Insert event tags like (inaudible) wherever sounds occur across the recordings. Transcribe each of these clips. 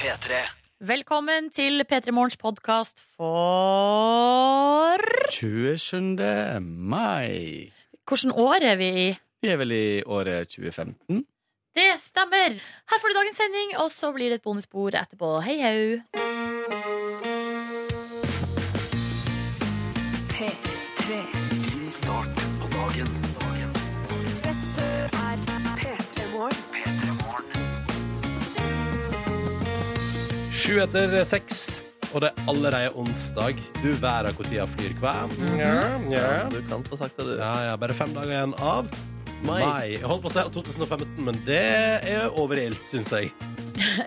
P3. Velkommen til P3 Morgens podkast for 27. mai. Hvilket år er vi i? Vi er vel i året 2015. Det stemmer! Her får du dagens sending, og så blir det et bonusbord etterpå. Hei (laughs) hau! P3. Din start på dagen. dagen. Dette er P3 Morgen. P3 Morgen. Sju etter seks, og det er allerede onsdag. Du verden hvor tida flyr hver. Du kan ta sakte, du. Ja, ja, bare fem dager igjen av mai. Mai. Jeg holdt på å si 2015, men det er overilt, syns jeg.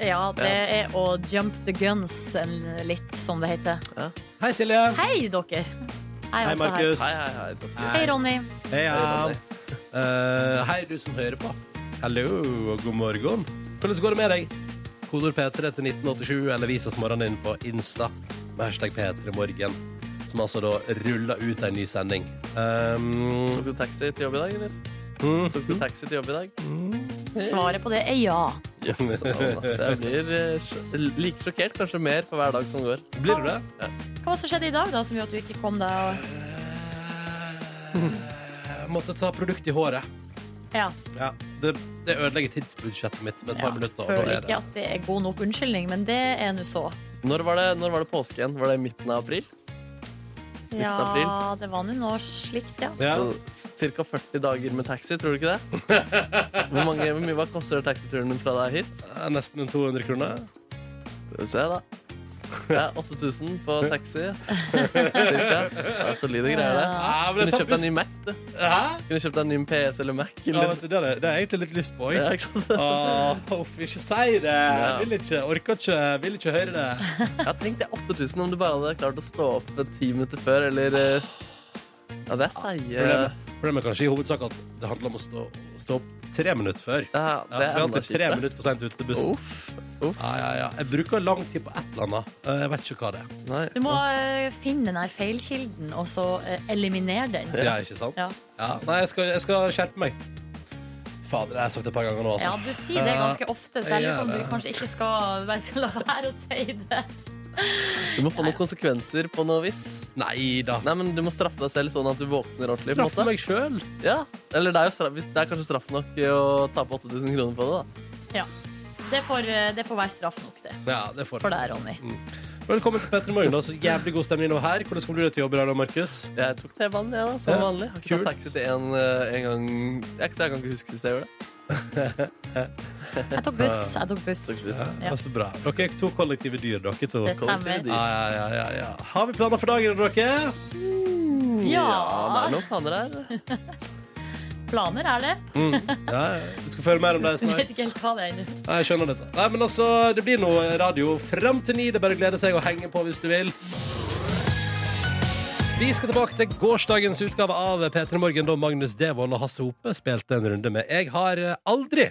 Ja, det er å jump the guns en- litt, som det heter. Hei, Silje. Hei, dere! Hei, Hei, også her. Markus. Hei, hei, hei. Dere. Hei, Ronny. Hei, ja. Ronny. Eh, hei, du som hører på. Hallo og god morgen. Hvordan går det med deg? Kodord P3 til 1987 eller vis oss morgenen din på Insta med hashtag P3morgen, som altså da ruller ut en ny sending. Um, Tok du taxi til jobb i dag, eller? Tok du taxi til jobb i dag? Svaret på det er ja. Yes, jeg blir eh, sj- like sjokkert, kanskje mer, for hver dag som går. blir du det? Hva var det som skjedde i dag, da, som gjorde at du ikke kom deg? og- Jeg måtte ta produkt i håret. Ja, Ja, det, det ødelegger tidsbudsjettet mitt med et ja. par minutter. og Føler da er ikke det- at det er god nok unnskyldning, men det er nå så. Når var, det, når var det påske igjen? Var det i midten av april? Ja, april. det var nå noe slikt, ja. Ja. Så ca. 40 dager med taxi, tror du ikke det? Hvor, mange, hvor mye hva koster taxituren din fra deg hit? Ja, Nesten 200 kroner. Skal vi se, da. Ja, 8000 på taxi. Cirka. Det er solide greier, det. Ja, men Kunne det tar kjøpt deg en pluss- ny Mac. du. Hæ? Kunne kjøpt deg en ny PS eller Mac. Ja, Eller, vet du, det, har jeg- det har jeg egentlig litt lyst på. Jeg. ja, ikke sant? Åh, Uff, ikke si det. Vil ikke, orker ikke, vil ikke høre det. Jeg tenkte 8000 om du bare hadde klart å stå opp et ti minutter før, eller eh, Ja, det er seige Problemet, problemet er kanskje i hovedsak at det handler om å stå, stå opp tre minutter før. Ja, Ja, det vi er har enda alltid tre kjipere. minutter for sent ute til bussen. Uff. Uff. Ja, ja, ja. Jeg bruker lang tid på et eller annet. Eh, Jeg vet ikke hva det er. Nei. Du må eh, finne den her feilkilden, og så eh, eliminere den. Ja, ikke sant? Ja. Ja, Nei, jeg skal, jeg skal skjerpe meg. Fader, det har jeg sagt et par ganger nå, Ja, altså. du sier det ganske ofte, så jeg lurer på om Ja, du det- kanskje ikke skal, bare skal la være å si det. Du må få noen konsekvenser på noe vis. Nei da. Nei, men Du må straffe deg selv sånn at du våkner ordentlig. på en Straffe måte. meg sjøl. Ja, eller det er, jo straff, hvis- det er kanskje straff nok i å tape 8000 kroner på det. da. Det får, eh, det får være straff nok, det. Ja, det får For jeg. deg, Ronny. Velkommen til Petter Morgen. da. Så jævlig god stemning nå her. Hvordan kommer du deg til jobb i dag, da, Markus? Jeg tok T-banen, jeg, da, som Ja, vanlig. Har ikke tatt kult. taxi til en, eh, en gang jeg, jeg kan ikke huske sist jeg gjorde det. Jeg tok buss. Jeg tok buss. Tok buss. Ja. Det er så bra. Dere er to kollektive dyr, dere to. Det stemmer. Ja, ja, ja, ja, ja. Har vi planer for dagen, dere? Ja, det Ja, er noen planer her. planer er det. Ja, ja. Du skal føre mer om det Jeg vet snart. ikke helt hva det er ennå. Nei, jeg skjønner dette. Nei, men altså, Det blir noe radio fram til ni. Det er bare å glede seg og henge på hvis du vil. Vi skal tilbake til gårsdagens utgave av P3 Morgen, da Magnus Devold og Hasse Hope spilte en runde med Jeg har eh, aldri.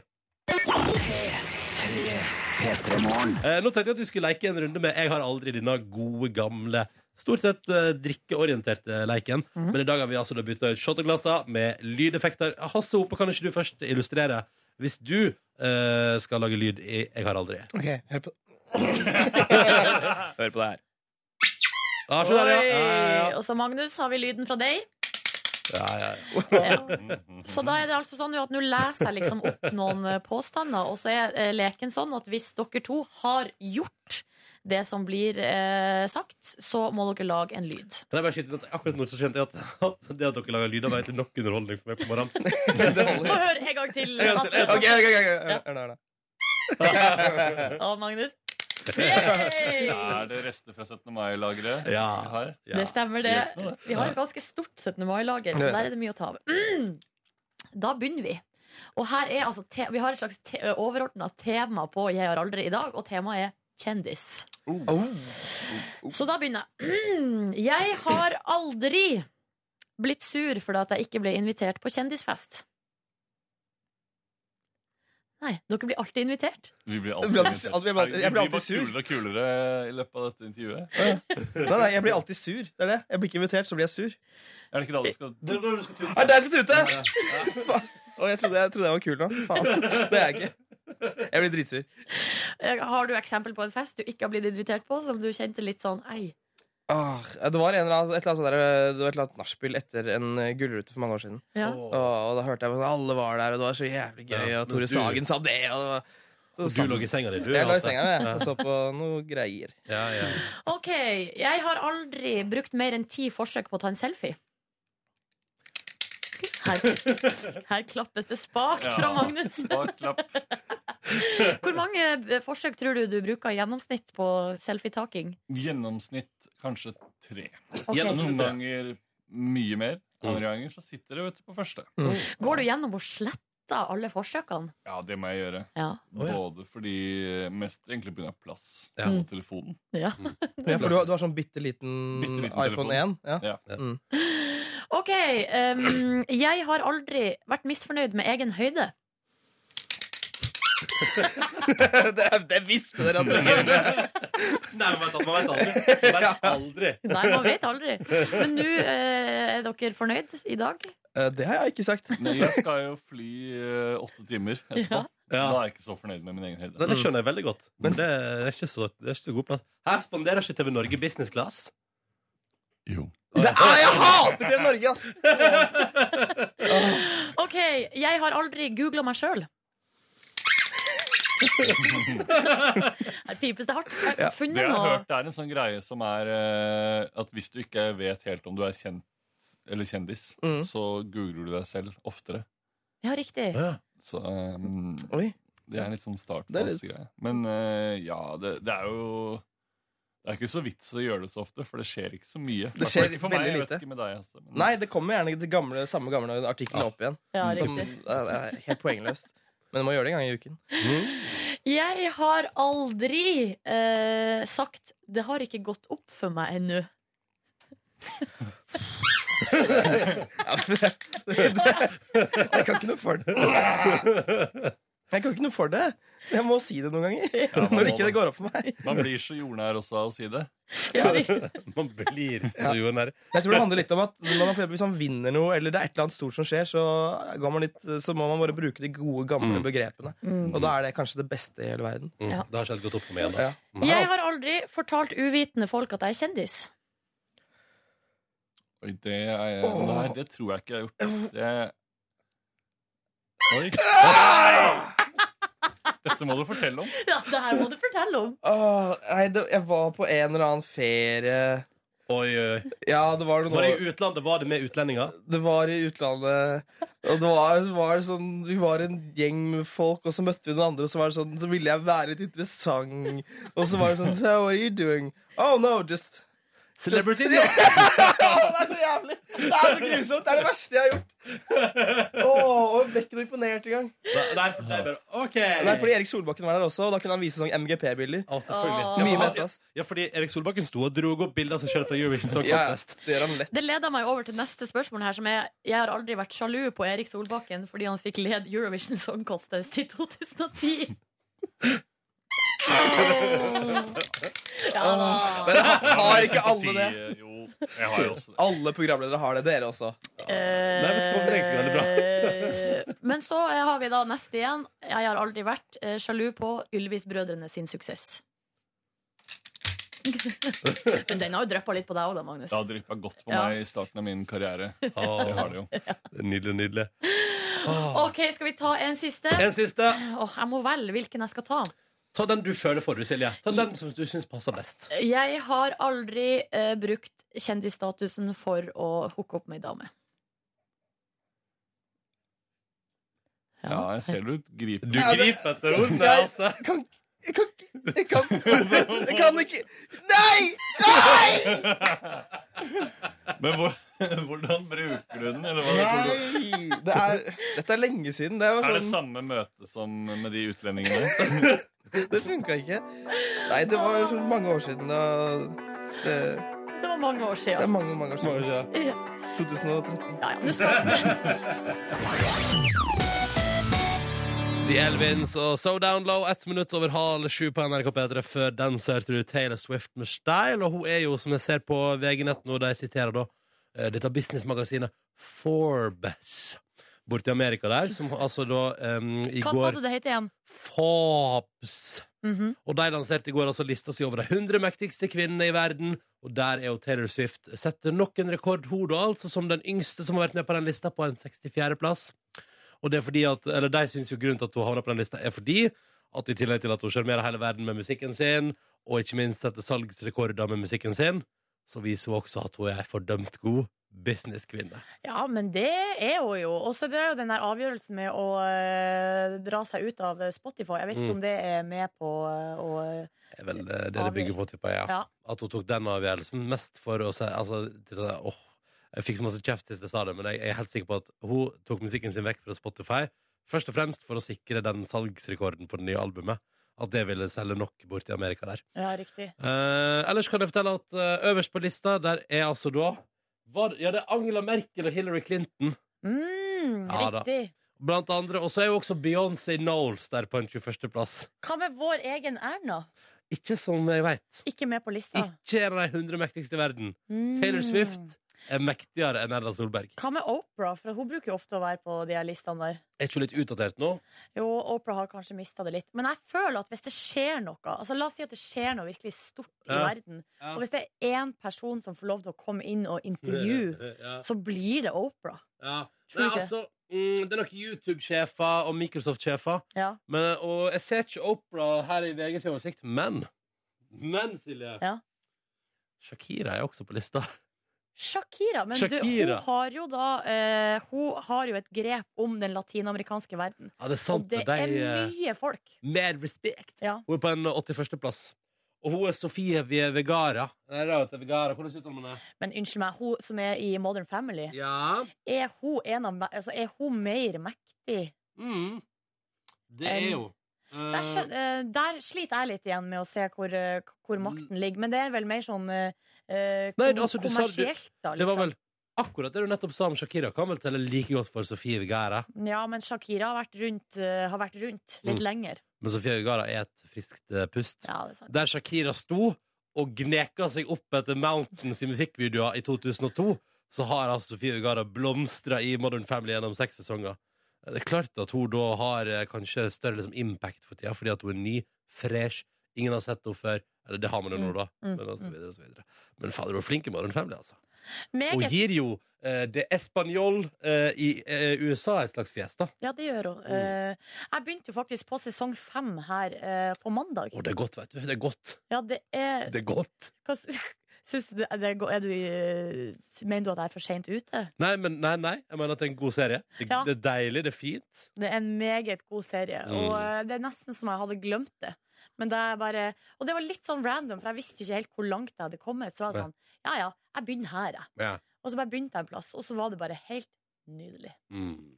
P3 Morgen. Eh, nå tenkte jeg at vi skulle leke en runde med Jeg har aldri denne gode, gamle Stort sett eh, drikkeorienterte leiken. Men i dag har vi altså da bytta ut shotteglasser med lydeffekter. Ah, Hasse Hope, kan ikke du først illustrere hvis du eh, skal lage lyd i Jeg har aldri? Ok, hør på Hør på det her. Ah, se der, ja. Ja, ja, Oi. ja. Og så, Magnus, har vi lyden fra deg. Ja, ja, ja. (laughs) Ja. Mhm. Så da er det altså sånn jo at nå leser jeg liksom opp noen eh, påstander, og så er eh, leken sånn at hvis dere to har gjort det som blir eh, sagt, så må dere lage en lyd. Kan jeg bare skyte inn at akkurat nå så kjente jeg at, at (laughs) det at dere lager lyder, var egentlig nok underholdning for meg på morgenen. Få høre en gang til, En gang til, Hasse. Ok, ok, ok, ok. Hør nå, hør nå. Og Magnus. Yay! Er det rester fra 17. mai-lageret? Ja, vi har? ja. Det stemmer, det. Vi har et ganske stort 17. mai-lager, så der er det mye å ta av. Mm. Da begynner vi. Og her er altså te Vi har et slags te overordna tema på Jeg har aldri i dag, og temaet er kjendis. Oh. Så da begynner jeg. Mm. Jeg har aldri blitt sur fordi at jeg ikke ble invitert på kjendisfest. Nei, dere blir alltid invitert. Vi blir Jeg alltid blir alltid- invitert. jeg blir alltid- jeg blir Herregud, alltid vi blir bare kulere og kulere i løpet av dette intervjuet. Nei, nei, jeg blir alltid sur. Det er det. Jeg blir ikke invitert, så blir jeg sur. Er det ikke da du skal Det er når du skal tute. (laughs) Er det jeg skal tute? Faen. Å, jeg trodde jeg, trodde jeg var kul nå. Faen. Det er jeg ikke. Jeg blir dritsur. Eh, Har du eksempel på en fest du ikke har blitt invitert på, som du kjente litt sånn Ei. Åh, Ah, det var en eller annen, et eller annet sånt der, eh, det var et eller annet nachspiel etter en eh, gullrute for mange år siden. Ja. Og, og da hørte jeg at alle var der, og det var så jævlig gøy, Ja, og Tore mens du- Sagen sa det, og det var så Du lå i senga di, du. Jeg lå i altså. senga jeg, og så på noe greier. Ja, ja. OK, jeg har aldri brukt mer enn ti forsøk på å ta en selfie. Her, her klappes det spakt Ja. fra (laughs) Magnus. Bak klapp. Hvor mange eh, forsøk tror du du bruker i gjennomsnitt på selfietaking? Gjennomsnitt kanskje tre. Ok. Gjennomsnitt. Noen ganger mye mer. Andre ganger så sitter det vet du, på første. Går du gjennom og sletter alle forsøkene? Ja, det må jeg gjøre. Ja. Å, ja. Både fordi eh, Mest egentlig pga. plass Ja. Mm. på telefonen. Ja, for du har, du har sånn bitte liten Bitte liten Mm. iPhone telefon. 1. Ja. Ja. OK. ehm, jeg har aldri vært misfornøyd med egen høyde. det, det visste dere at dere ville! Nei, man vet aldri. Man (laughs) vet aldri. Man vet aldri. Nei, man vet aldri. Men nå eh, er dere fornøyd i dag? Eh, Det har jeg ikke sagt. Men jeg skal jo fly eh, åtte timer etterpå. (laughs) Ja. Ja. Da er jeg ikke så fornøyd med min egen høyde. Mm. Nei, Det skjønner jeg veldig godt. Men det er ikke så, det er ikke så god plass. Her spanderer ikke TV Norge business class. (laughs) Jo. Det er, jeg hater TV Norge, ass! OK. Jeg har aldri googla meg (laughs) sjøl. Her pipes det hardt. Har jeg Det Funnet jeg har noe? hørt, det er en sånn greie som er eh, at hvis du ikke vet helt om du er kjent eller kjendis, Mm. så googler du deg selv oftere. Ja, riktig. Så um, Oi. det er litt sånn Det er litt- startfase-greie. Men eh, ja, det, det er jo Det er ikke så vits å gjøre det så ofte, for det skjer ikke så mye. I Det hvert fall skjer ikke for meg, veldig jeg vet lite. ikke med deg, altså. Men- Nei, det kommer gjerne det gamle, samme gamle artikkelen opp igjen. Ja, Som, riktig. det er helt poengløst. Men du må gjøre det en gang i uken. Jeg har aldri eh, sagt 'det har ikke gått opp for meg ennå'. Ja, det, det, jeg kan ikke noe for det. Jeg kan ikke noe for det. Jeg må si det noen ganger. Ja, man, Når ikke det må, går opp for meg. det. man blir så jordnær også av å si det. Ja, riktig. Man blir så jordnær. Men jeg tror det handler litt om at når man, for eksempel hvis man vinner noe, eller det er et eller annet stort som skjer, så, går man litt, så må man bare bruke de gode, gamle Mm. begrepene. Mm. Og da er det kanskje det beste i hele verden. Mm. Ja. Det har ikke helt gått opp for meg Mm. ennå. Ja. Jeg har aldri fortalt uvitende folk at jeg er kjendis. Oi, det er jeg Nei, det tror jeg ikke jeg har gjort. Det Oi. Dette må du fortelle om. Ja, det her må du fortelle om. Åh, nei, det, jeg var på en eller annen ferie Oi, oi. Ja, det var noe Var det i utlandet? Var det med utlendinger? Det var i utlandet Og det var, var sånn Vi var en gjeng med folk Og så møtte vi noen andre Og så var det sånn Så ville jeg være litt interessant Og så var det sånn So what are you doing? Oh no, just Celebrity? Ja, (laughs) det er så jævlig Det er så grusomt Det er det verste jeg har gjort Åh, og jeg ble ikke noe imponert i gang Nei, nei, for- nei, bare, OK. Nei, fordi Erik Solbakken var der også Og da kunne han vise sånn MGP-bilder Å, selvfølgelig. Åh. Ja, Mye for- mest, ass Ja, fordi Erik Solbakken sto og dro opp bilder av seg sjøl fra Eurovision Song Ja, Contest. det gjør han lett Det leder meg over til neste spørsmål her, som er Jeg har aldri vært sjalu på Erik Solbakken fordi han fikk led Eurovision Song Contest i 2010. Ja da. Ah. Har ikke alle det? eh, Jo, jeg har jo også det. Alle programledere har det, dere også Nei, vet du hva, det er egentlig Eh, Men så eh, har vi da neste igjen. Jeg har aldri vært eh, sjalu på Ylvis-brødrene sin suksess. Men den har jo dryppa litt på deg òg, da, Magnus. Det har dryppa godt på Ja. meg i starten av min karriere. Det har Åh, det jo. nydelig, nydelig. OK, skal vi ta en siste? En siste. Åh, jeg må velge hvilken jeg skal ta. Ta den du føler for, du, Silje. Ta den som du syns passer best. Jeg har aldri eh, brukt kjendisstatusen for å hooke opp med ei dame. Ja, jeg ser du griper Du griper etter ordene, Jeg- altså. Jeg kan Jeg kan ikke Jeg kan, jeg kan ikke Nei! Nei! Men hvor, (laughs) hvordan bruker du den? Eller hva er det? Nei! Det er, dette er lenge siden. Det, Er var det sånn, samme møte som med de utlendingene? det funka ikke. Nei, det var så mange år siden. Og det, Det var mange år det er siden. mange, mange år siden. Ja, 2013. ja, du (laughs) skal. The Elvins og So Down Low, ett minutt over halv sju på NRK P3. Før den så hørte du Taylor Swift med Style, og hun er jo, som jeg ser på VG-nett nå, de siterer da eh, dette businessmagasinet Forbes. borti Amerika der, som altså da em, i Hva sa går du det het igjen? Forbes. Mhm. Og de lanserte i går altså lista si over de 100 mektigste kvinnene i verden. Og der er jo Taylor Swift. Setter nok en rekord, hun da, altså som den yngste som har vært med på den lista, på en 64.-plass. Og det er fordi at, eller de syns jo grunnen til at hun havna på den lista, er fordi at i tillegg til at hun sjarmerer hele verden med musikken sin, og ikke minst setter salgsrekorder med musikken sin, så viser hun også at hun er ei fordømt god businesskvinne. Ja, men det er hun jo. Og så det er jo den der avgjørelsen med å eh, dra seg ut av Spotify. Jeg vet ikke Mm. om det er med på eh, å Det er vel eh, det det bygger på, tipper jeg. Ja. Ja. At hun tok den avgjørelsen mest for å si altså, til det der, åh, Jeg fikk så masse kjeft sist jeg sa det, men jeg er helt sikker på at hun tok musikken sin vekk fra Spotify. Først og fremst for å sikre den salgsrekorden på det nye albumet. At det ville selge nok bort i Amerika der. Ja, riktig. Eh, ellers kan jeg fortelle at eh, øverst på lista, der er altså da var, Ja, det er Angela Merkel og Hillary Clinton. Mm, Ja da. riktig. Blant andre. Og så er jo også Beyoncé Knowles der på en 21.-plass. Hva med vår egen Erna? Ikke som jeg veit. Ikke med på lista. Ikke en av de 100 mektigste i verden. Mm. Taylor Swift er mektigere enn Erna Solberg. Hva med Opera? For hun bruker jo ofte å være på de her listene der. Er ikke hun litt utdatert nå? Jo, Opera har kanskje mista det litt. Men jeg føler at hvis det skjer noe Altså La oss si at det skjer noe virkelig stort i Ja. verden. Ja. Og hvis det er én person som får lov til å komme inn og intervjue, Ja, så blir det Opera. ja. Tror Nei, ikke. altså, mm, det er nok YouTube-sjefer og Microsoft-sjefer. Ja. Men, og jeg ser ikke Opera her i VGs oversikt, men Men, Silje! Ja. Shakira er også på lista. Shakira. Men Du, Shakira. hun har jo da eh, Hun har jo et grep om den latinamerikanske verden. Ja, det er Og sant. det de, er eh, mye folk. Mer respekt. Ja. Hun er på en 81.-plass. Og hun er Sofie Ve- Vegara. Nei, det er jo til Vegara. Hvordan uttaler man det? Men unnskyld meg, hun som er i Modern Family, Ja. er hun, en av, me- altså, er hun mer mektig? Mm. Det er jo Der, skjøn- eh, der sliter jeg litt igjen med å se hvor, eh, hvor makten ligger. Men det er vel mer sånn eh, eh, Mm. Nei, kom- altså, du sa- du- kommersielt, da. Det var Liksom. vel akkurat det du nettopp sa om Shakira. Kan vel telle like godt for Sofie Vegara. liksom. Ja, men Shakira har vært rundt, eh, har vært rundt litt Mm. lenger. Men Sofie Vegara er et friskt eh, pust. Ja, det er sant. Der Shakira sto og gneka seg opp etter Mountains i musikkvideoer i 2002, så har altså Sofie Vegara blomstra i Modern Family gjennom seks sesonger. Eh, Det er klart at hun da har eh, kanskje større liksom, impact for tida, fordi at hun er ny, fresh, ingen har sett henne før. Eller det har man jo nå, da. Mm, Men, og så videre, og så videre. Men fader, hun er flink i Modern Family, altså. Hun Meget. gir jo eh, det espanjol eh, i eh, USA et slags fjes, da. Ja, det gjør Mm. hun. Eh, jeg begynte jo faktisk på sesong fem her eh, på mandag. Og det er godt, vet du. Det er godt. Ja, det er Det er godt. (laughs) Hva s- Syns du det er, go- er du i- Mener du at jeg er for seint ute? Nei, men nei, nei. Jeg mener at det er en god serie. Det, Ja. det er deilig, det er fint. Det er en meget god serie, Mm. og eh, det er nesten som jeg hadde glemt det. Men det er bare, og det var litt sånn random, for jeg visste ikke helt hvor langt jeg hadde kommet. Så var det Ja. sånn, ja ja, jeg begynner her, jeg. Ja. Og så bare begynte jeg en plass, og så var det bare helt nydelig. Mm.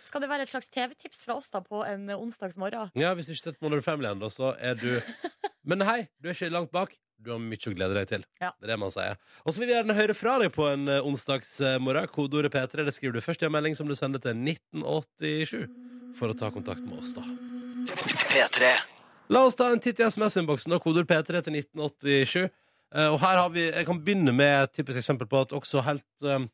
Skal det være et slags TV-tips fra oss da på en eh, onsdagsmorgen? Ja, Hvis du ikke har sett Modern Family ennå, så er du (laughs) Men hei, du er ikke langt bak. Du har mye å glede deg til. Ja. Det er det man sier. Og så vil vi gjerne høre fra deg på en eh, onsdagsmorgen. Kodeordet P3 det skriver du først i en melding som du sender til 1987 for å ta kontakt med oss, da. P3 La oss ta en titt i SMS-innboksen og koder P3 til 1987. Eh, og her har vi, Jeg kan begynne med et typisk eksempel på at også helt eh,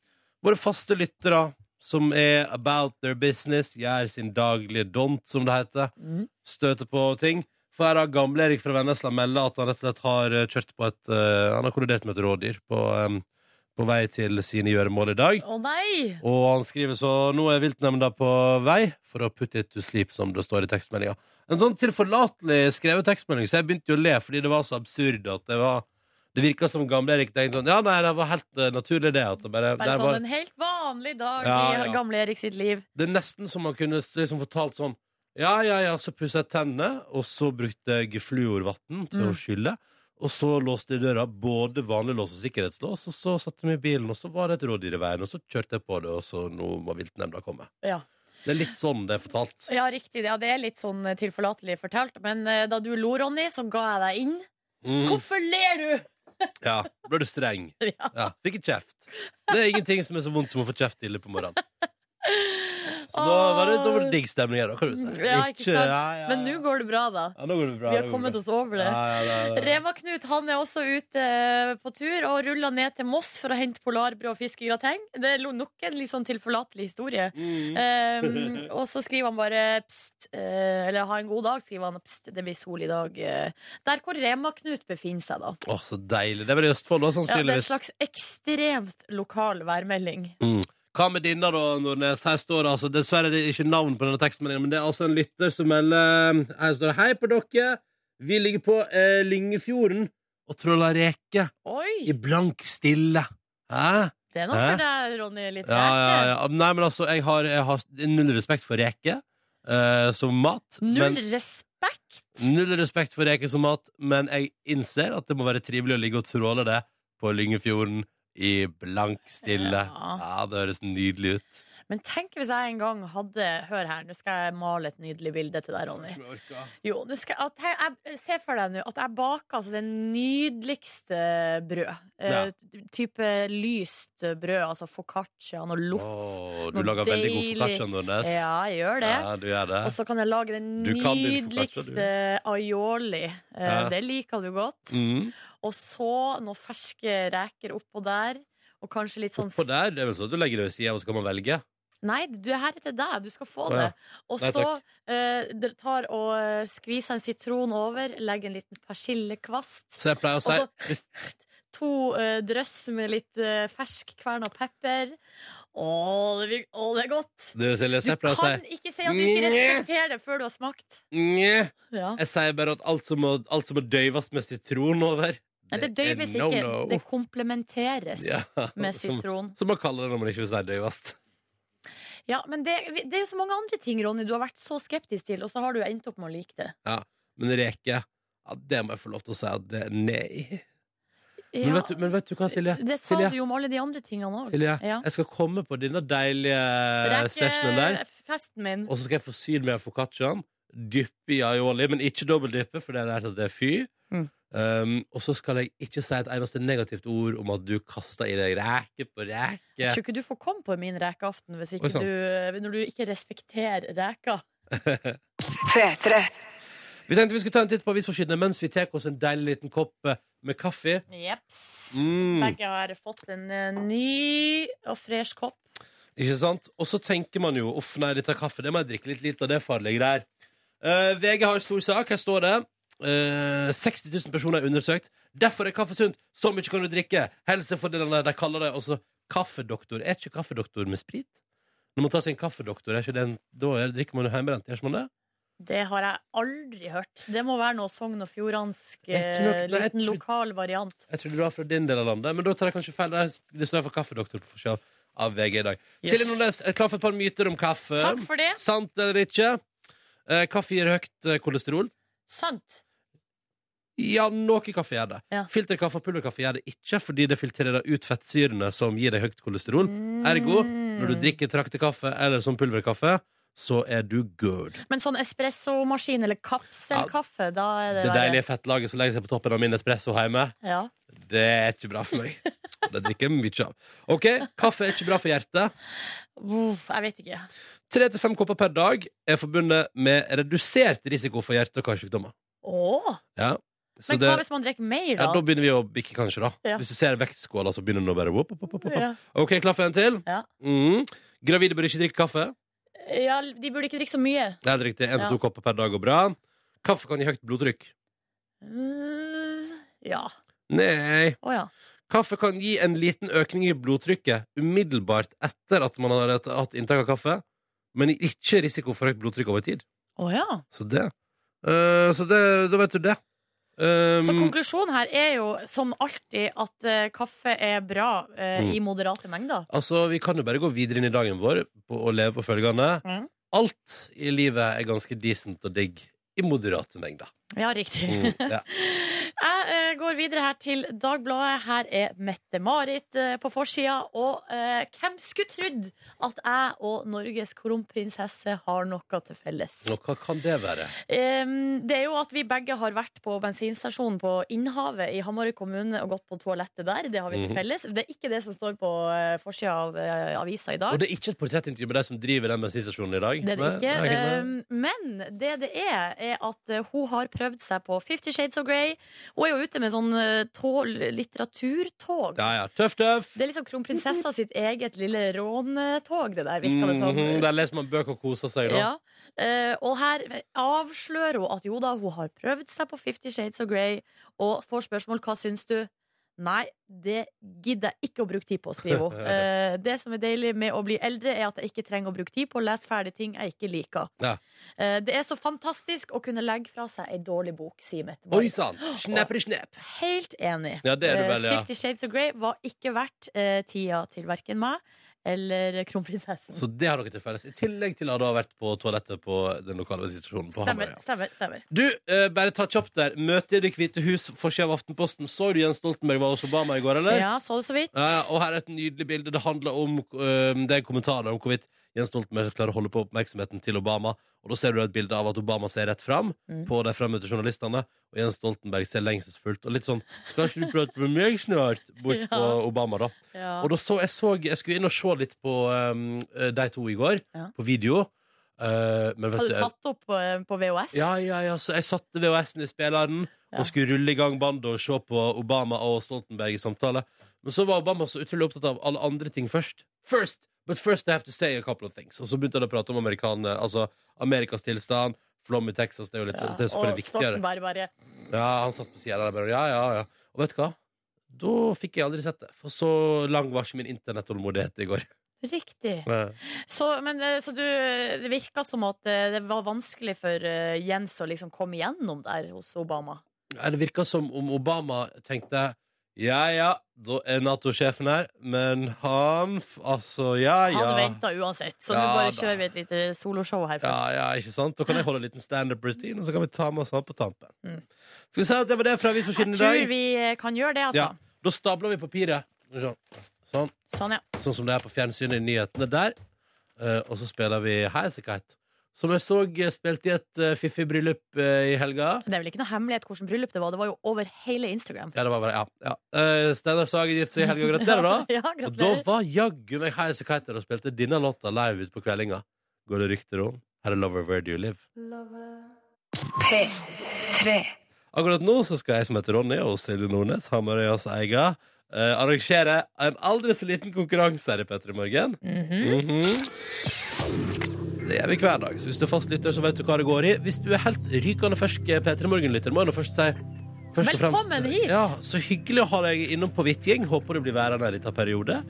våre faste lyttere som er about their business, gjør sin daglige dont, som det heter, Mm. støter på ting. For her har gamle Erik fra Vennesla meldt at han rett og slett har eh, kjørt på et eh, Han har kollidert med et rådyr på, eh, på vei til sine gjøremål i dag. Å nei! Og han skriver så Nå er viltnemnda på vei for å putte it to sleep, som det står i tekstmeldinga. En sånn tilforlatelig skrevet tekstmelding, så jeg begynte jo å le fordi det var så absurd at det var Det virka som Gamle-Erik tenkte sånn Ja, nei, det var helt eh, naturlig, det. At det bare, Bare der sånn var, en helt vanlig dag Ja, i ja. gamle Erik sitt liv. Det er nesten som man kunne s- liksom fortalt sånn Ja, ja, ja, så pussa jeg tennene, og så brukte jeg fluorvann til å Mm. skylle. Og så låste jeg døra, både vanlig lås og sikkerhetslås, og så satte jeg meg i bilen, og så var det et rådyr i veien, og så kjørte jeg på det, og så nå må viltnemnda komme. Ja. Det er litt sånn det er fortalt. Ja, riktig. Ja, det er litt sånn eh, tilforlatelig fortalt. Men eh, da du lo, Ronny, så ga jeg deg inn. Mm. Hvorfor ler du?! (laughs) Ja, ble du streng. Ja. Ja, fikk et kjeft. Det er ingenting som er så vondt som å få kjeft tidlig på morgenen. Så nå var det, da var det digg stemning her, da, kan du si. Mm, Ja, ikke sant? ja, ja, ja. Men nå går det bra, da. ja, nå går det bra. Vi har nå går kommet det oss over bra. det. Ja, ja, ja, ja. Rema-Knut han er også ute eh, på tur og ruller ned til Moss for å hente polarbrød og fiskegrateng. Det er lo- nok en litt sånn tilforlatelig historie. Mm. (laughs) Ehm, og så skriver han bare pst, eh, eller ha en god dag, skriver han. Pst, det blir sol i dag. eh. Der hvor Rema-Knut befinner seg, da. Å, så deilig. Det er vel i Østfold, da, Ja, det er en sannsynligvis. slags ekstremt lokal værmelding. Hva med denne, da, Nordnes? Her står det altså Dessverre er det ikke navn på denne tekstmeldingen, men det er altså en lytter som melder eh, Her står det Hei på dere. Vi ligger på eh, Lyngefjorden og tråler reker i Oi! blank stille. Hæ? Det er noe Hæ? for deg, Ronny. Litt Ja, ja, ja. Nei, men altså, jeg har, jeg har null respekt for reker eh, som mat. Null men, respekt. null respekt for reker som mat, men jeg innser at det må være trivelig å ligge og tråle det på Lyngefjorden i blank stille. Ja. Ja, det høres nydelig ut. Men tenk hvis jeg en gang hadde Hør her, nå skal jeg male et nydelig bilde til deg, Ronny. Jo, nå skal, at jeg, jeg, Se for deg nå at jeg baker altså, det nydeligste brød. Eh, type lyst brød, altså foccaccia, noe loff. Åh, du noe lager veldig god deilig- foccaccia, Nordnes. Ja, jeg gjør det. Ja, du gjør det. Og så kan jeg lage den Du kan din focaccia, du. nydeligste aioli. Eh, Ja. Det liker du godt. Mm. Og så noen ferske reker oppå der. Og kanskje litt sånn Oppå der, det er vel sånn at du legger det ved siden, og så kan man velge. Nei, du, her er til deg. Du skal få Å, ja. det. Og Nei, så eh, dere tar og eh, skviser en sitron over, legger en liten persillekvast. Så jeg pleier å si Og hvis, (laughs) To eh, drøss med litt eh, fersk kverna pepper. Å, det, blir- å, det er godt! du, Silje, Du så jeg pleier å kan si ikke si at du ikke respekterer det før du har smakt. Nje. Ja. Jeg sier bare at alt som må, alt som må døyves med sitron over Nei, det er døyves no, ikke. Eh, no. (laughs) Det komplementeres Ja, med (laughs) som- sitron. Som man kaller det når man ikke vil si døyves. Ja, men det, det er jo så mange andre ting, Ronny, du har vært så skeptisk til, og så har du endt opp med å like det. Men reke, ja, det må jeg få lov til å si at det er nei. Men, Ja, vet, du, men vet du hva, Silje? det sa Silje, du jo om alle de andre tingene òg. Silje Ja. jeg skal komme på denne deilige sessionen der, festen min. og så skal jeg forsyne meg av foccacciaen. Dyppe i aioli, men ikke dobbeldyppe, for det har jeg lært at det er fy. Mm. Um, og så skal jeg ikke si et eneste negativt ord om at du kaster i deg reke på reke. Tror ikke du får komme på min rekeaften hvis ikke Oi, sånn. sann. du, når du ikke respekterer reka. P3. Vi tenkte vi skulle ta en titt på avisforsidene mens vi tar oss en deilig liten kopp eh, med kaffe. Jeps. Mm. Begge har fått en eh, ny og fresh kopp. Ikke sant? Og så tenker man jo Uff, nei, dette er kaffe, det må jeg drikke litt lite av, det er farlige greier. Eh, VG har en stor sak. Her står det eh, 60 000 personer er undersøkt. Derfor er kaffe sunt. Så mye kan du drikke. Helsefordelene de kaller det. Også kaffedoktor. Er ikke kaffedoktor med sprit? Når man tar sin kaffedoktor, er ikke den, da er, drikker man jo hjemmebrent? Gjør ikke man det? Det har jeg aldri hørt. Det må være noe Sogn og Fjordansk Jeg tror nok- eh, nei, jeg liten tror- lokal variant. Jeg trodde det var fra din del av landet, men da tar jeg kanskje feil. Det er- Det står for kaffedoktor på forsida av VG i dag. Yes. Silje Nordnes, er du klar for et par myter om kaffe? Takk for det. Sant eller ikke? Eh, Kaffe gir høyt eh, kolesterol. Sant. Ja, noe kaffe gjør det. Ja. Filterkaffe og pulverkaffe gjør det ikke, fordi det filtrerer ut fettsyrene som gir deg høyt kolesterol. Mm. Ergo, når du drikker traktekaffe eller som pulverkaffe, så er du good. Men sånn espressomaskin eller kapselkaffe, da er det, Det verre. deilige fettlaget som legger seg på toppen av min espresso hjemme, Ja. det er ikke bra for meg. Det drikker jeg mye av. OK, kaffe er ikke bra for hjertet. Uff, jeg vet ikke. Tre til fem kopper per dag er forbundet med redusert risiko for hjerte- og karsykdommer. Åh. Ja. Så Men det, hva hvis man drikker mer, ja, da? da begynner vi å bikke, kanskje. da Ja. Hvis du ser vektskåla, så begynner den å bare whoop, whoop, whoop, whoop. Ja. OK, klar for en til? Ja. Mhm. Gravide bør ikke drikke kaffe. Ja, de burde ikke drikke så mye. Det er helt riktig. Én til Ja. to kopper per dag går bra. Kaffe kan gi høyt blodtrykk. Mm, ja. Nei. Å ja. Kaffe kan gi en liten økning i blodtrykket umiddelbart etter at man har hatt- hatt inntak av kaffe, men ikke risiko for høyt blodtrykk over tid. Å ja. Så det Eh, Så det, da vet du det. Um, Så konklusjonen her er jo som alltid at eh, kaffe er bra eh, Mm. i moderate mengder. Altså, Vi kan jo bare gå videre inn i dagen vår på å leve på følgende. Mm. Alt i livet er ganske decent og digg i moderate mengder. Ja, riktig. Mm, ja. (laughs) Jeg eh, går videre her til Dagbladet. Her er Mette-Marit eh, på forsida. Og eh, hvem skulle trodd at jeg og Norges kronprinsesse har noe til felles? Og hva kan det være? Em, det er jo at vi begge har vært på bensinstasjonen på Innhavet i Hamarøy kommune og gått på toalettet der. Det har vi til Mhm. felles. Det er ikke det som står på eh, forsida av eh, avisa i dag. Og det er ikke et portrettintervju med de som driver den bensinstasjonen i dag? Det er det Nei, ikke. nei, nei. Um, men det det er, er at uh, hun har prøvd seg på Fifty Shades of Grey. Hun er jo ute med sånn uh, tå- litteraturtog. Ja, ja. Tøff, tøff! Det er liksom kronprinsessa sitt eget lille råntog, det der, virker det som. Mhm, Der leser man bøker og koser seg, da. Ja. Eh, og her avslører hun at jo da, hun har prøvd seg på Fifty Shades of Grey, og får spørsmål hva syns du? Nei, det gidder jeg ikke å bruke tid på, (laughs) skriver hun. Eh, det som er deilig med å bli eldre, er at jeg ikke trenger å bruke tid på å lese ferdig ting jeg ikke liker. Ja. Eh, det er så fantastisk å kunne legge fra seg ei dårlig bok, sier Mette Oi Marit. sann! Snapper snap. Helt enig. Ja, det er du vel, Eh, ja. Fifty Shades of Grey var ikke verdt eh, tida til verken meg eller kronprinsessen. Så det har dere til felles. I tillegg til at du har vært på toalettet på den lokale bensinstasjonen på Hamarøy. Stemmer, ja. stemmer, stemmer. Du, eh, bare ta kjapt der. Møte i Det hvite hus, forsida av Aftenposten. Så du Jens Stoltenberg var hos Obama i går, eller? Ja, så det så vidt. Ja, ja, og her er et nydelig bilde. Det handler om øhm, Det er kommentarer om hvorvidt Jens Stoltenberg klarer å holde på oppmerksomheten til Obama. Og da ser du et bilde av at Obama ser rett fram Mm. på de fremmøtte journalistene, og Jens Stoltenberg ser lengselsfullt. Og litt sånn 'Skal ikke du prate med meg snart?' bort (laughs) Ja. på Obama, da. Ja. Og da så jeg, så jeg skulle inn og se litt på øhm, de to i går, Ja. på video. Eh, men vet Har du jeg- tatt opp på, på VHS? ja, ja, ja, så jeg satte VHS-en i spilleren Ja. og skulle rulle i gang bandet og se på Obama og Stoltenberg i samtale. Men så var Obama så utrolig opptatt av alle andre ting først. First, but first I have to say a couple of things. Og så begynte han å prate om amerikan, altså Amerikas tilstand, flom i Texas, det er jo litt, Ja, det er og selvfølgelig viktigere. Stoltenberg bare Ja, han satt på siden der bare, ja, ja, ja. Og vet du hva? Da fikk jeg aldri sett det, for så lang var ikke min internettålmodighet i går. (laughs) Riktig. Så, men, eh, så du, det virka som at eh, det var vanskelig for eh, Jens å liksom komme gjennom der hos Obama. Nei, Det virka som om Obama tenkte Ja ja, da er Nato-sjefen her, men han f- Altså, ja Han ja. venta uansett, så nå Ja, bare da. kjører vi et lite soloshow her Ja, først. ja, ikke sant? Da kan jeg holde en liten standup-routine, og så kan vi ta med oss han på tampen. Mm. Skal vi si at det var det fra Jeg Avisforsiden i tror dag? vi eh, kan gjøre det, Ja. altså. Da stabler vi papiret. Skal vi se. Sånn. Sånn, ja. Sånn som det er på fjernsynet i nyhetene der. Eh, og så spiller vi Highasakite. Som jeg så eh, spilte i et eh, fiffig bryllup eh, i helga. Det er vel ikke noe hemmelighet hvilket bryllup det var. Det var jo over hele Instagram. Ja, det var bare, ja, ja. Eh, Steinar Sagen gifter seg i helga. Gratulerer, (laughs) da. Ja, Og da gratulerer. var jaggu meg Highasakite der og spilte denne låta live ut på kveldinga. Går det rykter om? Her er Lover Where Do You Live. P3. Akkurat nå så skal jeg som heter Ronny og Silje Nordnes, Hamarøyas eier, eh, arrangere en aldri så liten konkurranse her i P3 Morgen. Mm-hmm. Mhm. Det gjør vi hver dag, så hvis du er fast lytter, så vet du hva det går i. Hvis du er helt rykende fersk eh, P3 Morgen-lytter, må jeg nå først si først og fremst- Velkommen hit! Ja, så hyggelig å ha deg innom på Hvitgjeng. Håper du blir værende her i denne periode.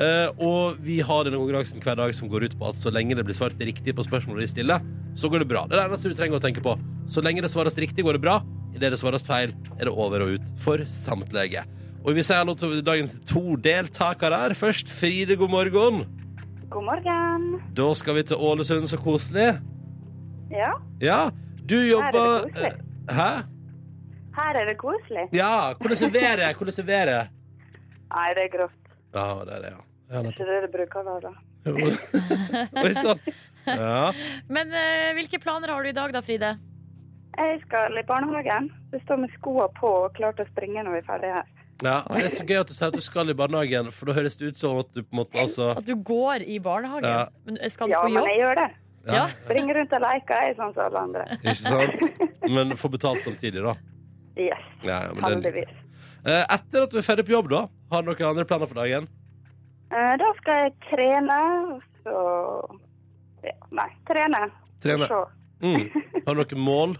Eh, og vi har denne konkurransen hver dag som går ut på at så lenge det blir svart riktig på spørsmålet vi stiller, så går det bra. Det er det eneste du trenger å tenke på. Så lenge det svares riktig, går det bra. Idet det svares feil, er det over og ut for samtlige. Og vi sier hallo til dagens to deltakere her. Først Fride, god morgen. God morgen. Da skal vi til Ålesund, så koselig. Ja, Ja, du jobber det koselig. Eh, Hæ? her er det koselig. Ja, hvordan er været? Hvordan er været? Nei, det er grått. Ja, det er det, ja. ja nettopp. Ikke det det bruker å være. Jo. (laughs) Oi sann. Ja. Men eh, hvilke planer har du i dag da, Fride? Jeg skal i barnehagen. Det står med skoene på og klar til å springe når vi er ferdige her. Ja, det er så gøy at du sier at du skal i barnehagen, for da høres det ut som at du på en måte altså At du går i barnehagen? Ja. Men eh, skal du Ja, på men jobb? jeg gjør det. Ja. Springer rundt og leker, jeg er sånn som alle andre. Ikke sant? Men får betalt samtidig, da. Yes, Ja, ja, men det er heldigvis. litt- Eh, Etter at du er ferdig på jobb, da, har du noen andre planer for dagen? Eh, Da skal jeg trene, og så ja, Nei, trene. Trene. Så. Mm. Har du noen mål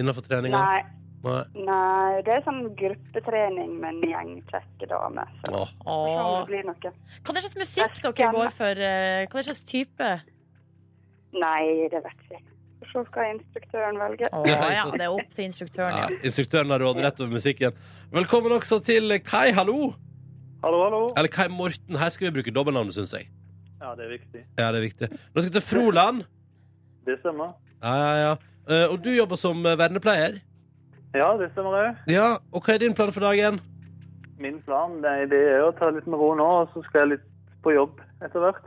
innenfor treninga? Nei, Nei. nei, det er sånn gruppetrening med en gjeng kjekke damer. Så Åh. kan det Åh. bli noe. Hva er det slags musikk dere går for? eh, Hva er det slags (laughs) type? Nei, det vet jeg ikke. Så skal instruktøren velge. Å ja, det er opp til instruktøren, Ja, ja. instruktøren har råderett over musikken. Velkommen også til Kai, hallo! Hallo, hallo. Eller Kai Morten. Her skal vi bruke dobbeltnavnet, syns jeg. Ja, det er viktig. Ja, det er viktig. Nå skal vi til Froland. Det stemmer. Ja, ja, ja. Eh, og du jobber som eh, vernepleier. Ja, det stemmer det. Ja, og hva er din plan for dagen? Min plan det er- det er å ta det litt med ro nå, og så skal jeg litt på jobb etter hvert.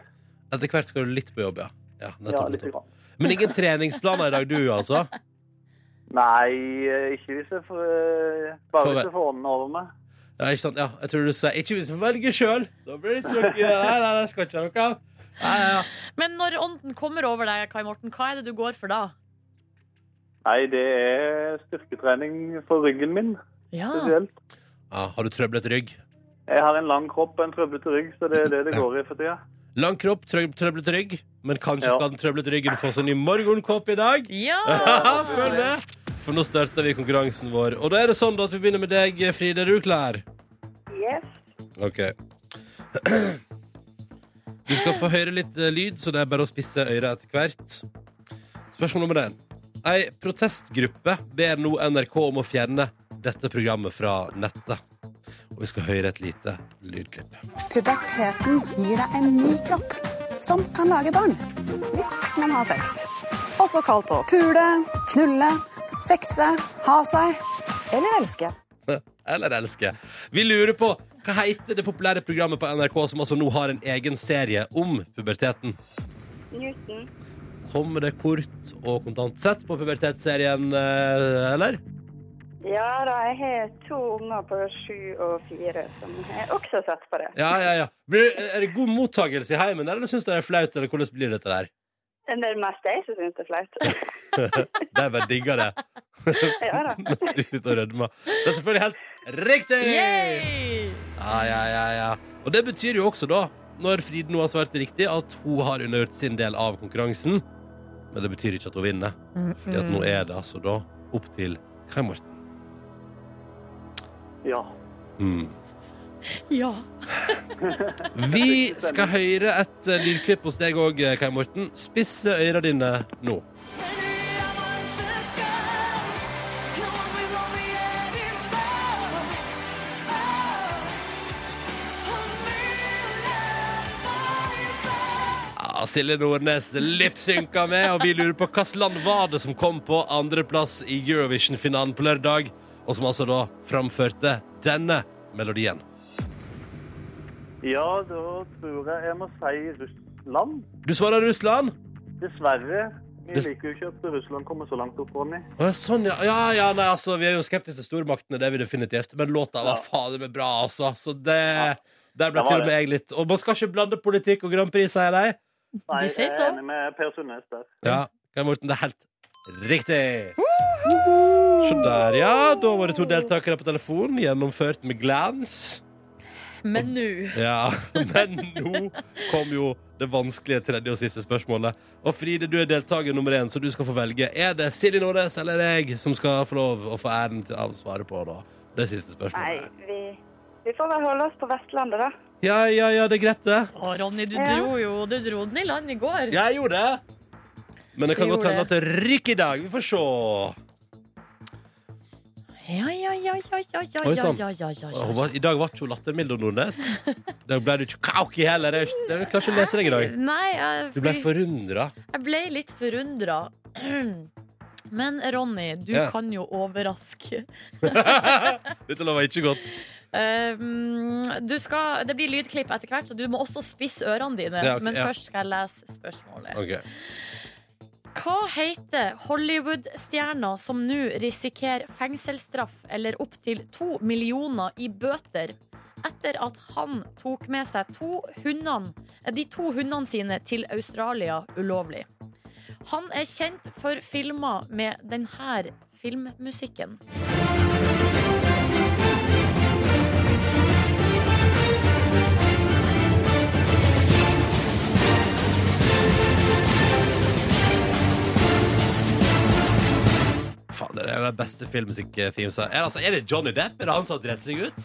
Etter hvert skal du litt på jobb, ja. ja, Ja, nettopp, litt nettopp. grann. Men ingen treningsplaner i dag, du, altså? Nei, eh, ikke hvis jeg får eh, Bare Får hvis være- jeg får ånden over meg. Ja, ikke sant? Ja, jeg tror du sa 'ikke hvis vi velger sjøl'. Da blir det ikke noe Nei, nei, det skal ikke ha noe av. Nei, ja. Men når ånden kommer over deg, Kai Morten, hva er det du går for da? Nei, det er styrketrening for ryggen min spesielt. Ja, har du trøblet rygg? Jeg har en lang kropp og en trøblete rygg, så det er det det går i for tida. Lang kropp, trøb trøblet rygg. Men kanskje Ja. skal den trøblete ryggen få seg ny morgenkåpe i dag? (laughs) Ja! Følg med! For nå starter vi konkurransen vår. Og da er det sånn da at vi begynner med deg, Fride. Er du klar? Yes. OK. Du skal få høre litt eh, lyd, så det er bare å spisse øret etter hvert. Spørsmål nummer én. Ei protestgruppe ber nå NRK om å fjerne dette programmet fra nettet. Og vi skal høre et lite lydklipp. Puberteten gir deg en ny kropp som kan lage barn hvis man har sex. Også kalt å pule, knulle, sexe, ha seg eller elske. Eller elsker. Vi lurer på hva heter det populære programmet på NRK som altså nå har en egen serie om puberteten? Newton. Kommer det kort og kontant sett på pubertetsserien, eh, eller? Ja da, jeg har to unger på sju og fire som har også sett på det. Ja, ja, ja. Blir, er det god mottagelse i heimen, eller syns dere det er flaut, eller hvordan blir dette der? Men Det er mest jeg som syns det er flaut. De bare digger det. (laughs) Ja da. Du sitter og rødmer. Det er selvfølgelig helt riktig! Yay! Ja, ja, ja, ja. Og det betyr jo også, da, når Fride nå har svart riktig, at hun har undergjort sin del av konkurransen. Men det betyr ikke at hun vinner. Fordi at nå er det altså da opp til Kai Morten. Ja. Mm. Ja. Vi skal høre et eh, lydklipp hos deg òg, Kai Morten. Spisse øra dine nå. Ja, Silje Nordnes lipsynka med, og vi lurer på hvilket land var det som kom på andreplass i Eurovision-finalen på lørdag, og som altså da framførte denne melodien. Ja, da tror jeg jeg må si Russland. Du svarer Russland? Dessverre. Vi Dess- liker jo ikke at Russland kommer så langt opp, Ronny. Å, ja, sånn, ja. ja, ja nei, altså, vi er jo skeptiske til stormaktene, det er vi definitivt. Men låta var fader meg bra, altså. Så det, der Det ble var til og det. med jeg litt Og man skal ikke blande politikk og Grand Prix, sier de. Nei, De sier jeg så. er sånn. enig med Per Sundnes der. Ja, Kai Morten, det er helt riktig. Se der, ja. Da var det to deltakere på telefon, gjennomført med glans. Men nå Ja, (laughs) Men nå kom jo det vanskelige tredje og siste spørsmålet. Og Fride, du er deltaker nummer én, så du skal få velge. Er det Silje Nordnes eller er det jeg som skal få lov å få æren til å svare på da? det siste Nei, spørsmålet? vi, vi får vel holde oss på Vestlandet, da. Ja, ja, ja, det er greit, det. Å, Ronny, du Ja. dro jo du dro den i land i går. Jeg gjorde det. Men det kan Du godt gjorde hende at det rykker i dag. Vi får se. Ja, ja, ja, ja, ja, ja, Oi, sånn. ja, sann. ja, ja, ja, Hun ja, var- I dag var ikke hun lattermild og Nordnes. Da ble du ikke kauki heller. Jeg jeg klarer ikke å lese deg i ja. dag. Nei, jeg, Du ble forundra. jeg ble litt forundra. (clears throat) Men Ronny, du Ja. kan jo overraske. Dette lover ikke godt. Um, du skal, det blir lydklipp etter hvert, så du må også spisse ørene dine. Ja, ok, men ja. først skal jeg lese spørsmålet. Ok. Hva heter Hollywood-stjerna som nå risikerer fengselsstraff eller opptil to millioner i bøter etter at han tok med seg to hundene, eh, de to hundene sine til Australia ulovlig? Han er kjent for filmer med denne filmmusikken. Faen, det er den beste filmmusikk-themesa. Er, det altså, er det Johnny Depp? Er det han som har dredd seg ut?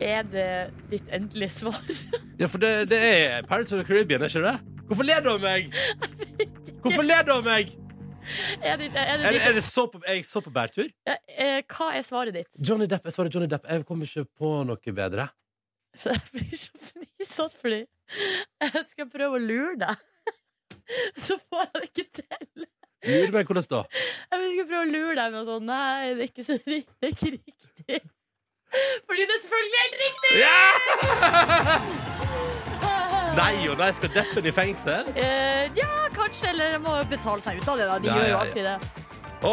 Er det ditt endelige svar? (laughs) Ja, for det, det er Pirates of the Caribbean, er ikke det? Hvorfor ler du av meg? Hvorfor ler du av meg? Er det, er det Er, det- ditt, er, det så på, er jeg så på bærtur? Ja, eh, hva er svaret ditt? (laughs) Johnny Depp, Jeg svarer Johnny Depp. Jeg kommer ikke på noe bedre. For jeg blir så fnisatt fordi (laughs) jeg skal prøve å lure deg. Så får jeg det ikke til. Lur meg hvordan da. Jeg vil skulle prøve å lure deg med sånn Nei, det er ikke, så, ri- det er ikke riktig. (laughs) Fordi det er selvfølgelig helt riktig! Nei og nei, skal deppen i fengsel? Eh, ja, kanskje. Eller de må betale seg ut av det, da. De Ja, gjør jo ja, alltid det. Å,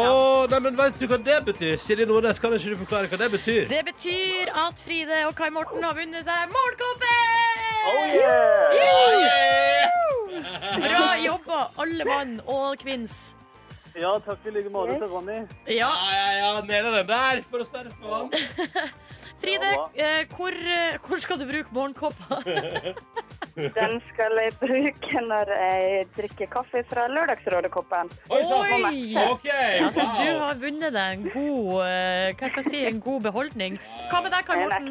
nei, men vet du hva det betyr? Silje Nordnes, kan ikke du forklare hva det betyr? Det betyr at Fride og Kai Morten har vunnet seg målkoppen! Oh, Bra jobba, alle mann og kvinns. Ja, takk i like måte til Ronny. Ja. ja, ja, nede den der, for å større småvann. (laughs) Fride, eh, hvor, eh, hvor skal du bruke morgenkåpa? Den skal jeg bruke når jeg drikker kaffe fra Lørdagsrådekoppen. Og matcher. Ja, så du har vunnet deg en god eh, Hva skal jeg si, en god beholdning. Hva med deg, Kai Morten?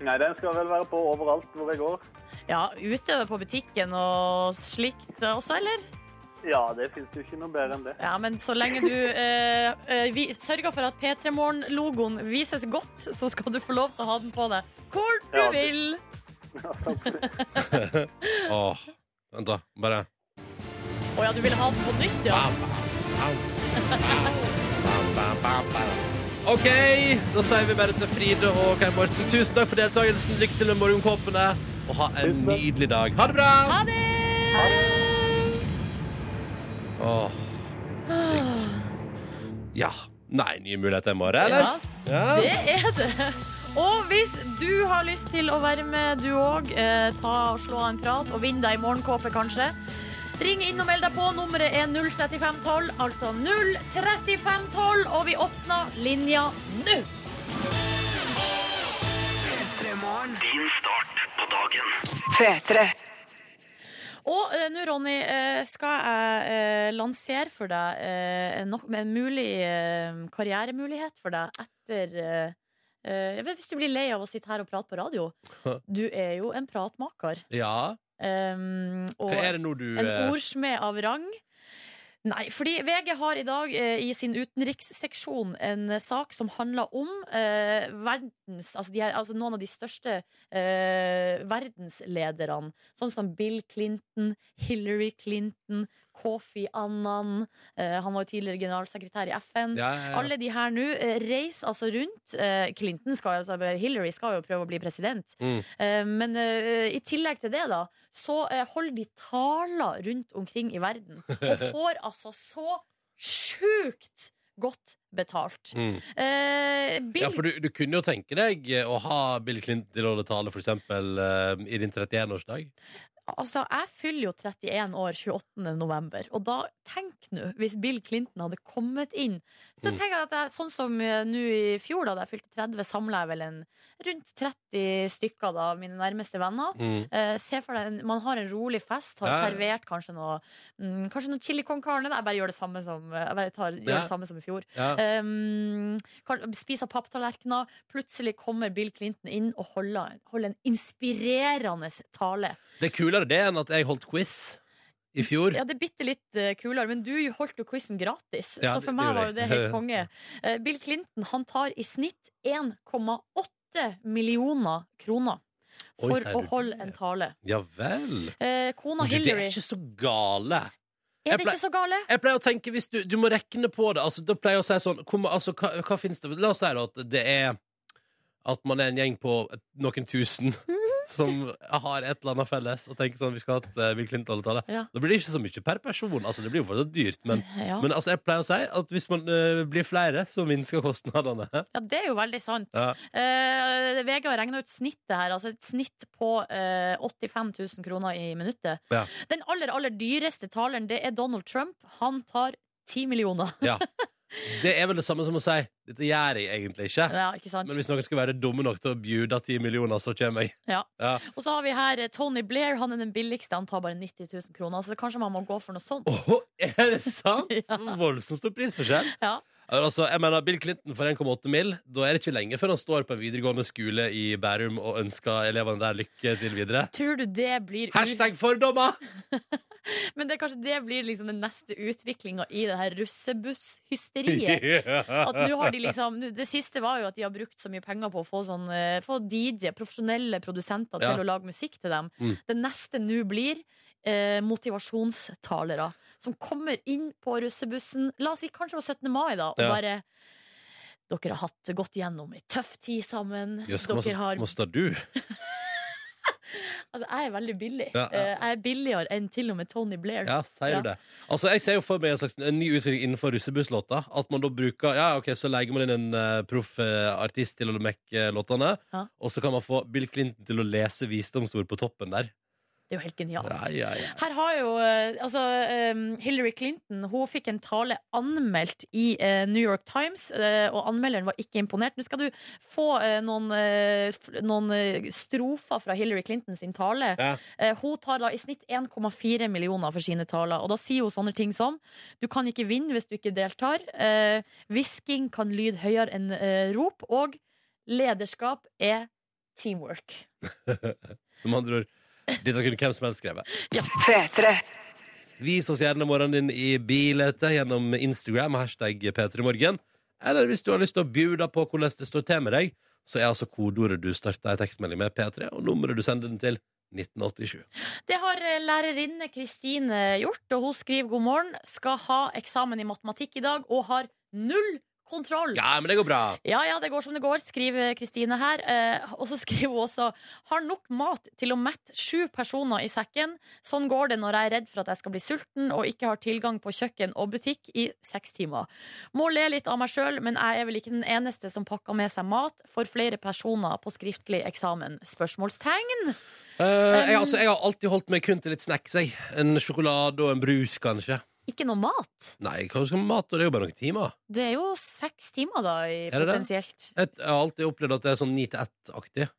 Nei, den skal vel være på overalt hvor jeg går. Ja, Ute på butikken og slikt også, eller? Ja, det fins jo ikke noe bedre enn det. Ja, men så lenge du eh, eh, vi sørger for at P3 Morgen-logoen vises godt, så skal du få lov til å ha den på deg hvor du Ja, det- vil. Åh, vent da, bare Å ja, du vil ha den på nytt, ja? OK, da sier vi bare til Fride og Kai Morten tusen takk for deltakelsen. Lykke til med morgenkåpene, og ha en nydelig dag. Ha det bra! Ha det! Åh, ja. Nei, nye muligheter i morgen, Ja. eller? Det er det. Og hvis du har lyst til å være med, du òg, eh, ta og slå av en prat og vinn deg i morgenkåpe, kanskje. Ring inn og meld deg på. Nummeret er 03512, altså 03512, og vi åpner linja nå. Din start på dagen. Og eh, nå, Ronny, eh, skal jeg eh, lansere for deg eh, nok, en mulig eh, karrieremulighet for deg etter eh, eh, jeg vet, Hvis du blir lei av å sitte her og prate på radio. Du er jo en pratmaker. Ja. Um, og Hva er det nå du, En eh, ordsmed av rang. Nei, fordi VG har i dag eh, i sin utenriksseksjon en eh, sak som handler om eh, verdens altså, de er, altså noen av de største eh, verdenslederne. Sånn som Bill Clinton, Hillary Clinton, Kofi Annan. Eh, han var jo tidligere generalsekretær i FN. Ja, ja, ja. Alle de her nå eh, reiser altså rundt. Eh, Clinton skal, altså, Hillary skal jo prøve å bli president. Mm. Eh, Men eh, i tillegg til det, da, så eh, holder de taler rundt omkring i (laughs) verden. Og får altså så sjukt godt betalt. Mm. Eh, Bill Ja, for du, du kunne jo tenke deg eh, å ha Bill Clinton til å holde tale, for eksempel, eh, i din 31-årsdag. Altså, jeg fyller jo 31 år 28. november, og da tenk nå, hvis Bill Clinton hadde kommet inn Så Mm. tenker jeg at jeg, sånn som eh, nå i fjor, da da jeg fylte 30, samla jeg vel en rundt 30 stykker da, av mine nærmeste venner. Mm. Eh, se for deg, en- man har en rolig fest, har Ja. servert kanskje noe mm, Kanskje noe chili con carne. da. Jeg bare gjør det samme som, eh, jeg bare tar, gjør Ja. det samme som i fjor. Ja. Um, kan- spiser papptallerkener. Plutselig kommer Bill Clinton inn og holder, holder en inspirerende tale. Det er kulere det enn at jeg holdt quiz i fjor. Ja, det er bitte litt eh, kulere, men du holdt jo quizen gratis, Ja, så det for meg gjorde var jo jeg. det (laughs) helt konge. Eh, Bill Clinton han tar i snitt 1,8 millioner kroner Oi, for sier å du holde en tale. Ja vel. Eh, kona Men du, det Hillary er ikke så gale. Er det Jeg plei- ikke så gale? Jeg pleier å tenke, hvis du, du må rekne på det altså, Da pleier jeg å si sånn hvor, ma- altså, hva, hva finnes det? La oss si da at det er At man er en gjeng på et- noen (laughs) tusen Som har et eller annet felles Og tenker sånn, vi skal ha et eh, Bill Clinton-tale Ja. Da blir det ikke så mye per person altså, Det blir jo fortsatt dyrt Men, Ja. men altså, jeg pleier å si at hvis man eh, blir flere Så minsker kostnadene (laughs) Ja, det er jo veldig sant. Ja. Eh, VG har regna ut snittet her. Altså et snitt på eh, 85 000 kroner i minuttet. Ja. Den aller, aller dyreste taleren, det er Donald Trump. Han tar 10 millioner. (laughs) Ja. Det er vel det samme som å si Dette gjør jeg egentlig ikke, Ja, ikke sant? Men hvis noen skulle være dumme nok til å bjuda 10 millioner Så kommer jeg Ja. ja. Og så har vi her eh, Tony Blair. Han er den billigste. Han tar bare 90 000 kroner. Så det kanskje man må gå for noe sånt. (laughs) Er det sant? Voldsomt stor prisforskjell Ja. Ja, men Altså, jeg mener, Bill Clinton for 1,8 mill. Da er det ikke lenge før han står på en videregående skole i Bærum og ønsker elevene der lykke til videre. Tror du det blir Hashtag fordommer! Men det, er kanskje det blir liksom den neste utviklinga i det her (laughs) russebusshysteriet. Ja. At nå har de liksom nå- Det siste var jo at de har brukt så mye penger på å få, sånn, eh, få DJ, profesjonelle produsenter, Ja. til å lage musikk til dem. Mm. Det neste nå blir eh, motivasjonstalere. som kommer inn på russebussen, la oss si kanskje på 17. mai, da, og Ja. bare Dere har hatt gått gjennom ei tøff tid sammen. Jøss, hvor masse- dere har masse tar du? Altså, jeg er veldig billig. Ja, ja. Eh, Jeg er billigere enn til og med Tony Blair. Ja, sier du det? Altså, jeg ser jo for meg en, slags, en ny utvikling innenfor russebusslåta. At man da bruker Ja, ok, så legger man inn en eh, proff eh, artist til å mekke eh, låtene. Ja. Og så kan man få Bill Clinton til å lese visdomsord på toppen der. Det er jo helt Ja, genialt. ja, ja. Her har jo eh, altså, eh, Hillary Clinton Hun fikk en tale anmeldt i eh, New York Times, eh, og anmelderen var ikke imponert. Nå skal du få eh, noen, eh, f- noen eh, strofer fra Hillary Clinton sin tale. Ja. Eh, hun tar da i snitt 1,4 millioner for sine taler, og da sier hun sånne ting som Du kan ikke vinne hvis du ikke deltar. eh, Hvisking kan lyde høyere enn eh, rop. Og lederskap er teamwork. Som andre ord. Dette kunne hvem som helst skrevet. P3. Vis oss gjerne morgenen din i bilete gjennom Instagram, hashtag P3morgen. Eller hvis du har lyst til å bjuda på hvordan det står til med deg, så er altså kodeordet du starter ei tekstmelding med, P3, og nummeret du sender den til, 1987. Det har eh, lærerinne Kristine gjort, og hun skriver god morgen. Skal ha eksamen i matematikk i dag, og har null kontroll. Ja, men det går bra. Ja, ja, det går som det går, skriver Kristine her. Eh, og så skriver hun også har nok mat til å mette sju personer i sekken. Sånn går det når jeg er redd for at jeg skal bli sulten og ikke har tilgang på kjøkken og butikk i seks timer. Må le litt av meg sjøl, men jeg er vel ikke den eneste som pakker med seg mat for flere personer på skriftlig eksamen. Spørsmålstegn. Eh, jeg, Um, altså, jeg har alltid holdt meg kun til litt snacks. Jeg. En sjokolade og en brus, kanskje. Ikke noe mat. Nei, hva skal man med mat? og Det er jo bare noen timer. Det er jo seks timer, da, i, Er det det? potensielt. Jeg, jeg har alltid opplevd at det er sånn ni til ett-aktig.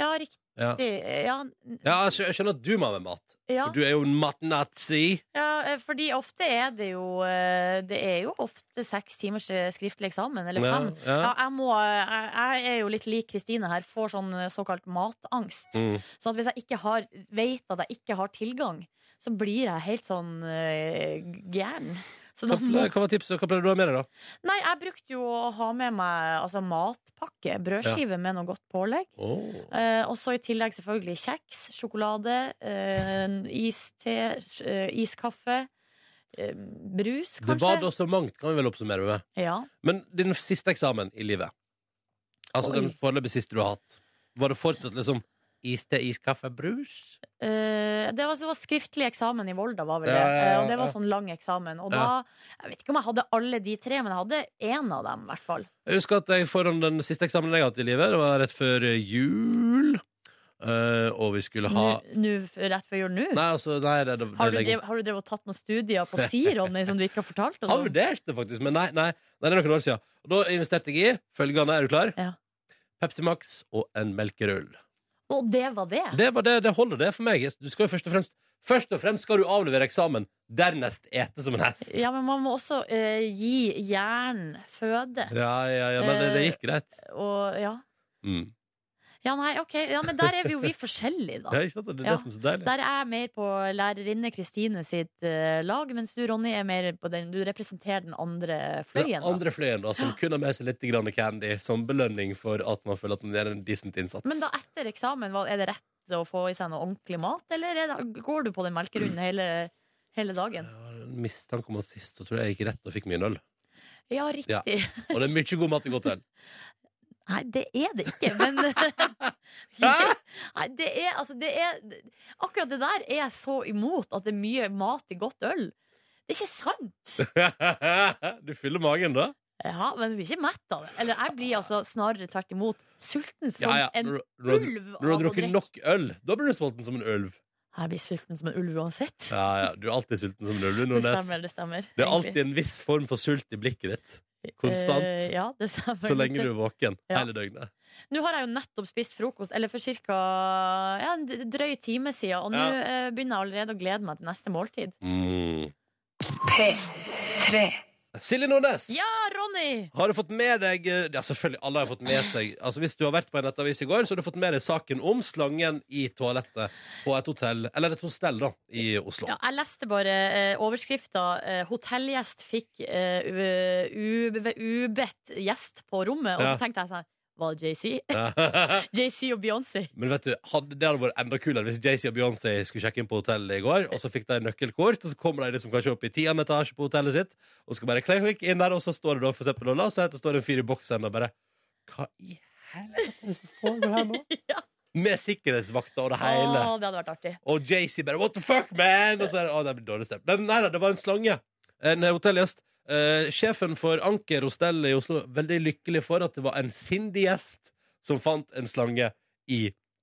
Ja, riktig. Ja. Ja. Ja, jeg skjø- jeg skjønner at du må ha med mat, Ja. for du er jo en matnazi. Ja, eh, fordi ofte er det jo eh, Det er jo ofte seks timers eh, skriftlig eksamen, eller Ja, fem. Ja, ja. jeg, må, eh, jeg, jeg er jo litt lik Kristine her, får sånn eh, såkalt matangst. Mm. Sånn at hvis jeg ikke har, vet at jeg ikke har tilgang, så blir jeg helt sånn eh, gæren. Så Hva, da må ple- hva var tipset? Hva pleier du å ha med deg, da? Nei, jeg brukte jo å ha med meg altså, matpakke. Brødskive med noe godt pålegg. Eh, og så i tillegg selvfølgelig kjeks, sjokolade, eh, iste, eh, iskaffe, eh, brus, kanskje. Det var da så mangt, kan vi vel oppsummere med. Ja. Men din siste eksamen i livet, altså Oi. den foreløpig siste du har hatt, var det fortsatt liksom iste, iskaffe, brus? Eh, det var, det var skriftlig eksamen i Volda, var vel det. Ja, ja, ja, Eh, og det var ja. sånn lang eksamen. Og Ja. da Jeg vet ikke om jeg hadde alle de tre, men jeg hadde én av dem, i hvert fall. Jeg husker at jeg foran den siste eksamen jeg har hatt i livet, det var rett før eh, jul. eh, og vi skulle ha Nå- nå f- rett før jul nå? Nei, altså, nei, det, det, det Har du, legger- drev, har du drevet og tatt noen studier på si, (laughs) Ronny, som du ikke har fortalt oss Har om? vurdert det, faktisk, men nei, nei, nei, det er noen år siden. Og da investerte jeg i følgende, er du klar? Pepsi Max og en melkerull. Og det var det? Det, var det, det holder det for meg. Du skal jo først og fremst Først og fremst skal du avlevere eksamen, dernest ete som en hest. Ja, men man må også eh, gi hjernen føde. Ja, ja, ja, men det, det gikk greit. Og, ja. Mm. ja, nei, ok. Ja, men der er vi jo vi forskjellige, (laughs) da. Ja, ikke sant? Det er det som er så deilig. Der er jeg mer på lærerinne Kristine sitt eh, lag, mens du, Ronny, er mer på den Du representerer den andre fløyen. Den Da. andre fløyen, da, som kun har med seg litt grann candy som belønning for at man føler at man gjør en decent innsats. Men da etter eksamen, hva- er det rett å få i seg noe ordentlig mat, eller er det, går du på den melkerunden hele, hele dagen? Mistanke om at sist så tror jeg jeg gikk rett og fikk mye øl. Ja, Ja. riktig. Og det er mye god mat i godt øl. (laughs) Nei, det er det ikke, men (laughs) Nei, det er altså det er, Akkurat det der er jeg så imot, at det er mye mat i godt øl. Det er ikke sant! (laughs) du fyller magen, da? Ja, men du blir ikke mett av det. Eller jeg blir altså snarere tvert imot sulten som Ja, ja. en Når du- når du- Når du ulv har av å drukket drikke. nok øl, da blir du sulten som en ulv. Jeg blir sulten som en ulv uansett. Ja, ja, Du er alltid sulten som en ulv. du, Det Nordnes. stemmer, det stemmer. Det er egentlig. alltid en viss form for sult i blikket ditt. Konstant. Eh, ja, det stemmer. så lenge du er våken Ja. hele døgnet. Nå har jeg jo nettopp spist frokost, eller for cirka ja, en d- drøy time siden, og nå Ja. eh, begynner jeg allerede å glede meg til neste måltid. Mm. P3. Silje Nordnes, Ja, Ronny! har du fått med deg eh, Ja, selvfølgelig, alle har fått med seg Altså, Hvis du har vært på en nettavis i går, så har du fått med deg saken om slangen i toalettet på et hotell, eller et hostell, da, i Oslo. Ja, jeg leste bare eh, overskrifta eh, 'Hotellgjest fikk eh, u- ube- ubedt gjest på rommet', og Ja. så tenkte jeg sånn var det JC. JC og Beyoncé. (laughs) Men vet du, hadde, det hadde vært enda kulere hvis Jay-Z og Beyoncé skulle sjekke inn på hotellet i går, og så fikk de nøkkelkort, og så kommer de liksom kanskje opp i tiende etasje på hotellet sitt, og skal bare klikk klikk inn der, og så står det da for eksempel, og la oss si at det står en fyr i boksen og bare Hva i Med sikkerhetsvakter og det hele. Å, det hadde vært artig. Og Jay-Z bare What the fuck, man? Og så er det, å, det blir dårlig stemt. Men nei da, det var en slange. En hotellgjest. Eh, sjefen for Anker hostell i Oslo veldig lykkelig for at det var en sindig gjest som fant en slange i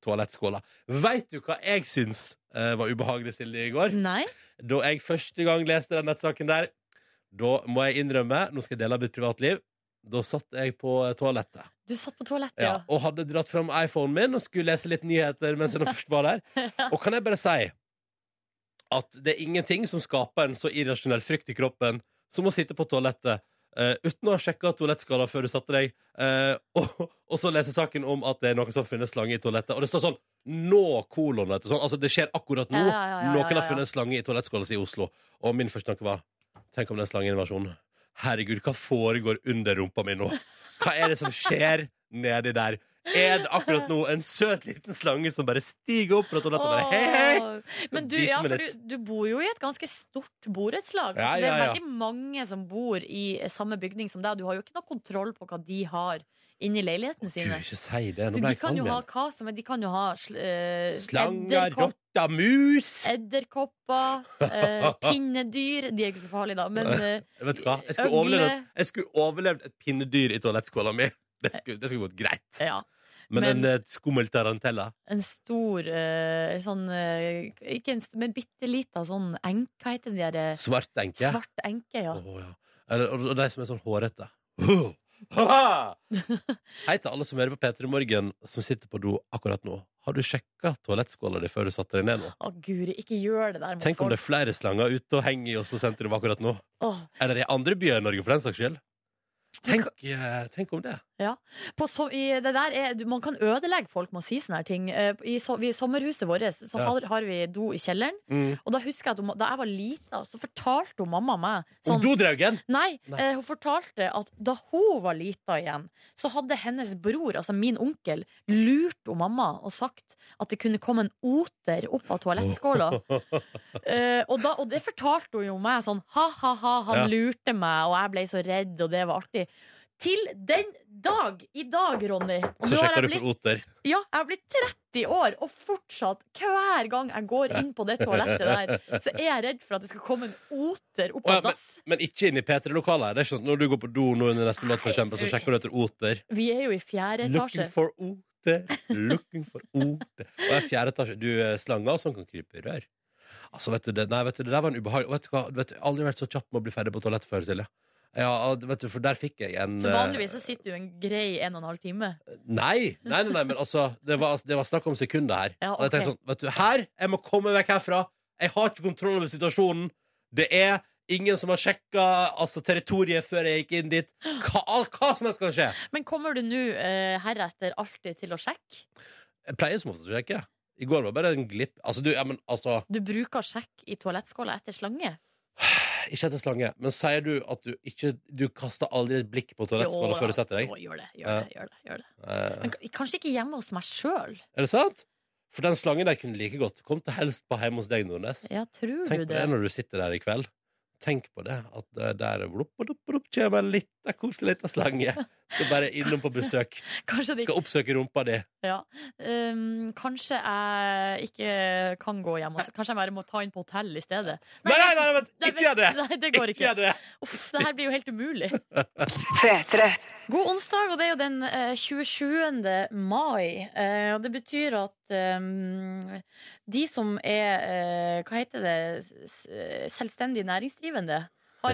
toalettskåla. Veit du hva jeg syns eh, var ubehagelig stille i går? Nei. Da jeg første gang leste den nettsaken der, da må jeg innrømme Nå skal jeg dele av mitt privatliv. Da satt jeg på eh, toalettet. Du satt på toalettet, Ja, ja. og hadde dratt fram iPhonen min og skulle lese litt nyheter mens den først (laughs) var der. Og kan jeg bare si at det er ingenting som skaper en så irrasjonell frykt i kroppen som å sitte på toalettet eh, uten å ha sjekka toalettskala før du satte deg, eh, (laughs) og, og så lese saken om at det er noen som har funnet slange i toalettet. Og det står sånn nå, kolon, vet du. Sånn. Altså, det skjer akkurat nå. Ja, ja, ja, ja, Noen ja, har ja. funnet slange i toalettskåla si i Oslo. Og min første tanke var Tenk om den slangeinvasjonen. Herregud, hva foregår under rumpa mi nå? Hva er det som skjer nedi der? Er det akkurat nå en søt liten slange som bare stiger opp fra toalettet og bare hei, hei? Åh. Men du, Biter ja, meg for du, litt. du bor jo i et ganske stort borettslag. Ja, Altså, det ja, er ja. veldig mange som bor i samme bygning som deg. og Du har jo ikke noe kontroll på hva de har inni leilighetene sine. Ikke si det. Nå De ble jeg kan kald jo ha igjen. hva som helst. De kan jo ha sl eh, Slanger, edderkopp- rotter, mus edderkopper, (laughs) eh, pinnedyr De er ikke så farlige, da, men eh, Vet du hva? Jeg skulle, øgle. overlevd, jeg skulle overlevd et pinnedyr i toalettskåla mi. Det skulle, det skulle gått greit. ja. Men, Men- en eh, skummel tarantella En stor eh, sånn eh, Ikke en st men bitte lita sånn enk... Hva heter de der eh, Svart enke. Svart enke, ja. Å, ja. Eller, og, og de som er sånn (laughs) hårete. Huh. Ha-ha! Hei til alle som hører på P3 Morgen, som sitter på do akkurat nå. Har du sjekka toalettskåla di før du satte deg ned nå? Å, guri, ikke gjør det der mot Tenk om det er folk. flere slanger ute og henger i Oslo sentrum akkurat nå. Åh. Eller i andre byer i Norge, for den saks skyld. Tenk, eh, tenk om det. Ja. På so i det der er, du- man kan ødelegge folk med å si sånne her ting. Eh, I, so I sommerhuset vårt så Ja. har, har vi do i kjelleren. Mm. Og da husker jeg at hun, da jeg var lita, så fortalte hun mamma meg sånn Om dodraugen? Nei, Nei. eh, hun fortalte at da hun var lita igjen, så hadde hennes bror, altså min onkel, lurt hun mamma og sagt at det kunne komme en oter opp av (laughs) toalettskåla. Eh, og, da, og det fortalte hun jo meg sånn ha-ha-ha, han Ja. lurte meg, og jeg ble så redd, og det var artig. Til den dag, i dag, Ronny og Så nå har sjekker jeg du for blitt- oter. Ja, jeg har blitt 30 år, og fortsatt, hver gang jeg går inn på det toalettet der, så er jeg redd for at det skal komme en oter opp Å, ja, av men, dass. men ikke inn i P3-lokalet. Det er ikke sånn at Når du går på do nå under neste låt, for eksempel, så sjekker du etter oter. Vi er jo i fjerde etasje. Looking for oter, looking for oter. Og i fjerde etasje Du, eh, slanger og sånn kan krype i rør. Altså, vet du, det, nei, vet du, det der var en ubehagelig Vet du hva, vet du, jeg har aldri vært så kjapp med å bli ferdig på toalettet før, Silje. Ja, vet du, for der fikk jeg en For eh, vanligvis så sitter du en grei en og en halv time. Nei, nei, nei, nei men altså det var, det var snakk om sekunder her. (laughs) Ja, Og jeg tenkte ok. sånn, vet du, her, jeg må komme vekk herfra. Jeg har ikke kontroll over situasjonen. Det er ingen som har sjekka altså, territoriet før jeg gikk inn dit. Hva, all- hva som helst kan skje. Men kommer du nå eh, heretter alltid til å sjekke? Jeg pleier som oftest å sjekke. I går var det bare en glipp. Altså, du, ja, men altså Du bruker sjekk i toalettskåla etter slange? Ikke etter slange, men sier du at du ikke Du kaster aldri et blikk på Jo, toalettskåla ja. før du setter deg? Jo, gjør det, gjør det, Ja. gjør det, gjør det. Eh, Men k- kanskje ikke hjemme hos meg sjøl. Er det sant? For den slangen der kunne like godt kommet helst på hjemme hos deg, Nordnes. Ja, tror Tenk du på det det? når du sitter der i kveld. Tenk på det, at det der blup, blup, blup, kommer en liten koselig liten slange. Du er bare innom på besøk. Kanskje det Skal oppsøke rumpa di. Ja. Um, kanskje jeg ikke kan gå hjem. Også. Kanskje jeg bare må ta inn på hotell i stedet. Nei, nei, nei, vent, Nei, ikke gjør det. Nei, det Ikke går ikke. gjør det. Uff, det her blir jo helt umulig. P3. God onsdag, og det er jo den eh, 27. mai. Eh, og det betyr at eh, de som er eh, Hva heter det? s- s- Selvstendig næringsdrivende. Har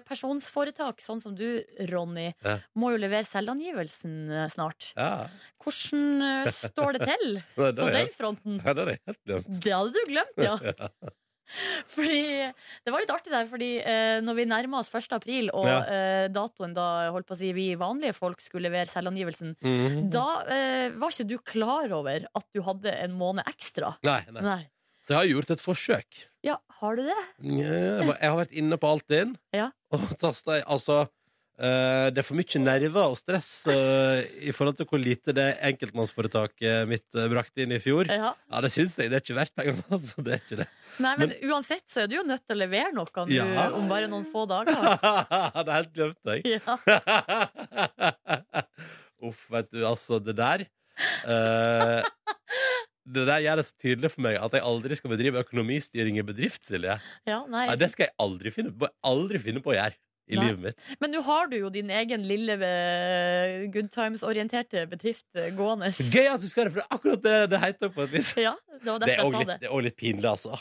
enpersonsforetak, sånn som du, Ronny. Ja. Må jo levere selvangivelsen eh, snart. Ja. Hvordan eh, står det (laughs) til Nei, det på er den jeg- fronten? Ja, det er jeg helt glemt. Det hadde du glemt, ja. (laughs) Fordi, det var litt artig der, fordi eh, når vi nærma oss 1. april, og Ja. eh, datoen da holdt på å si vi vanlige folk skulle levere selvangivelsen, Mhm. da eh, var ikke du klar over at du hadde en måned ekstra. Nei, nei. Nei. Så jeg har gjort et forsøk. Ja, har du det? Nja, Jeg har vært inne på Altinn Ja. og tasta altså Eh, det er for mye nerver og stress eh, i forhold til hvor lite det enkeltmannsforetaket mitt eh, brakte inn i fjor. Ja. det syns jeg. Det er ikke verdt pengene. (laughs) Altså. Det er ikke det. Nei, men, uansett så er du jo nødt til å levere noe nå, Ja. om bare noen få dager. (laughs) det er helt glemt jeg. (laughs) Uff, vet du, altså, det der eh, Det der gjør det så tydelig for meg at jeg aldri skal bedrive økonomistyring i bedrift, Silje. Ja, nei. Nei, det skal jeg aldri finne på, aldri finne på å gjøre i Nei. livet mitt. Men nå har du jo din egen lille eh, good times-orienterte bedrift eh, gående. Gøy at du skal det, for det er akkurat det det heter på et vis. Ja, det var Det derfor er jeg også sa litt, det. det er også litt pinlig, altså.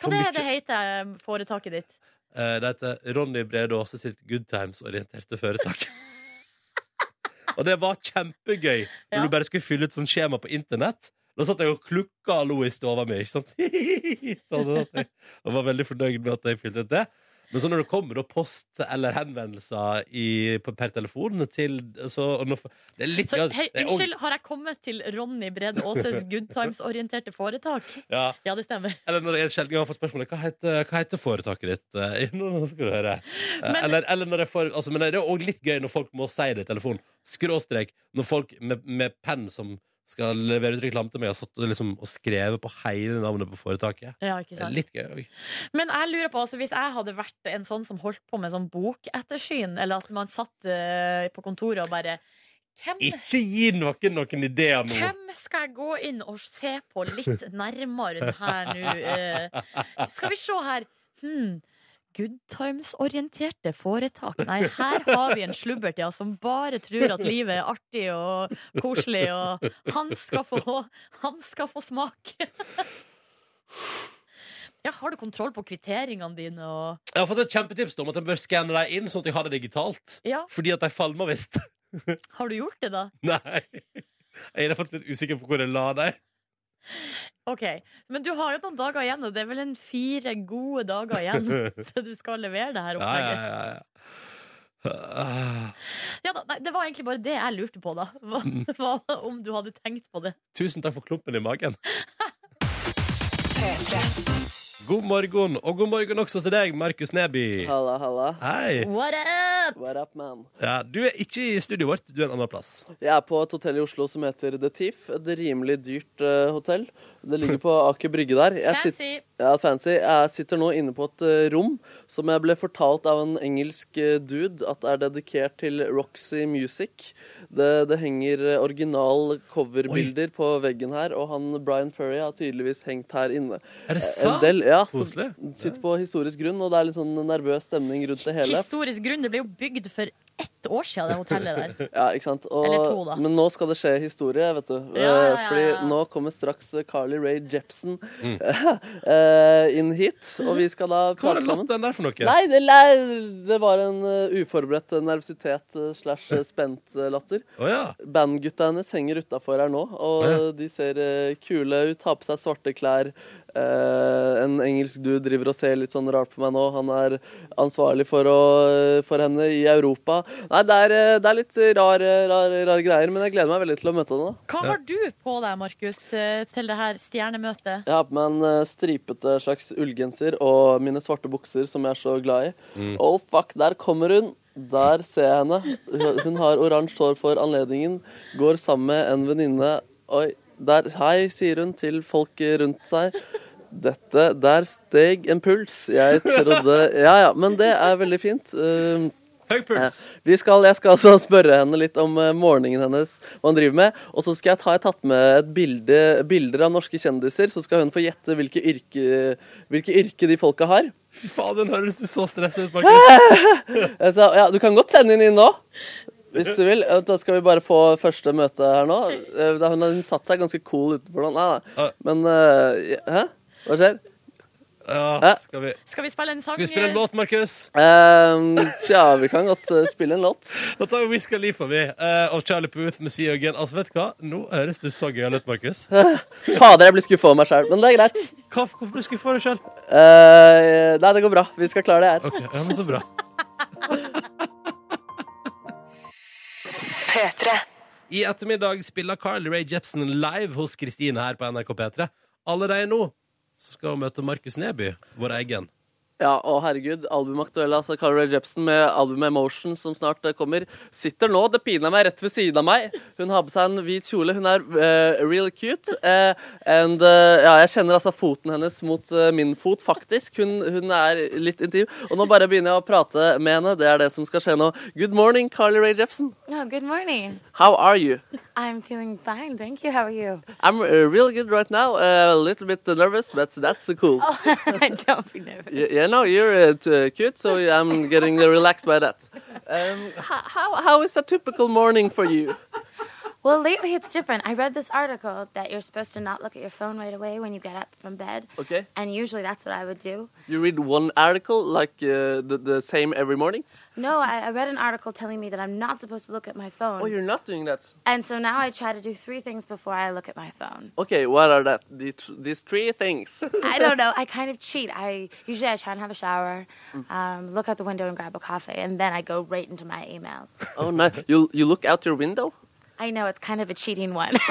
Hva det er det heter eh, foretaket ditt? Eh, Det heter Ronny Brede Aase sitt Good Times-orienterte (laughs) foretak. og det var kjempegøy når du bare skulle fylle ut sånn skjema på internett. Da satt jeg og klukka og lo i stova mi. ikke sant? (laughs) sånn at jeg, og var veldig fornøyd med at jeg fylte ut det. Men så når det kommer da post eller henvendelser i, på, per telefon til så, og nå, Det er litt Så, hei, det er ordentlig- unnskyld, har jeg kommet til Ronny Brede (laughs) Aases good times-orienterte foretak? Ja. Ja, det stemmer. Eller når jeg en sjelden gang får spørsmålet hva heter, hva heter foretaket ditt? Eh, (laughs) Nå nå skal du høre. Eh, Men- eller, eller når jeg får altså, Men det er òg litt gøy når folk må si det i telefonen. Skråstrek. Når folk med, med penn som skal levere ut reklame til meg, har satt og liksom, og skrevet på hele navnet på foretaket. Ja, ikke Det er sant. litt gøy òg. Men jeg lurer på, altså, hvis jeg hadde vært en sånn som holdt på med sånn bokettersyn, eller at man satt eh, på kontoret og bare Hvem, Ikke gi noen noen ideer nå! hvem skal jeg gå inn og se på (laughs) litt nærmere den her nå? eh? skal vi se her. Hmm. Good times-orienterte foretak. Nei, her har vi en slubbert ja, som bare tror at livet er artig og koselig, og han skal få, han skal få smak. (laughs) Ja, har du kontroll på kvitteringene dine og Jeg har fått et kjempetips om at jeg bør skanne dem inn, sånn at jeg har det digitalt. Ja. Fordi at de falmer visst. (laughs) Har du gjort det, da? Nei. Jeg er faktisk litt usikker på hvor jeg la dem. OK. Men du har jo noen dager igjen, og det er vel en fire gode dager (laughs) igjen til du skal levere det Ja, her ja, opplegget. ja, ja. Ah. Ja da, nei, Det var egentlig bare det jeg lurte på, da. Hva, Mm. (laughs) hva, om du hadde tenkt på det. Tusen takk for klumpen i magen. God morgen, og god morgen også til deg, Markus Neby. Halla, halla. Hei. up? What up, man? Ja, du er ikke i studioet vårt, du er en annen plass. Jeg er på et hotell i Oslo som heter The Thief. Et rimelig dyrt eh, hotell. Det ligger på Aker Brygge der. sit- Fancy. ja, fancy. Jeg sitter nå inne på et eh, rom som jeg ble fortalt av en engelsk eh, dude at er dedikert til Roxy Music. Det, det henger eh, original coverbilder på veggen her, og han Brian Furry har tydeligvis hengt her inne. Er det Eh, en sant? del- Ja, så Koselig. Sitter på historisk grunn, og det er litt sånn nervøs stemning rundt det hele. Historisk grunn. Det ble jo bygd for ett år siden, det hotellet (laughs) der. Ja, ikke sant? Og, Eller to, da. Men nå skal det skje historie, vet du. Ja, ja, ja, Eh, ja. Fordi nå kommer straks eh, Carly Rae Jepsen Mm. (laughs) eh, inn hit, og vi skal da Hva var prate det sammen. latteren der for noe? Nei, det, la- det var en eh, uforberedt nervøsitet eh, slash eh, spent eh, latter. Å ja. Bandgutta hennes henger utafor her nå, og Å ja. de ser eh, kule ut, har på seg svarte klær. Eh, en engelsk dude driver og ser litt sånn rart på meg nå. Han er ansvarlig for, å, eh, for henne i Europa. Nei, det er, eh, det er litt rare rar, rar greier, men jeg gleder meg veldig til å møte henne. da. Hva har du på deg, Markus, eh, til det her stjernemøtet? Jeg har på meg en eh, stripete slags ullgenser og mine svarte bukser, som jeg er så glad i. Mm. Oh fuck, der kommer hun! Der ser jeg henne. Hun- Hun har oransje hår for anledningen. Går sammen med en venninne. Oi, der Hei, sier hun til folk rundt seg. Dette Der steg en puls. Jeg trodde Ja ja, men det er veldig fint. Um, Høy puls. Vi skal, jeg skal altså spørre henne litt om eh, morgenen hennes, hva hun driver med. Og så skal jeg ta, jeg har tatt med et bilde, bilder av norske kjendiser, så skal hun få gjette hvilke yrke, hvilke yrke de folka har. Fy faen, den høres du så stresset ut, Markus. Jeg sa, ja, du kan godt sende henne inn nå. Hvis du vil. Eh, Da skal vi bare få første møte her nå. Eh, Da hun har hun satt seg ganske cool utenfor nå. Nei, nei. Men eh, Hæ? Hva skjer? Ja, skal vi Skal vi spille en sang? Skal vi spille en låt, Markus? ja, Ehm, vi kan godt eh, spille en låt. Da tar vi Whisk og Leaf vi, eh, og Charlie Puth med Sea Again. Altså, vet du hva? Nå høres du så gøyal ut, Markus. Fader, jeg blir skuffa over meg sjøl, men det er greit. Eh, Hvorfor blir du skuffa over deg sjøl? nei, det går bra. Vi skal klare det her. ja, men så bra. I ettermiddag spiller Carly Rae Jepsen live hos Kristine her på NRK P3. Allerede nå så skal hun møte Markus Neby, vår egen. Ja, å herregud, albumaktuelle, altså Carl Ray Jepsen med albumet 'Emotion', som snart eh, kommer, sitter nå, det piner meg, rett ved siden av meg. Hun har på seg en hvit kjole, hun er eh, real cute. eh, and, eh, ja, jeg kjenner altså foten hennes mot eh, min fot, faktisk. Hun, hun er litt intim. Og nå bare begynner jeg å prate med henne, det er det som skal skje nå. Good morning, Carly Ray Jepsen. Oh, good morning. How are you? I'm feeling fine. Thank you. How are you? I'm uh, real good right now, uh, a little bit nervous, but that's cool. Oh, (laughs) Don't be nervous. Y- Yeah, no, you're uh, t- cute, so I'm getting uh, relaxed by that. Um, h- how, how is a typical morning for you? Well, lately it's different. I read this article that you're supposed to not look at your phone right away when you get up from bed. Okay. And usually that's what I would do. You read one article, like uh, the, the same every morning? No, I, I read an article telling me that I'm not supposed to look at my phone. Oh, you're not doing that. And so now I try to do three things before I look at my phone. Okay, what are that? The tr- these three (laughs) things. I don't know. I kind of cheat. I usually I try and have a shower, um, look out the window and grab a coffee, and then I go right into my emails. Oh, no. You, you look out your window? I know it's kind of a cheating one. (laughs)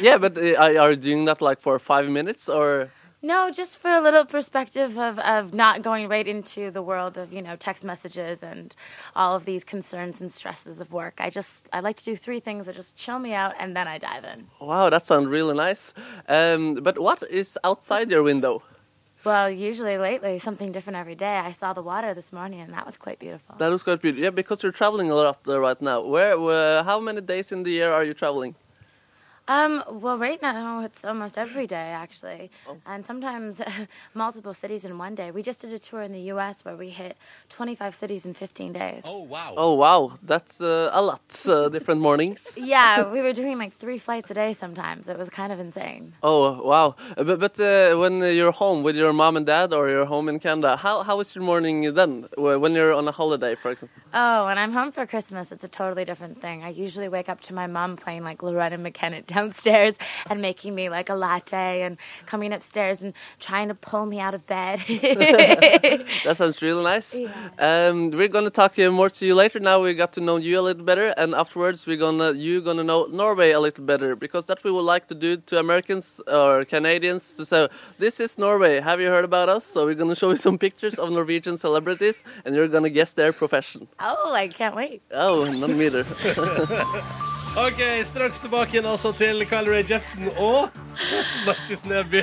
Yeah, but uh, are are you doing that like for five minutes or? No, just for a little perspective of, of not going right into the world of, you know, text messages and all of these concerns and stresses of work. I just, I like to do three things that just chill me out and then I dive in. Wow, that sounds really nice. Um, but what is outside your window? Well, usually lately, something different every day. I saw the water this morning and that was quite beautiful. That was quite beautiful. Yeah, because you're traveling a lot uh, right now. Where, where? How many days in the year are you traveling? Um, well, right now it's almost every day actually, and sometimes (laughs) multiple cities in one day. We just did a tour in the U.S. where we hit 25 cities in 15 days. Oh, wow. Oh wow, that's uh, a lot uh, different mornings. yeah, we were doing like three flights a day sometimes. It was kind of insane. Oh wow, Uh, but, but uh, when you're home with your mom and dad, or you're home in Canada, how how is your morning then? Wh- When you're on a holiday, for example. Oh, when I'm home for Christmas, it's a totally different thing. I usually wake up to my mom playing like Loretta McKenna (laughs) downstairs and making me like a latte and coming upstairs and trying to pull me out of bed. (laughs) that sounds really nice. Um, we're gonna talk uh, more to you later. Now we got to know you a little better, and afterwards we're gonna you gonna know Norway a little better because that we would like to do to Americans or Canadians to say this is Norway. Have you heard about us? So we're gonna show you some pictures of Norwegian celebrities, and you're gonna guess their profession. oh, I can't wait. Oh, not me either. OK, straks tilbake igjen altså til Carl Ray Jepsen og Markus Neby.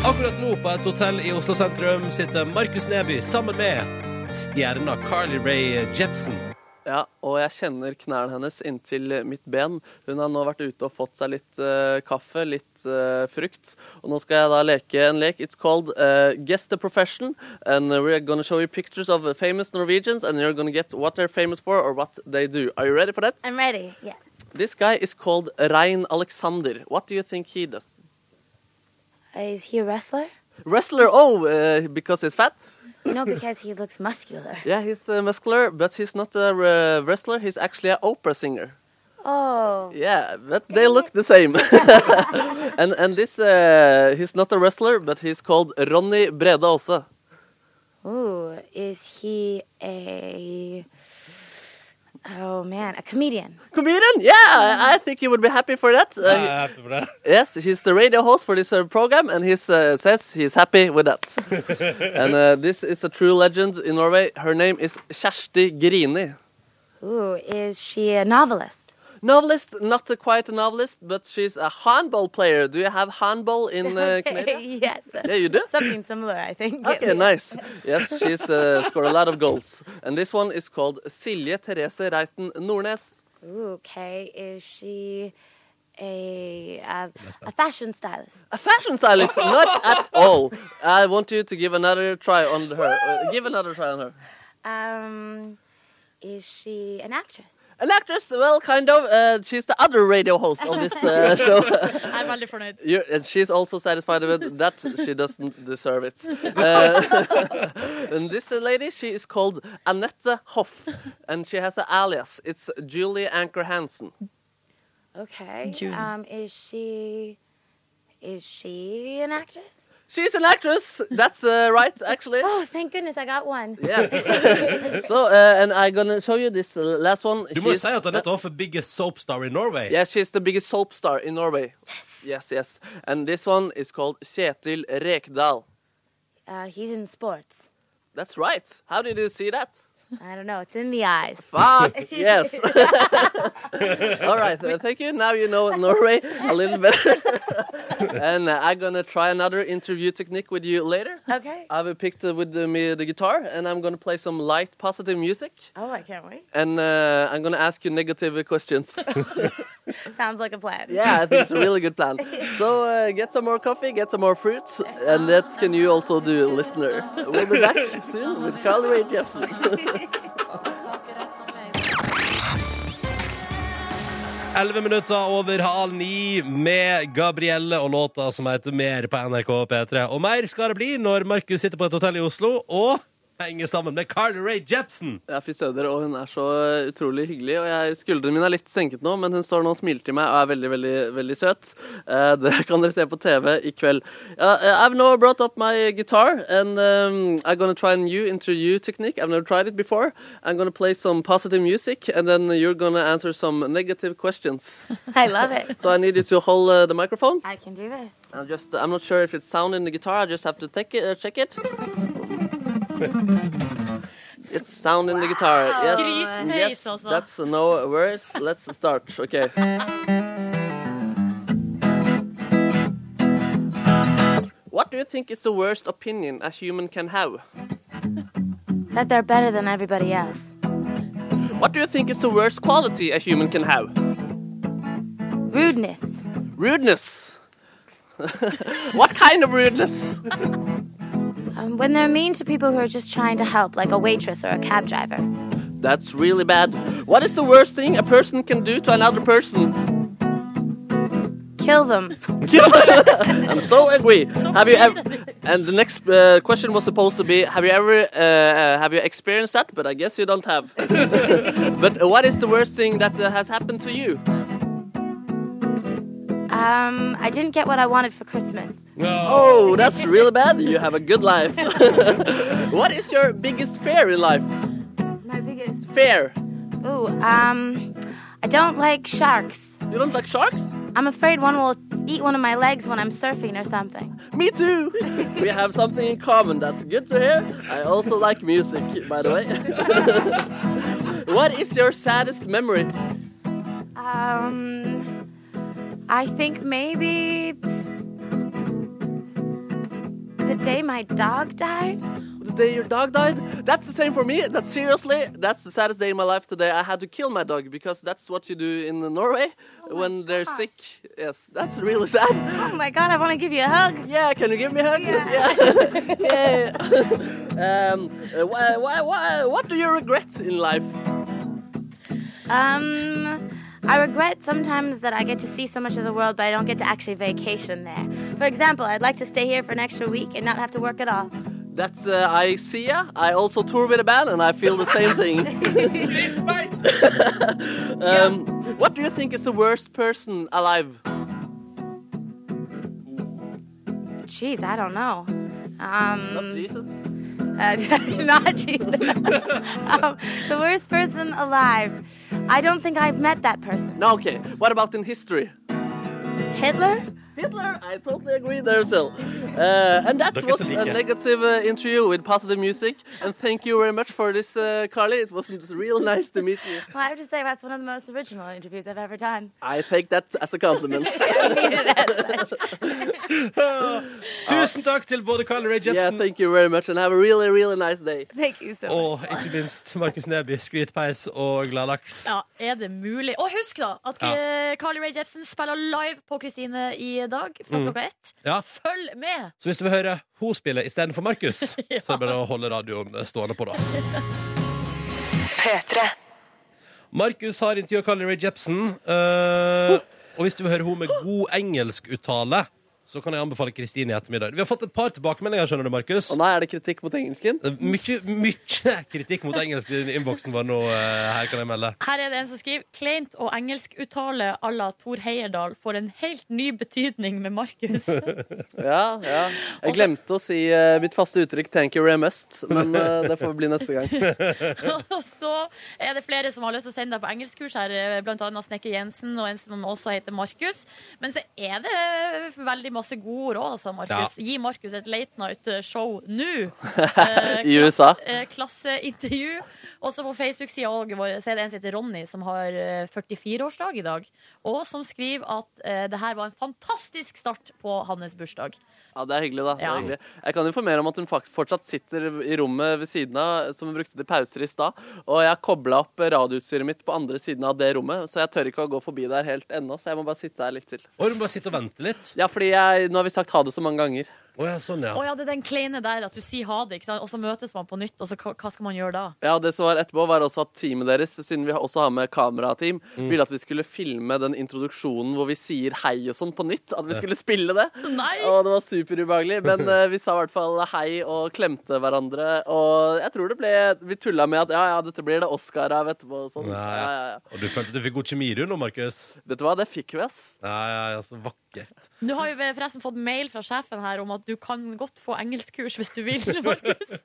Akkurat nå på et hotell i Oslo sentrum sitter Markus Neby sammen med stjerna Carly Ray Jepsen. Ja, og jeg kjenner knærne hennes inntil mitt ben. Hun har nå vært ute og fått seg litt eh, kaffe, litt eh, frukt. Og nå skal jeg da leke en lek. It's called eh, Guess the Profession. And we're gonna show you pictures of famous Norwegians, and you're gonna get what they're famous for or what they do. Are you ready for that? I'm ready. Yeah. This guy is called Rein Alexander. What do you think he does? Is he a wrestler? Wrestler? Oh, eh, because he's fat? No, because he looks muscular. Yeah, he's uh, muscular, but he's not a uh, wrestler. He's actually an opera singer. Oh. Yeah, but they look the same. (laughs) and and this uh, he's not a wrestler, but he's called Ronny Breda also. Ooh, is he a. Oh, man, a comedian? Comedian? Yeah, I, I think you would be happy for that. Uh, Yes, he's the radio host for this uh, program, and he uh, says he's happy with that. and uh, this is a true legend in Norway. Her name is Kjersti Grini. Ooh, is she a novelist? Novelist, not uh, quite a novelist, but she's a handball player. Do you have handball (laughs) in uh, Canada? yes. Yeah, you do? Something similar, I think. at Okay, least. nice. Yes, she's uh, scored a lot of goals. And this one is called Silje Therese Reiten Nordnes. Ooh, okay. Is she a uh, a fashion stylist? A fashion (laughs) stylist, not at all. I want you to give another try on her. Uh, give another try on her. Um, is she an actress? An actress, well, kind of. Uh, she's the other radio host on this (laughs) uh, show. Jeg er veldig fornøyd. you and she's also satisfied with that. She doesn't deserve (laughs) it. Uh, (laughs) and this lady, she is called Annette Hoff, and she has an alias. It's Julie Anker Hansen. Okay. June. Um, is she is she an actress? She's an actress. That's uh, right, actually. Oh, thank goodness I got one. Yeah. so, uh, and I'm gonna show you this uh, last one. Du må jo She's- si at Anette Hoff er biggest soap star in Norway. Yeah, she's the biggest soap star in Norway. Yes. Yes, yes. And this one is called Kjetil Rekdal. Uh, he's in sports. That's right. How did you see that? I don't know. It's in the eyes. Fuck yes. All right, uh, thank you. Now you know Norway a little better, (laughs) and uh, I'm gonna try another interview technique with you later. Okay. I've picked uh, with uh, me the guitar, and I'm gonna play some light, positive music, Oh, I can't wait. and uh, I'm gonna ask you negative questions. Sounds like a plan. yeah, I think it's a really good plan. So uh, get some more coffee, get some more fruits, and that can you also do, listener. We'll be back soon with Carl Ray Jepsen. Elleve minutter over halv ni med Gabrielle og låta som heter Mer på NRK P3. Og mer skal det bli når Markus sitter på et hotell i Oslo og henger sammen med Carly Rae Jepsen. Ja, fy søder, og hun er så utrolig hyggelig. Og jeg, skuldrene mine er litt senket nå, men hun står nå og smiler til meg og er veldig, veldig veldig søt. Eh, det (laughs) kan dere se på TV i kveld. Ja, eh, I've now brought up my guitar, and um, I'm gonna try a new interview technique. I've never tried it before. I'm gonna play some positive music, and then you're gonna answer some negative questions. (laughs) I love it. So I need you to hold uh, the microphone. I can do this. I'm just, I'm not sure if it's sound in the guitar. I just have to take it, uh, check it. It's sound in the guitar. Yes, Skrytpøys, yes, altså. that's no worries. Let's start. Okay. What do you think is the worst opinion a human can have? That they're better than everybody else. What do you think is the worst quality a human can have? Rudeness. Rudeness. (laughs) what kind of rudeness? Um, when they're mean to people who are just trying to help, like a waitress or a cab driver. That's really bad. What is the worst thing a person can do to another person? Kill them. I'm so angry. have you ever? And the next uh, question was supposed to be: Have you ever? Uh, uh, have you experienced that? But I guess you don't have. (laughs) but what is the worst thing that uh, has happened to you? Um, I didn't get what I wanted for Christmas. Oh, that's really bad. You have a good life. (laughs) what is your biggest fear in life? My biggest. Fear. Ooh, um, I don't like sharks. You don't like sharks? I'm afraid one will eat one of my legs when I'm surfing or something. Me too. We have something in common. That's good to hear. I also like music, by the way. (laughs) what is your saddest memory? Um, I think maybe the day my dog died. (laughs) The day your dog died? That's the same for me. That's seriously, that's the saddest day in my life today. I had to kill my dog because that's what you do in Norway when they're sick. Yes, that's really (laughs) sad. Oh my god, I want to give you a hug. Yeah, can you give me a hug? (laughs) Yeah. (laughs) Um, uh, why, why, why, what do you regret in life? (laughs) Um, I regret sometimes that I get to see so much of the world, but I don't get to actually vacation there. For example, I'd like to stay here for an extra week and not have to work at all. That's uh, I see ya. I also tour with a band and I feel the same thing. (laughs) um, What do you think is the worst person alive? Jeez, I don't know. Um, (laughs) not Jesus. Uh, (laughs) not Jesus. (laughs) um, the worst person alive. I don't think I've met that person. No, okay. What about in history? Hitler? Hitler, I totally agree there, Sil. Uh, and that Look, was it's a a leak. negative uh, interview with positive music. And thank you very much for this, uh, Carly. It was real nice to meet you. Well, I have to say that's one of the most original interviews I've ever done. I take that as a compliment. (laughs) Tusen takk til både Carly Rae Jepsen Yeah, thank you very much, and have a really, really nice day. Thank you so much. og ikke minst Markus Neby, Skrytpeis og Gladlaks. Ja, er det mulig? Og husk da at Ja. eh, Carly Rae Jepsen spiller live på Kristine i dag fra Mm. klokka ett. Ja. Følg med! Så hvis du vil høre hun spille istedenfor (laughs) Markus, så Ja. er det bare å holde radioen eh, stående på, da. Markus har intervjua Carly Rae Jepsen. eh, og hvis du vil høre henne med god engelskuttale, så kan jeg anbefale Kristine i ettermiddag. Vi har fått et par tilbakemeldinger, skjønner du, Markus. Og nå er det kritikk mot engelsken? Mykje, mykje kritikk mot engelsk i innboksen vår nå, eh, her kan jeg melde. Her er det en som skriver kleint og engelskuttale à la Tor Heyerdahl får en helt ny betydning med Markus. Ja, (laughs) ja. Jeg glemte å si eh, mitt faste uttrykk 'thank you very must', men eh, det får bli neste gang. (laughs) og så er det flere som har lyst til å sende deg på engelskkurs her, eh, blant annet Snekker Jensen og en som også heter Markus. Men så er det veldig masse gode råd, altså, Markus. Ja. Gi Markus et Late Night-show nå! I USA. eh, klasseintervju. Også på Facebook-sida vår så er det en som heter Ronny, som har eh, 44-årsdag i dag. Og som skriver at eh, det her var en fantastisk start på hans bursdag. Ja, det er hyggelig, da. Det Ja. er hyggelig. Jeg kan informere om at hun fakt- fortsatt sitter i rommet ved siden av, som hun brukte til pauser i stad. Og jeg har kobla opp radioutstyret mitt på andre siden av det rommet, så jeg tør ikke å gå forbi der helt ennå, så jeg må bare sitte her litt til. Og du må bare sitte og vente litt? Ja, fordi jeg, nå har vi sagt ha det så mange ganger. Å ja, sånn, Å ja, det er den kleine der at du sier ha det, ikke sant? og så møtes man på nytt, og så hva hva skal man gjøre da? Ja, og det som var etterpå var også at teamet deres, siden vi også har med kamerateam, ville at vi skulle filme den introduksjonen hvor vi sier hei og sånn på nytt. At vi skulle spille (laughs) det. Og det var superubehagelig. Men eh, vi sa i hvert fall hei og klemte hverandre. Og jeg tror det ble Vi tulla med at ja, ja, dette blir det Oscar av etterpå og sånn. Nei. Ja, ja, ja. Og du følte at du fikk god kjemi du nå, Markus? Vet du hva, det fikk vi, ass. Ja, ja, ja, så vakkert. Nå har vi forresten fått mail fra sjefen her om at du kan godt få engelskkurs hvis du vil, (laughs) Markus.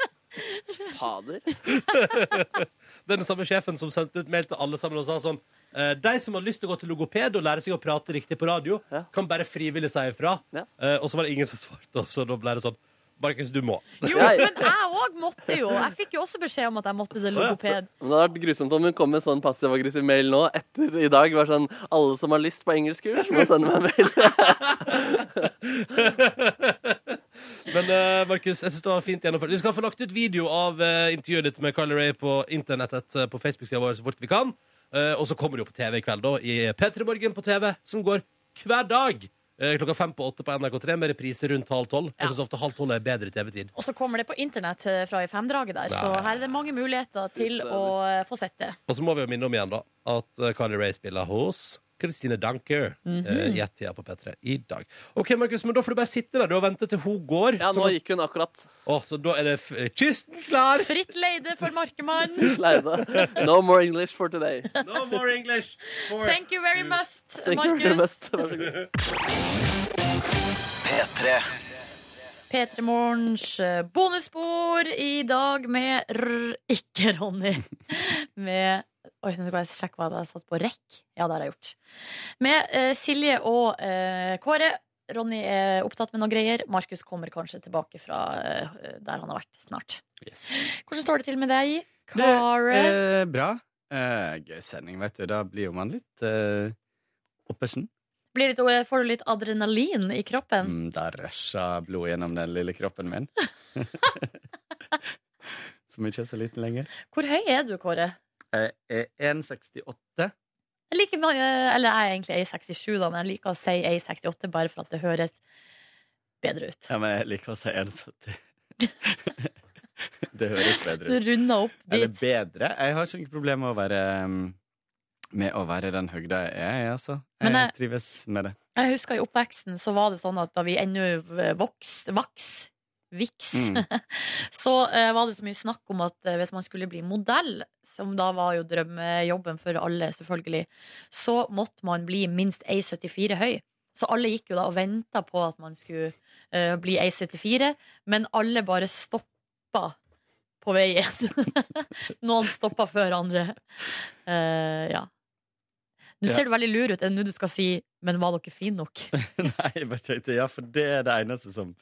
Fader. Det er den samme sjefen som sendte ut mail til alle sammen og sa sånn eh, De som har lyst til å gå til logoped og lære seg å prate riktig på radio, kan bare frivillig si ifra. Eh, og så var det ingen som svarte, og så da ble det sånn Markus, du må. Jo, men jeg òg måtte jo. Jeg fikk jo også beskjed om at jeg måtte til logoped. Men det hadde vært grusomt om hun kom med sånn passiv-aggressiv mail nå etter i dag. Bare sånn Alle som har lyst på engelskkurs, må sende meg en mail. Men eh, Markus, jeg synes det var fint gjennomført. Vi skal få lagt ut video av eh, intervjuet ditt med Carly Rae på internettet eh, på Facebook-sida vår så fort vi kan. Eh, og så kommer det jo på TV i kveld, da, i P3 Morgen på TV, som går hver dag. eh, Klokka fem på åtte på NRK3 med reprise rundt halv tolv. Jeg synes ofte halv tolv er bedre TV-tid. Og så kommer det på internett eh, fra i femdraget der, så Nei. her er det mange muligheter til å eh, få sett det. Og så må vi jo minne om igjen da at eh, Carly Rae spiller hos Christine Danker. Mhm. eh, I ett-tida på P3 i dag. OK, Markus, men da får du bare sitte der du og vente til hun går. (laughs) Ja, nå sånn at- gikk hun akkurat. Å, så da er det f eh, kysten klar! Fritt leide for markemann. Leide. No more English for today. No more English. For Thank you very much, Thank you very Markus. much. Vær så god. P3. P3 Morgens eh, bonusspor i dag med rr, ikke (laughs) Ronny. Med Oi, nå skal jeg sjekke hva jeg har satt på rekk. Ja, det har jeg gjort. Med eh, Silje og eh, Kåre. Ronny er opptatt med noen greier. Markus kommer kanskje tilbake fra eh, der han har vært snart. Hvordan står det til med deg, Kåre? Eh, bra. Eh, gøy sending, vet du. Da blir jo man litt eh, oppesen. Blir litt, eh, får du litt adrenalin i kroppen? Mm, da rusher blodet gjennom den lille kroppen min. (laughs) Som ikke er så liten lenger. Hvor høy er du, Kåre? Jeg er 1,68. Jeg liker mange, eller jeg er egentlig A67 da, men jeg liker å si A68 bare for at det høres bedre ut. Ja, men jeg liker å si 1,70. (laughs) det høres Du bedre ut. runder opp Eller dit. bedre. Jeg har ikke noe problem med å være um, Med å være den høgda jeg er, jeg, altså. Jeg, Men jeg- trives med det. Jeg husker i oppveksten så var det sånn at da vi ennå vokste, vaks, viks, Mm. (laughs) så eh, var det så mye snakk om at eh, hvis man skulle bli modell, som da var jo drømmejobben for alle selvfølgelig, så måtte man bli minst A74 høy. Så alle gikk jo da og venta på at man skulle eh, bli A74, men alle bare stoppa på veien. (laughs) Noen stoppa før andre. Eh, ja. Nå Ja. ser du veldig lur ut. Er det nå du skal si 'men var dere fine nok'? Nei, jeg bare tenkte, ja, for det er det eneste som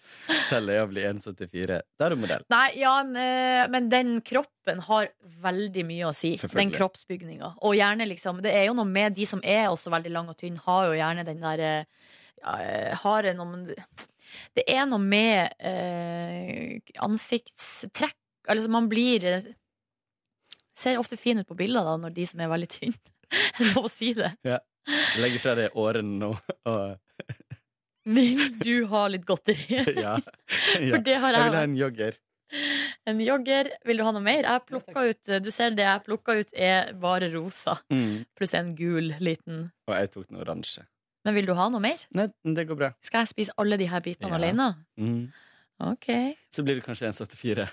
teller, er å bli 1,74. Da er du modell. Nei, ja, men, eh, men den kroppen har veldig mye å si. Den Selvfølgelig. kroppsbygninga. Og gjerne liksom Det er jo noe med de som er også veldig lang og tynn, har jo gjerne den der eh, ja, eh, Har en om Det er noe med eh, ansiktstrekk Altså, man blir Ser ofte fin ut på bilder, da, når de som er veldig tynne. Er (laughs) det Lov å si det. Ja. Legg fra deg årene nå. Og, (laughs) Vil du ha litt godteri? ja. For det har Jeg vil ha jeg vært. en jogger. En jogger. Vil du ha noe mer? Jeg plukka ut Du ser det jeg plukka ut, er bare rosa. Mm. Pluss en gul liten. Og jeg tok den oransje. Men vil du ha noe mer? Nei, det går bra. Skal jeg spise alle de her bitene Ja. alene? Mm. OK. Så blir du kanskje 1,74.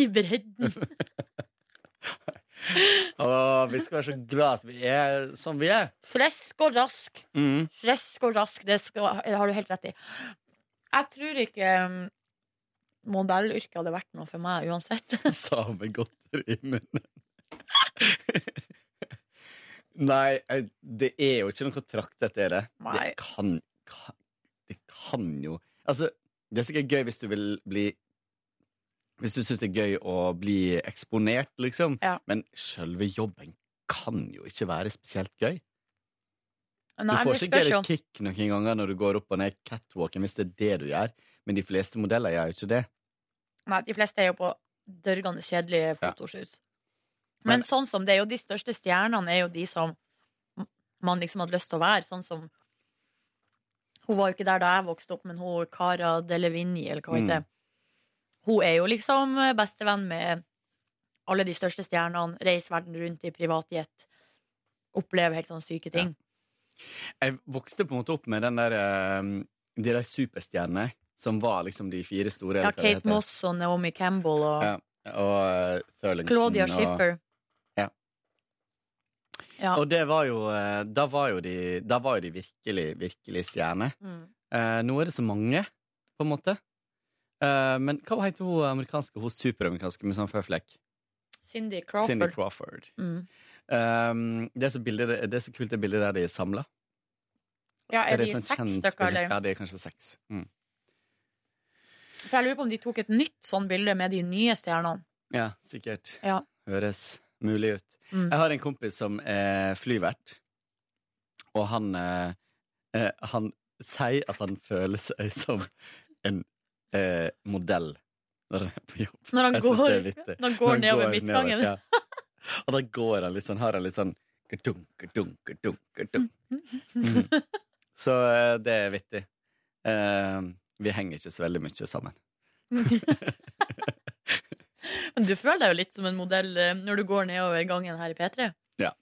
I bredden. (laughs) (laughs) Å, vi skal være så glad at vi er som vi er. Fresk og rask. (laughs) Mm. Fresk og rask. Det skal, det har du helt rett i. Jeg tror ikke um, modellyrket hadde vært noe for meg uansett. (laughs) Sa med godteri i munnen. (laughs) Nei, jeg- det er eh, jo ikke noe trakt, dette er det. Nei. Det kan, kan Det kan jo Altså, det er sikkert gøy hvis du vil bli Hvis du syns det er gøy å bli eksponert, liksom. Ja. Men sjølve jobben kan jo ikke være spesielt gøy. Nei, du men får det ikke spørs jo. gøy kick noen ganger når du går opp og ned catwalken, hvis det er det du gjør. Men de fleste modeller gjør jo ikke det. Nei, de fleste er jo på dørgende kjedelige fotoshoot. Men, sånn som det er jo de største stjernene, er jo de som m- man liksom hadde lyst til å være. Sånn som Hun var jo ikke der da jeg vokste opp, men hun Cara Delevingne, eller hva hun heter. Mm. Hun er jo liksom bestevenn med alle de største stjernene, reiser verden rundt i privatjet, opplever helt sånne syke ting. Jeg vokste på en måte opp med den der eh, De der superstjernene som var liksom de fire store. Ja, eller hva det Kate heter. Moss og Naomi Campbell og Ja, og eh, Thurlington Claudia og- Schiffer. Ja. Ja. Og det var jo eh, Da var jo de, da var jo de virkelig, virkelig stjerner. Mm. Eh, nå er det så mange, på en måte. Eh, men hva heter hun amerikanske, hun superamerikanske med sånn føflekk? Cindy Crawford. Cindy Crawford. Mm. Eh, det, er så bildet, det er så kult det bildet der de er samla. Ja, er det de sånn seks kjent stykker, bilde? eller? Ja, det er kanskje seks. Mm. For jeg lurer på om de tok et nytt sånn bilde med de nye stjernene. Ja, sikkert. Ja. Høres mulig ut. Mm. Jeg har en kompis som er flyvert, og han eh, eh, Han sier at han føler seg som en eh, modell når han er på jobb. Når han Jeg synes går- det er vittig. når han går nedover midtgangen. ja. Og da går han litt sånn, har han litt sånn gadunk, gadunk, gadunk, gadunk. Mm. Så eh, det er vittig. Eh, vi henger ikke så veldig mye sammen. Men du føler deg jo litt som en modell eh, når du går nedover gangen her i P3. Ja.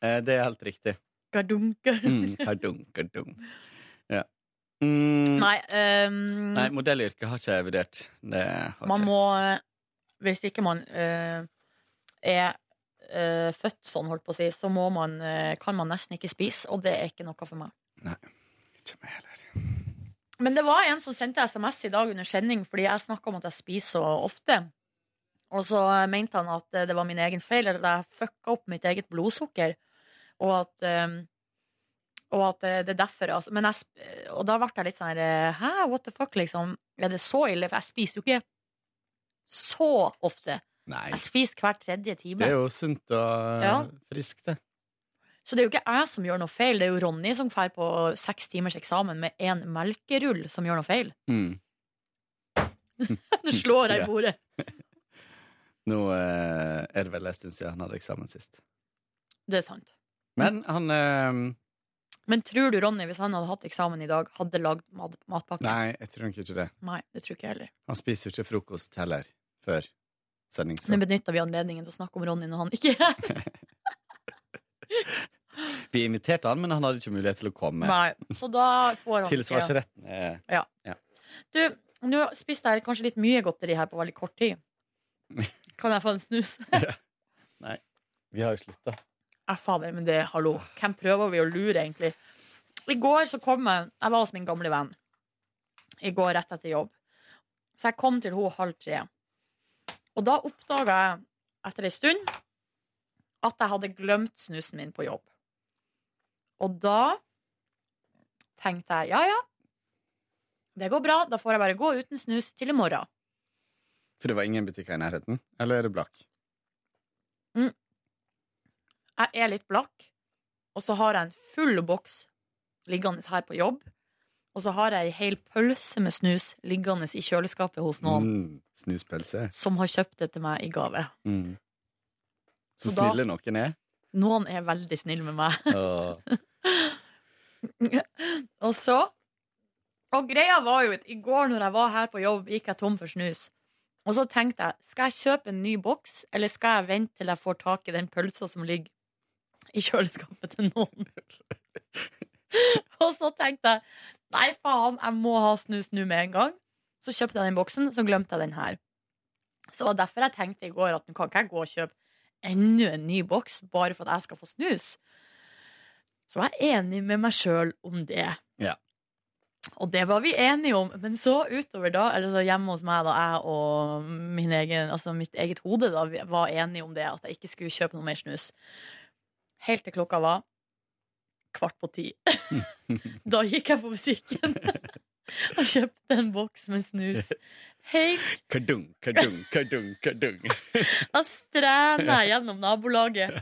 Eh, det er helt riktig. Gardunker. Mm, kardung, kardung. Ja. Mm, (laughs) Nei, ehm, nei, modellyrket har ikke jeg vurdert. Det har man ikke. må eh, Hvis ikke man eh, er eh, født sånn, holdt på å si, så må man, eh, kan man nesten ikke spise, og det er ikke noe for meg. Men det var en som sendte SMS i dag under sending fordi jeg snakka om at jeg spiser så ofte. Og så eh, mente han at eh, det var min egen feil, eller at jeg fucka opp mitt eget blodsukker. Og at, eh, og at eh, det er derfor altså, men jeg, sp- Og da ble jeg litt sånn her eh, Hæ, what the fuck, liksom? Er det så ille? For jeg spiser jo ikke så ofte. Nei. Jeg spiser hver tredje time. Det er jo sunt og Altså, eh, Ja. friskt, det. Så det er jo ikke jeg som gjør noe feil, det er jo Ronny som drar på seks timers eksamen med én melkerull, som gjør noe feil. (laughs) Mm. Du slår deg Ja. i bordet. Nå eh, er det vel en stund siden han hadde eksamen sist. Det er sant. Men han eh, Men tror du Ronny, hvis han hadde hatt eksamen i dag, hadde lagd mat matpakke? Nei, jeg tror nok ikke det. Nei, det tror ikke jeg heller. Han spiser jo ikke frokost heller før sending. så Nå benytter vi anledningen til å snakke om Ronny når han ikke er her. Vi inviterte han, men han hadde ikke mulighet til å komme. Nei. Så da får han Tilsvarsretten er Ja. Ja. Du, nå spiste jeg kanskje litt mye godteri her på veldig kort tid. Kan jeg få en snus? Nei. Vi har jo slutta. Ja, fader, men det, hallo. Hvem prøver vi å lure, egentlig? I går så kom jeg Jeg var hos min gamle venn. I går rett etter jobb. Så jeg kom til henne halv tre. Og da oppdaga jeg etter ei stund at jeg hadde glemt snusen min på jobb. Og da tenkte jeg ja, ja, det går bra. Da får jeg bare gå uten snus til i morgen. For det var ingen butikker i nærheten? Eller er det blakk? jeg er litt blakk, og så har jeg en full boks liggende her på jobb. Og så har jeg ei hel pølse med snus liggende i kjøleskapet hos noen Mm, snuspølse. som har kjøpt det til meg i gave. Mm. Så Og da- snille noen (laughs) er. Noen er veldig snille med meg. Åh. Og så Og greia var jo at i går når jeg var her på jobb, gikk jeg tom for snus. Og så tenkte jeg, skal jeg kjøpe en ny boks, eller skal jeg vente til jeg får tak i den pølsa som ligger i kjøleskapet til noen? (laughs) og så tenkte jeg, nei faen, jeg må ha snus nå med en gang. Så kjøpte jeg den boksen, så glemte jeg den her. Så det var derfor jeg tenkte i går at nå kan ikke jeg gå og kjøpe enda en ny boks bare for at jeg skal få snus. Så jeg er enig med meg sjøl om det. Ja. Og det var vi enige om. Men så utover da, eller så hjemme hos meg, da jeg og min egen, altså mitt eget hode da, vi var enige om det, at jeg ikke skulle kjøpe noe mer snus. Helt til klokka var kvart på ti. da gikk jeg på butikken og kjøpte en boks med snus. Helt Kadung, kadung, kadung, kadung. (laughs) Da strener jeg gjennom nabolaget.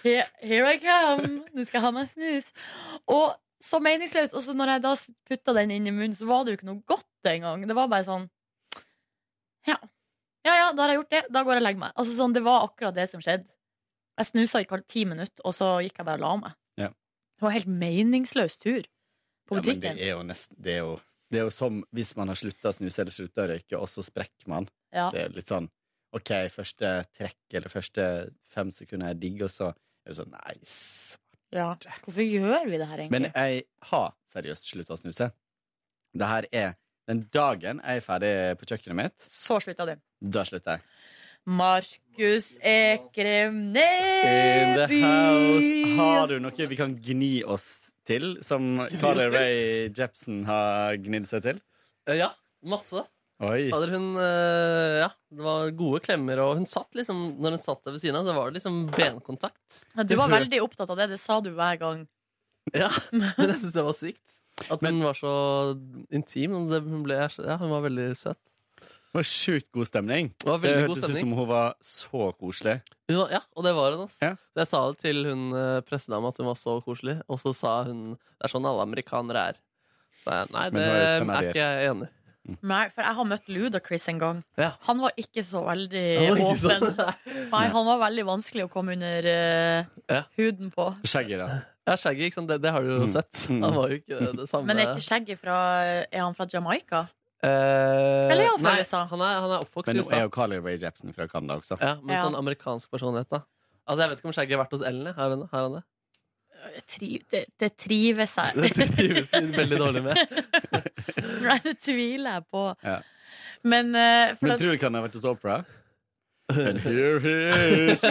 Here, here I come! Nå skal jeg ha meg snus. Og så meningsløst. Og så når jeg da putta den inn i munnen, så var det jo ikke noe godt engang. Det var bare sånn Ja. Ja ja, da har jeg gjort det. Da går jeg og legger meg. Altså sånn, Det var akkurat det som skjedde. Jeg snusa i kal- ti minutter, og så gikk jeg bare og la meg. Ja. Det var helt meningsløs tur Ja, på men det butikken. er jo nesten Det er jo, det er jo som hvis man har slutta å snuse eller slutta å røyke, og så sprekker man. Så Ja. det er litt sånn OK, første trekk eller første fem sekunder er digg, og så er det sånn nice. Ja. Hvorfor gjør vi det her, egentlig? Men jeg har seriøst slutta å snuse. Det her er Den dagen jeg er ferdig på kjøkkenet mitt, så slutta du. da slutter jeg. Markus Ekrem In the Neby! house. Har du noe vi kan gni oss til, som Carly til? Ray Jepsen har gnidd seg til? Eh, Ja, masse. Oi. Fader, hun eh, Ja, det var gode klemmer, og hun satt liksom Når hun satt der ved siden av, så var det liksom benkontakt. Ja, Du var veldig opptatt av det. Det sa du hver gang. Ja, men jeg syns det var sykt. At hun var så intim. og det- Hun, ble, ja, hun var veldig søt. Eh, Det var sjukt god stemning. Det var veldig god hørtes ut stemning. som hun var så koselig. Hun var, ja, og det var hun. Altså. Jeg sa det til hun eh, pressedama at hun var så koselig, og så sa hun det er sånn alle amerikanere er. Så jeg, nei, Men det hun er jo er kanadier. ikke jeg enig i. Nei, for jeg har møtt Ludacris en gang. Han var ikke så veldig Han var ikke åpen. sånn. Nei, han var veldig vanskelig å komme under eh, huden på. Skjegget, da. Ja, skjegget, ikke sant? Det, det har du jo sett. Han var jo ikke det samme. Men er ikke skjegget fra Er han fra Jamaica? Eh, Eller er han fra nei, USA? Han er, han er oppvokst Men i nå er USA. jo Carly Ray Jepsen fra Canada også. Ja, men Ja. sånn amerikansk personlighet, da. Altså, Jeg vet ikke om skjegget har vært hos Ellen. jeg. Har han, har han det? (laughs) Tri, det, det trives jeg. (laughs) Det trives hun veldig dårlig med. Nei, det tviler jeg på. Ja. Men, eh, for Men at, tror du ikke han har vært hos (laughs) Opera? And here he is.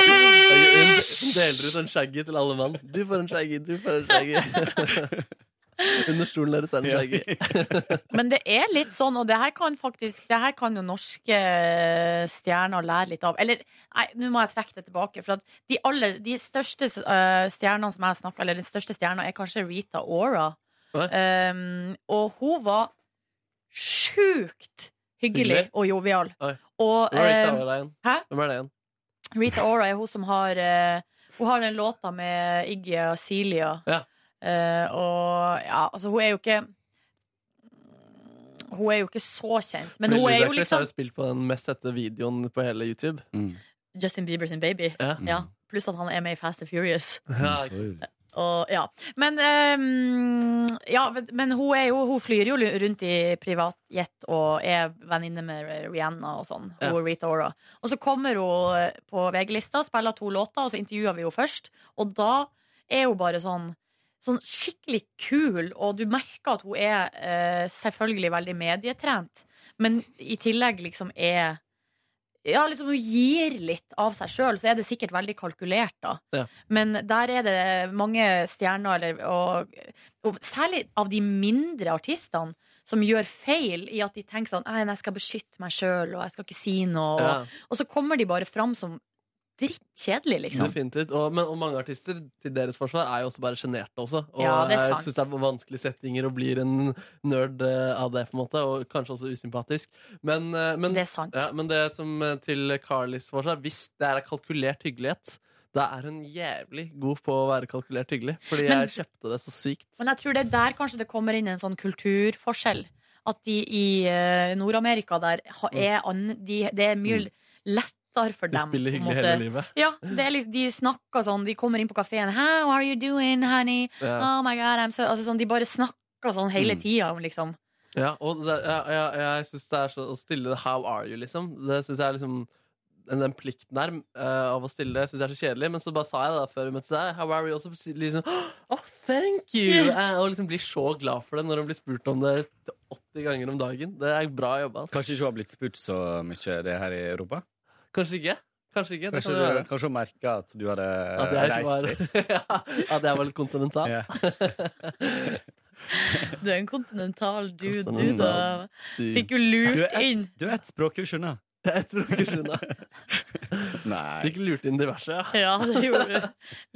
Hun deler ut en shaggy til alle mann. Du får en shaggy, du får en shaggy. (laughs) Under stolen deres er en shaggy. men det er litt sånn, og det her kan faktisk Det her kan jo norske eh, stjerner lære litt av. Eller nei, nå må jeg trekke det tilbake. For at de, aller, de største eh, stjernene som jeg snakker Eller den største stjerna er kanskje Rita Ora. Um, og hun var sjukt hyggelig Hyggelig? og jovial. Oi. Og, Hvem er Rita eh, Ora igjen? Hæ? Hvem er det igjen? Rita Ora er hun som har eh, Hun har den låta med Iggy og Celia. Ja. Eh, og ja, altså hun er jo ikke Hun er jo ikke så kjent, men Fordi hun er jo Ludacris liksom har jo spilt på den mest sette videoen på hele YouTube. Mm. Justin Bieber sin baby. Ja. Pluss at han er med i Fast and Furious. Ja, ikke sant. Og, ja. Men, ehm, ja, vet- men hun, er jo, hun flyr jo lu- rundt i privatjet og er venninne med Rihanna og sånn. Hun Ja. og Rita Ora. Og så kommer hun eh, på VG-lista, spiller to låter, og så intervjuer vi henne først. Og da er hun bare sånn Sånn skikkelig kul, og du merker at hun er eh, selvfølgelig veldig medietrent, men i tillegg liksom er Ja, liksom hun gir litt av seg sjøl, så er det sikkert veldig kalkulert, da. Ja. Men der er det mange stjerner, eller, og, og særlig av de mindre artistene, som gjør feil i at de tenker sånn Nei, jeg skal beskytte meg sjøl, og jeg skal ikke si noe. Ja. Og, og så kommer de bare fram som drittkjedelige, liksom. Definitivt. Og, men, og mange artister, til deres forsvar, er jo også bare sjenerte også. Og Ja, det er jeg sant. syns det er vanskelige settinger og blir en nerd eh, av det, på en måte. Og kanskje også usympatisk. Men, eh, men, det, er sant. Ja, men det som eh, til Carlys forsvar, hvis det er kalkulert hyggelighet da er hun jævlig god på å være kalkulert hyggelig. Fordi Men- jeg kjøpte det så sykt. Men jeg tror det er der kanskje det kommer inn en sånn kulturforskjell. At de i eh, Nord-Amerika der ha- er an, de, det er mye lettere Mm. De for dem. spiller på en hyggelig måte. hele livet. Ja, det er liksom, de snakker sånn, de kommer inn på kafeen How are you doing, honey? Ja. Oh my god, I'm so altså, sånn, De bare snakker sånn hele Mm. tida om liksom Ja, og det, ja, ja, jeg syns det er så å stille det 'how are you', liksom. Det synes jeg er liksom den, den plikten der eh, av å stille det, syns jeg er så kjedelig. Men så bare sa jeg det da før vi møttes. der, 'How are you?' Og så si- liksom Oh, thank you! Eh, og liksom blir så glad for det når hun blir spurt om det 80 ganger om dagen. Det er bra jobba. altså. Kanskje ikke hun har blitt spurt så mye det her i Europa? Kanskje ikke. Kanskje ikke. Det Kanskje, kan du, det være. kanskje hun merka at du hadde At jeg ikke reist var- litt? (laughs) At jeg var litt kontinental. Du er en kontinental dude, du, Kontinental da. dude. Fikk jo Du lurt er ett inn. du er ett språkkurs unna. Jeg tror ikke Rune Nei. Fikk lurt inn diverse, ja. (laughs) Ja, det gjorde du.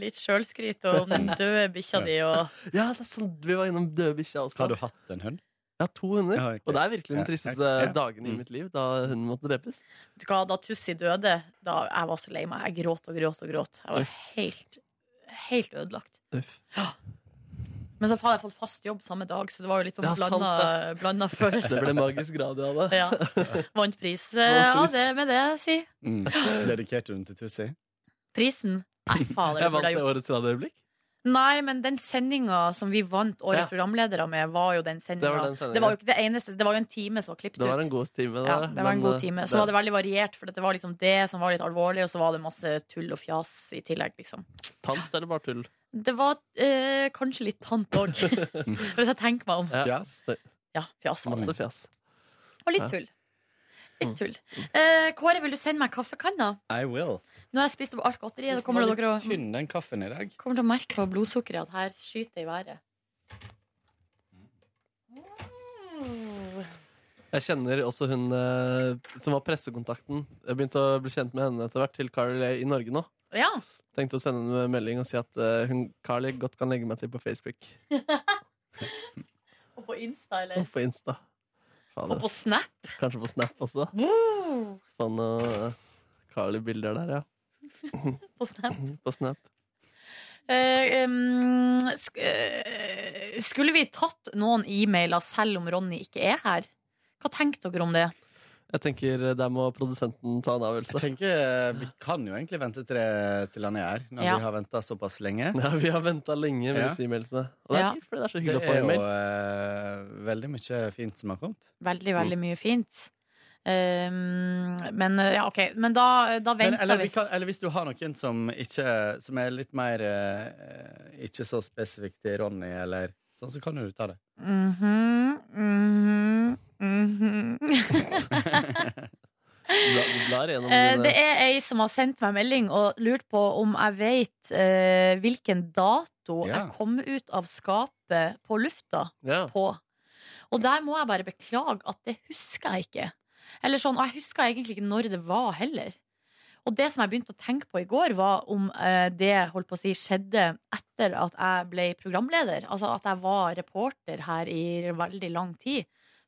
Litt sjølskryt og den døde bikkja di og Ja, det er sant. Vi var innom døde bikkja også. Har du hatt en hund? Jeg har to hunder. Ja, ok. Og det er virkelig Ja, den tristeste ok, ja. dagen i mitt liv, da hunden måtte drepes. Vet du hva, Da Tussi døde, da jeg var så lei meg. Jeg gråt og gråt og gråt. Jeg var helt, helt ødelagt. Uff. Ja. Men så hadde jeg fått fast jobb samme dag, så det var jo litt sånn Ja, sant blanda, det. blanda følelser. Det ble magisk radio av det. (laughs) Ja. Vant pris eh, Vant av pris. det med det, si. Mm. Dedikerte du den til Tussi? Prisen? Nei, (laughs) Jeg fader, det burde vant det jeg gjort. årets radioøyeblikk. Nei, men den sendinga som vi vant Årets Ja. programledere med, var jo den sendinga. Det var den sendingen. Det var jo ikke det eneste, det var jo en time som var klippet Det var en ut. god time. eh, Ja, det var en god time. Så var det veldig variert, for det var liksom det som var litt alvorlig, og så var det masse tull og fjas i tillegg, liksom. Tant eller bare tull? Det var eh, kanskje litt tant òg, (laughs) hvis jeg tenker meg om. Ja, fjas. altså. Masse fjas. Og litt Mm. Ja. tull. Litt tull. Eh, Kåre, vil du sende meg kaffekanna? I will. Nå har jeg spist opp alt godteriet. Da kommer Den var dere litt å tynn, den kaffen i dag. kommer til å merke på blodsukkeret at her skyter det i været. Jeg kjenner også hun eh, som var pressekontakten. Jeg begynte å bli kjent med henne etter hvert, til Carly i Norge nå. Ja. Tenkte å sende henne en melding og si at eh, hun Carly godt kan legge meg til på Facebook Og på Insta, og eller? på Insta. Fader. Og på Snap? Kanskje på Snap også. eh, Wow. Få noen Carly-bilder der, ja. På Snap. På Snap. Eh, em, sk eh, skulle vi tatt noen e-mailer selv om Ronny ikke er her? Hva tenker dere om det? Jeg tenker eh, der må produsenten ta en avgjørelse. Jeg tenker eh, Vi kan jo egentlig vente til, det, til han er her, når Ja. vi har venta såpass lenge. (laughs) Ja, vi har venta lenge med Ja. disse e-mailsene. Og det er Ja. kjipt, for det er så hyggelig Det å få er jo e-mail. eh, veldig mye fint som har kommet. Veldig, Mm. veldig mye fint. Em, men eh, ja, OK. Men da, da Men, venter eller, vi vi. kan, eller hvis du har noen som ikke Som er litt mer eh, Ikke så spesifikt til Ronny, eller sånn, så kan du ta det. Mhm, mhm, mhm. Bla- vi blar gjennom Eh, dine- Det er ei som har sendt meg melding og lurt på om jeg vet eh, hvilken dato Ja. jeg kom ut av skapet på lufta Ja. på. Og der må jeg bare beklage at det husker jeg ikke. Eller sånn, og jeg husker egentlig ikke når det var heller. Og det som jeg begynte å tenke på i går, var om eh, det holdt på å si, skjedde etter at jeg ble programleder. Altså at jeg var reporter her i veldig lang tid.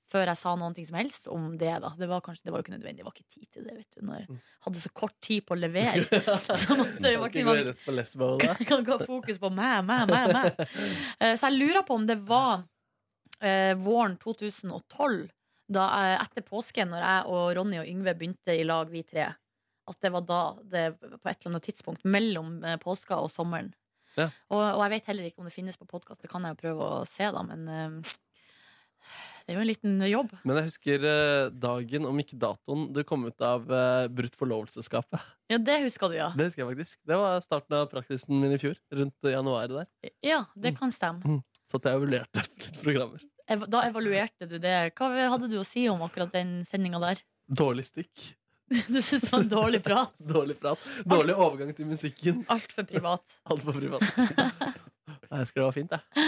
Før jeg sa noen ting som helst om det. da Det var kanskje, det var jo ikke nødvendig, det var ikke tid til det. vet du Når Mm. jeg hadde så kort tid på (laughs) å levere. Så måtte det var Kan ikke ikke gå man rett på lesbo, da. kan ikke ha fokus på meg, meg, meg, meg. Eh, Så jeg lurer på om det var eh, våren 2012, da jeg, etter påsken, når jeg og Ronny og Yngve begynte i lag, vi tre. At det var da, det, på et eller annet tidspunkt mellom eh, påska og sommeren. Ja. Og, og jeg vet heller ikke om det finnes på podkast, det kan jeg jo prøve å se, da, men eh, det er jo en liten jobb. (laughs) Men jeg husker eh, dagen, om ikke datoen, du kom ut av eh, brutt forlovelsesskapet. Ja, det husker du, ja. Det husker jeg faktisk. Det var starten av praksisen min i fjor. Rundt januar der. Ja, det kan stemme. Så at jeg evaluerte (laughs) litt programmer. Ev- Da evaluerte du det. Hva hadde du å si om akkurat den sendinga der? (laughs) Dårlig stikk. Du syns det var en dårlig prat? Dårlig prat. Dårlig overgang til musikken. Altfor privat. Altfor (laughs) privat. Jeg husker det var fint, jeg.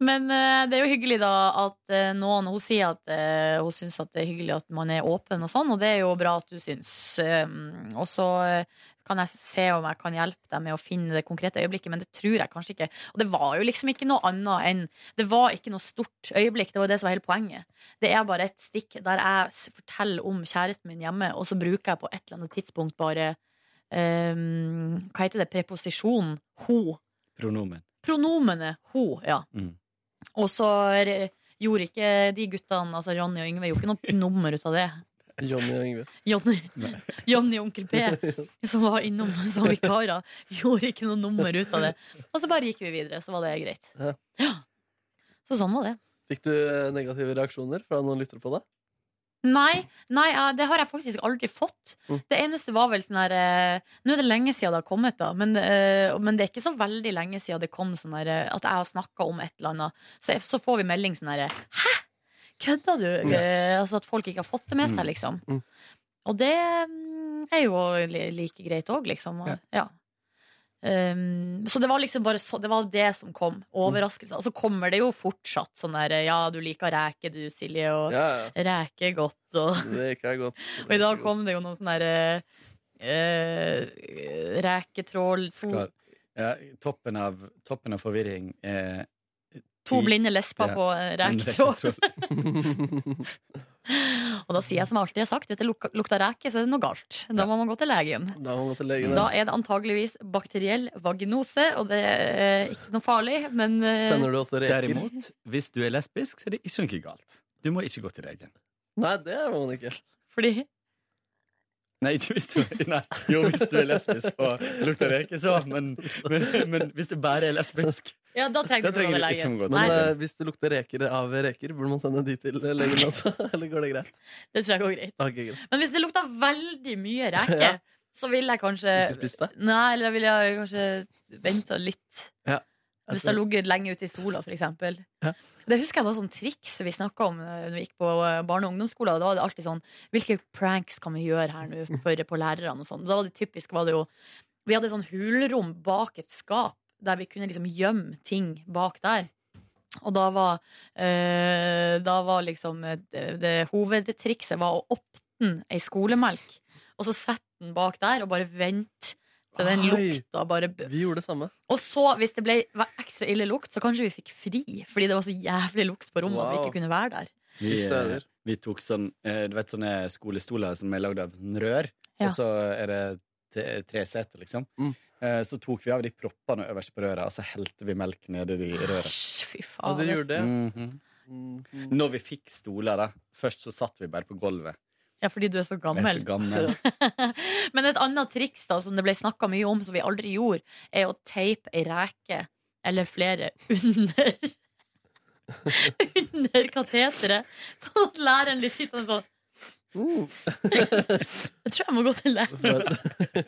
Men eh, det er jo hyggelig da at eh, noen Hun sier at eh, hun syns at det er hyggelig at man er åpen og sånn, og det er jo bra at du syns. Um, og så eh, kan jeg se om jeg kan hjelpe deg med å finne det konkrete øyeblikket, men det tror jeg kanskje ikke. Og det var jo liksom ikke noe annet enn Det var ikke noe stort øyeblikk, det var jo det som var hele poenget. Det er bare et stikk der jeg s- forteller om kjæresten min hjemme, og så bruker jeg på et eller annet tidspunkt bare um, Hva heter det? Preposisjon. Ho. Pronomen. Pronomenet ho, ja. Mm. Og så re- gjorde ikke de guttene, altså Ronny og Yngve, gjorde ikke noe nummer ut av det. Johnny og Yngve. Johnny, (laughs) Johnny og Onkel P, som var innom som vikarer, gjorde ikke noe nummer ut av det. Og så bare gikk vi videre, så var det greit. Ja. Så sånn var det. Fikk du eh, negative reaksjoner fra noen lyttere på det? Nei, nei, ja, det har jeg faktisk aldri fått. Mm. Det eneste var vel sånn her eh, Nå er det lenge siden det har kommet, da, men, eh, men det er ikke så veldig lenge siden det kom sånn her eh, at jeg har snakka om et eller annet. Så, jeg- så får vi melding sånn her Hæ! Kødda du? Ja. Eh, altså at folk ikke har fått det med seg, Mm. liksom. Mm. Og det mm, er jo li- like greit òg, liksom. Og, ja. Um, så det var liksom bare så, det var det som kom. Overraskelse. Og så kommer det jo fortsatt sånn der Ja, du liker reke du, Silje, og Ja, reke godt, og Reker er godt. (laughs) Og i dag kom det jo noen sånne der uh, Reketrål to, Skal, ja, toppen, av, toppen av forvirring er to ti- blinde lesber ja, på eh, en reketrål. reketrål. og da sier jeg som jeg alltid har sagt, hvis det luk- lukter reke, så er det noe galt. Da må man gå til legen. Da må man til legen. Da er det antageligvis bakteriell vaginose, og det er ikke noe farlig, men eh, Derimot, hvis du er lesbisk, så er det ikke noe galt. Du må ikke gå til legen. Nei, det må man ikke. Fordi Nei, ikke hvis du, (laughs) nei. Jo, hvis du er lesbisk og lukter reke, så. Men, men, men hvis du bare er lesbisk Ja, da trenger Da du ikke gå til trenger du ikke legen. gå til Nei, Men eh, hvis det lukter reker av reker, burde man sende de til eh, legen også? (laughs) Eller går det greit? det tror jeg går greit. Ok, greit. Men hvis det lukter veldig mye reke, Ja. så vil jeg kanskje Ikke spist det? Nei, eller da vil jeg kanskje vente litt. Ja. Jeg Hvis det har tror- ligget lenge ute i sola, for eksempel. Ja. Det husker jeg var sånn triks vi snakka om eh, Når vi gikk på eh, barne- og ungdomsskolen. Da var det alltid sånn Hvilke pranks kan vi gjøre her nå for på lærerne og sånn? Da var det typisk var det jo Vi hadde sånn hulrom bak et skap der vi kunne liksom gjemme ting bak der. Og da var, eh, da var liksom eh, det, det hovedtrikset var å åpne ei skolemelk, og så sette den bak der, og bare vente til den Oi. lukta bare Vi gjorde det samme. og så, hvis det ble var ekstra ille lukt, så kanskje vi fikk fri. Fordi det var så jævlig lukt på rommet at vi Wow. ikke kunne være der. Vi, Fy søder. eh, vi tok sånn eh, Du vet sånne skolestoler som er lagd av sånn rør, Ja. og så er det t- tre seter, liksom. Eh, Så tok vi av de proppene øverst på røret, og så helte vi melk nedi i røret. Fy faen. Ja, dere gjorde det, ja. Mhm. Når vi fikk stoler, da. Først så satt vi bare på gulvet. Ja, fordi du er så Jeg gammel. er så gammel. (laughs) Men et annet triks da, som det ble snakka mye om, som vi aldri gjorde, er å teipe ei reke eller flere under (laughs) Under kateteret. Sånn at læreren blir sittende sånn. Uh. (laughs) Jeg tror jeg må gå til (laughs) læreren.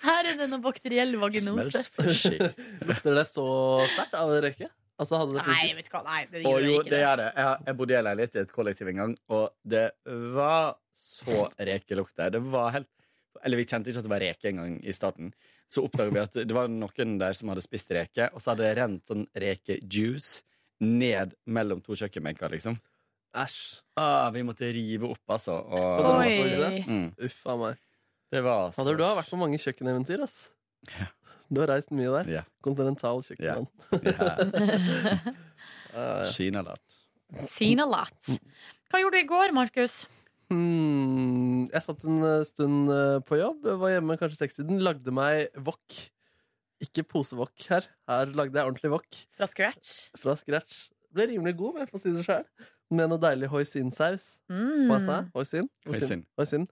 Her er det noe bakteriell vaginose. Lukter det så sterkt av reke? Altså, hadde det Nei, vet du hva. Nei, det Og gjør jo, jeg ikke. det gjør det. Jeg, jeg bodde i en leilighet i et kollektiv en gang, og det var så rekelukt der. Det var helt Eller vi kjente ikke at det var reke engang i starten. Så oppdaga vi at det var noen der som hadde spist reke, og så hadde det rent sånn rekejuice ned mellom to kjøkkenbenker, liksom. Æsj. Ah, vi måtte rive opp, altså. Og, Oi. Oi. Mm. Uff a meg. Det var så Fader, du har vært på mange kjøkkeneventyr, ass. Du har reist mye (laughs) der. Kontinental kjøkkenland. Ja, ja. Kinalat. Sina lot. Mm. Hva gjorde du i går, Markus? Hmm, jeg satt en eh, stund eh, på jobb, var hjemme kanskje sekstiden, lagde meg wok. Ikke posevok her. Her lagde jeg ordentlig wok. Fra scratch? Fra scratch. Ble rimelig god, om jeg får si det sjøl. Med noe deilig hoisinsaus. Mm. Hva sa jeg? Hoisin? Hoisin. Hoisin.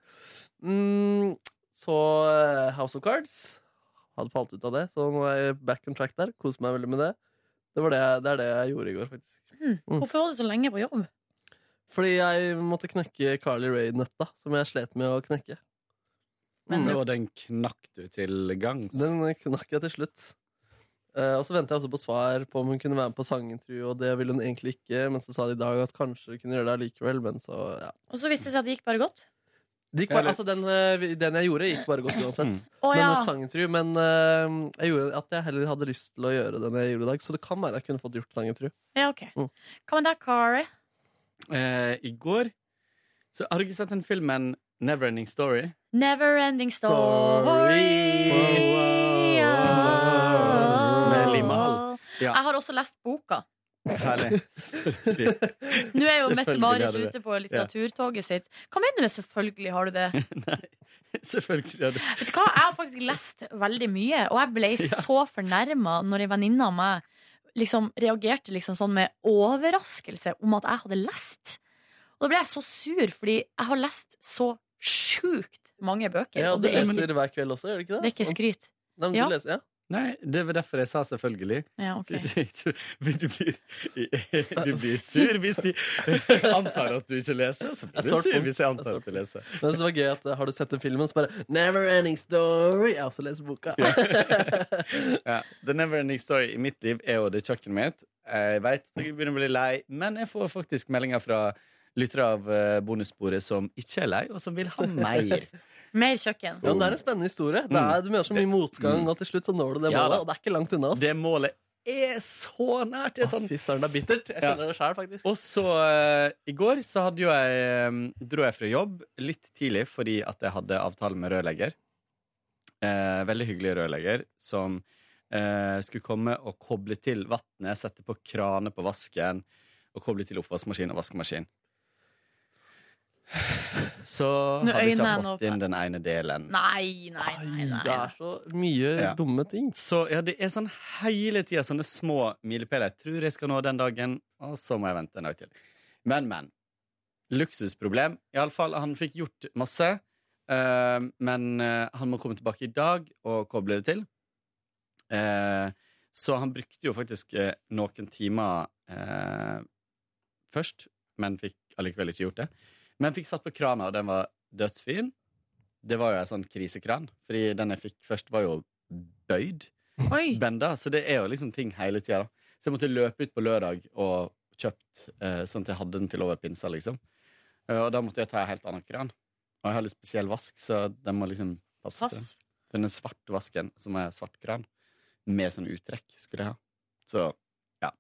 Mm, så eh, House of Cards. Hadde falt ut av det, så nå er jeg back on track der. Koser meg veldig med det. Det, var det, det er det jeg gjorde i går, faktisk. Mm. Hvorfor var du så lenge på jobb? Fordi jeg måtte knekke Carly Rae-nøtta, som jeg slet med å knekke. Men det var den knakk du til gangs. Den knakk jeg til slutt. Eh, og så ventet jeg også på svar på om hun kunne være med på sangintervju, og det ville hun egentlig ikke, men så sa de i dag at kanskje hun kunne gjøre det likevel, men så, ja. Og så viste det seg at det gikk bare godt. Det gikk bare, Eller- altså, den, eh, vi- den jeg gjorde, gikk bare godt uansett. Å, Men ja. eh, sangintervju, men eh, jeg gjorde at jeg heller hadde lyst til å gjøre den jeg gjorde i dag, så det kan være jeg kunne fått gjort sangintervju. Ja, ok. Mm. Hva med deg, Kari? Eh, I går så har du ikke sett den filmen Neverending Story? Neverending story. Med Lima Hall. Ja. Jeg har også lest boka. (laughs) Herlig. Nå er jo (laughs) Selvfølgelig hadde Mette-Marit det. ute på litteraturtoget sitt. Hva mener du med 'selvfølgelig har du det'? Selvfølgelig hadde Vet du hva, Jeg har faktisk lest veldig mye, og jeg ble så fornærma når en venninne av meg liksom reagerte liksom sånn med overraskelse om at jeg hadde lest. Og da ble jeg så sur, fordi jeg har lest så sjukt mange bøker. Ja, og og du det, er, leser hver kveld også, gjør du ikke det? Sånn. det er altså. ikke skryt. Nei, men du Ja. leser, ja. Nei, det var derfor jeg sa selvfølgelig. Ja, ok. Så ikke- ikke- du, blir, du blir sur hvis de antar at du ikke leser. Så blir Jeg du svarte sur på- hvis jeg antar at du leser. Men det var gøy at eh, Har du sett den filmen? Så bare Never ending story! Jeg har også lest boka. (laughs) Ja. The Neverending Story i mitt liv er jo det kjøkkenet mitt. Jeg vet at jeg begynner å bli lei, men jeg får faktisk meldinger fra lyttere av eh, bonussporet som ikke er lei, og som vil ha mer. Mer kjøkken. Ja, men Det er en spennende historie. Det er, du møter så mye motgang, og til slutt så når du Mm. det Ja, målet. da. og det er ikke langt unna oss. Det målet er så nært. Det er sånn Fy søren, det er bittert. Jeg skjønner det sjøl, faktisk. Og så eh, i går så hadde jo jeg eh, dro jeg fra jobb litt tidlig fordi at jeg hadde avtale med rørlegger. Eh, veldig hyggelig rørlegger som eh, skulle komme og koble til vannet, sette på krane på vasken og koble til oppvaskmaskin og vaskemaskin. (sighs) Så Nå hadde jeg ikke øynene fått åpne. inn den ene delen. Nei, nei, nei. nei. Det er så mye Ja. dumme ting. Så ja, det er sånn hele tida sånne små milepæler. Jeg tror jeg skal nå den dagen, og så må jeg vente en dag til. Men, men. Luksusproblem. Iallfall, han fikk gjort masse. eh, men eh, han må komme tilbake i dag og koble det til. Eh, så han brukte jo faktisk eh, noen timer eh, først, men fikk allikevel ikke gjort det. Men fikk satt på krana, og den var dødsfin. Det var jo en sånn krisekran, fordi den jeg fikk først, var jo bøyd. Mm. Benda, så det er jo liksom ting hele tida. Så jeg måtte løpe ut på lørdag og kjøpt eh, sånn at jeg hadde den til over pinsa, liksom. Eh, og da måtte jeg ta en helt annen kran. Og jeg har litt spesiell vask, så den må liksom passe. til. Pass. Den er svart vasken, som er svart kran. Med sånn uttrekk, skulle jeg ha. Så ja.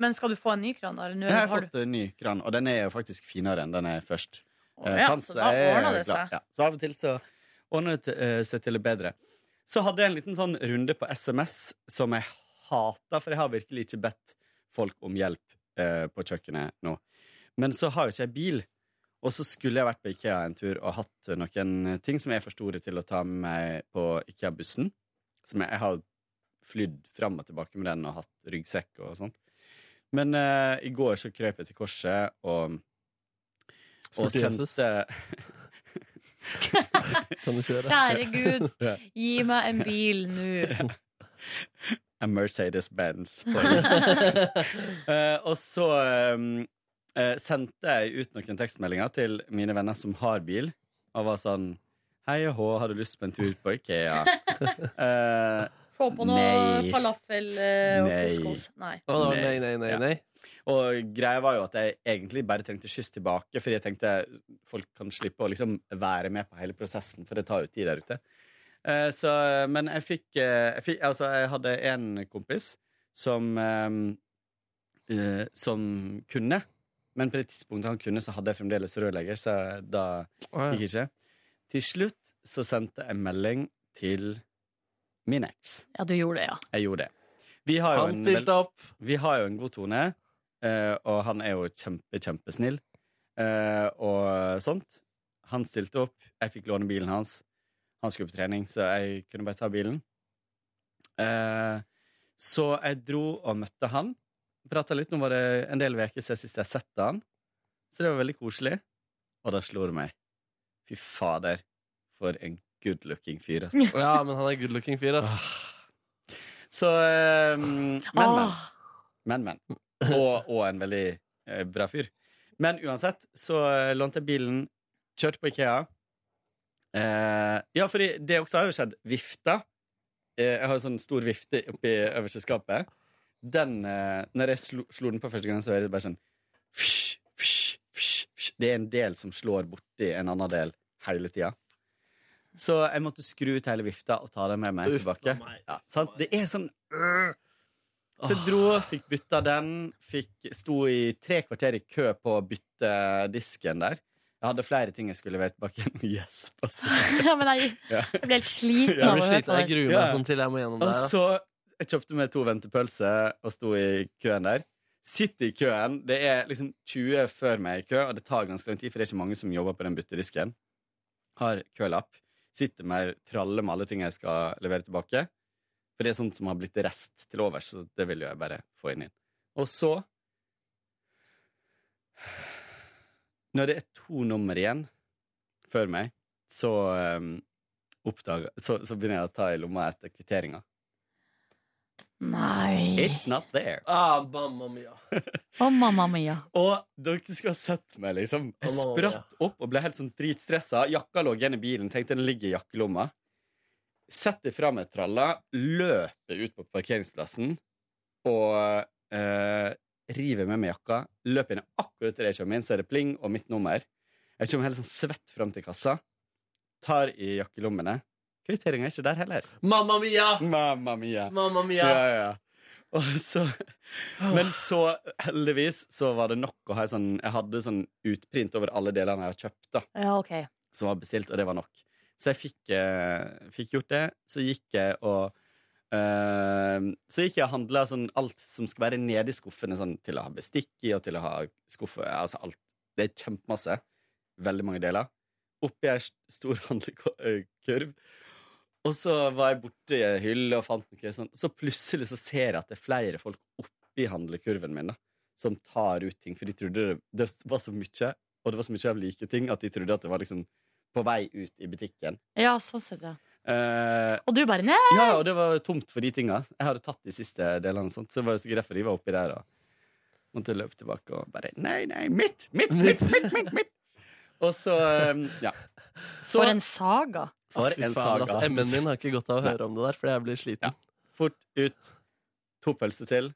Men skal du få en ny kran? Eller? Nå Jeg har Eh, har du- fått en ny kran, og den er jo faktisk finere enn den jeg først Å, eh, ja, fant, så så da jeg er ordner det glad. seg. Ja, så av og til så ordner det til- eh, seg til det bedre. Så hadde jeg en liten sånn runde på SMS som jeg hater, for jeg har virkelig ikke bedt folk om hjelp eh, på kjøkkenet nå. Men så har jo ikke jeg bil, og så skulle jeg vært på Ikea en tur og hatt noen ting som jeg er for store til å ta med meg på Ikea-bussen. Som jeg, jeg har flydd fram og tilbake med den og hatt ryggsekk og sånt. Men eh, i går så krøp jeg til korset og, og Spurte Jesus. sendte Kan du kjøre? Kjære Gud, Ja. gi meg en bil nå. A Mercedes-Benz, please. Eh, og så um, eh, sendte jeg ut noen tekstmeldinger til mine venner som har bil, og var sånn Hei og hå, har du lyst på en tur på Ikea? Eh, Få på noe Nei. falafel eh, og couscous. Nei. Ja. Og greia var jo at jeg egentlig bare trengte kyss tilbake, fordi jeg tenkte folk kan slippe å liksom være med på hele prosessen, for det tar jo tid der ute. Eh, Så, men jeg fikk, eh, jeg fikk Altså, jeg hadde en kompis som eh, eh, Som kunne, men på det tidspunktet han kunne, så hadde jeg fremdeles rørlegger, så da Å, ja. gikk ikke. Til slutt så sendte jeg melding til min eks. Ja, du gjorde det, ja. Jeg gjorde det. Vi har jo Han en stilte vel- Vi har jo en god tone, eh, og han er jo kjempe, kjempesnill eh, og sånt. Han stilte opp, jeg fikk låne bilen hans. Han skulle på trening, så jeg kunne bare ta bilen. Eh, så jeg dro og møtte han. Prata litt. Nå var det en del uker siden sist jeg sett han. Så det var veldig koselig. Og da slo det meg. Fy fader, for en good looking fyr, ass. (laughs) Ja, men han er good looking fyr, ass. Så eh, Men, men. Ah. men, men. Og, og en veldig eh, bra fyr. Men uansett så eh, lånte jeg bilen, kjørte på Ikea. Eh, ja, for det også har jo skjedd. Vifta. Eh, jeg har en sånn stor vifte oppi øverste skapet. Den eh, Når jeg slo, slo den på første gang, så var det bare sånn fysj, fysj, fysj, fysj. Det er en del som slår borti en annen del hele tida. Så jeg måtte skru ut hele vifta og ta den med meg Uff, tilbake. Ja, sant? Det er sånn øh. Så jeg dro, fikk bytta den, fikk, sto i tre kvarter i kø på å bytte disken der. Jeg hadde flere ting jeg skulle levert tilbake igjen. Gjesp, altså. (laughs) ja, men jeg, Ja. jeg ble helt sliten Ja, av jeg blir å høre sliten. på Jeg det. Gruer Ja. meg sånn til jeg må gjennom Og der. ass. så jeg kjøpte meg to ventepølser og sto i køen der. Sitter i køen. Det er liksom 20 før meg i kø, og det tar ganske lang tid, for det er ikke mange som jobber på den byttedisken. Har kølapp. Sitter med tralle med alle ting jeg skal levere tilbake. For det er sånt som har blitt rest til overs, så det vil jo jeg bare få inn. inn. Og så Når det er to nummer igjen før meg, så um, oppdager så, så begynner jeg å ta i lomma etter kvitteringa. Nei. It's not there. Ah, mamma mia. (laughs) Å, mamma mia. Og dere skulle ha sett meg, liksom. Jeg Å, mamma spratt opp og ble helt sånn dritstressa. Jakka lå igjen i bilen, tenkte den ligger i jakkelomma. Setter fra meg tralla, løper ut på parkeringsplassen og eh, river med meg jakka. Løper inn akkurat til jeg kommer inn, så er det pling og mitt nummer. Jeg kommer helt sånn svett fram til kassa. tar i jakkelommene. Kvitteringa er ikke der heller. Mamma mia! Mamma mia. Mamma mia. Ja, ja, ja. Og så, men så heldigvis så var det nok å ha en sånn Jeg hadde sånn utprint over alle delene jeg har kjøpt, da. Oh, Ja, ok. Som var bestilt, og det var nok. Så jeg fikk, eh, fikk gjort det. Så gikk jeg og eh, Så gikk jeg og handla sånn alt som skal være nedi skuffene, sånn til å ha bestikk i, og til å ha skuffe Altså alt. Det er kjempemasse. Veldig mange deler. Oppi ei stor (laughs) handlekurv. Og så var jeg borti ei hylle og fant noe sånn. Så plutselig så ser jeg at det er flere folk oppi handlekurven min da, som tar ut ting. For de trodde det, det var så mye, og det var så mye av like ting, at de trodde at det var liksom på vei ut i butikken. Ja, sånn sett, ja. Eh, Og du bare nei! ja, og det var tomt for de tinga. Jeg hadde tatt de siste delene, og sånt, så det var jo sikkert derfor de var oppi der. Og måtte løpe tilbake og bare Nei, nei, mitt! Mitt, mitt, mitt! mitt, mitt. Og så, eh, ja. Så- For en saga. For en saga. Altså, M-en min har ikke godt av å høre om det der, for jeg blir sliten. Fort ut. To pølser til.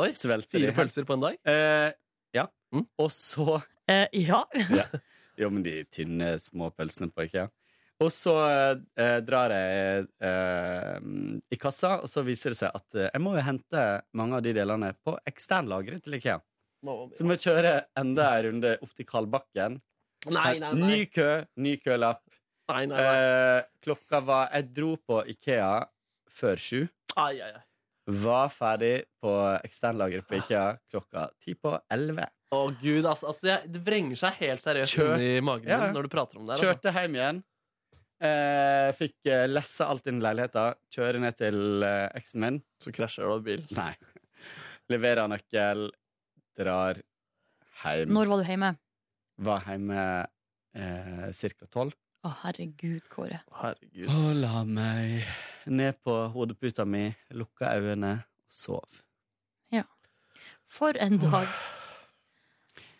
Oi, Svelgte Fire de. pølser på en dag? Eh, ja. Og så Ja. Eh, ja. Jo, men de tynne, små pølsene på IKEA. Og så eh, drar jeg eh, i kassa, og så viser det seg at eh, jeg må jo hente mange av de delene på eksternlageret til IKEA. Så må jeg kjøre enda en runde opp til Kalbakken. Nei, nei, nei. Ny kø, ny kølapp. Eh, klokka var Jeg dro på Ikea før sju. Ai, ai, ai. Var ferdig på eksternlageret på Ikea klokka ti på elleve. Å gud, altså, altså jeg, Det vrenger seg helt seriøst Kjørt. inn i magen Ja, min ja. når du prater om det. altså. her, Kjørte hjem igjen. Eh, fikk eh, lessa alt inn i leiligheta. Kjøre ned til eh, eksen min. Så krasjer du av bil? (laughs) Nei. Leverer nøkkel, drar hjem. Når var du hjemme? Var hjemme eh, cirka tolv. Å, herregud, Kåre. altså. Herregud. Og la meg ned på hodeputa mi, lukka øynene og sov. For en dag.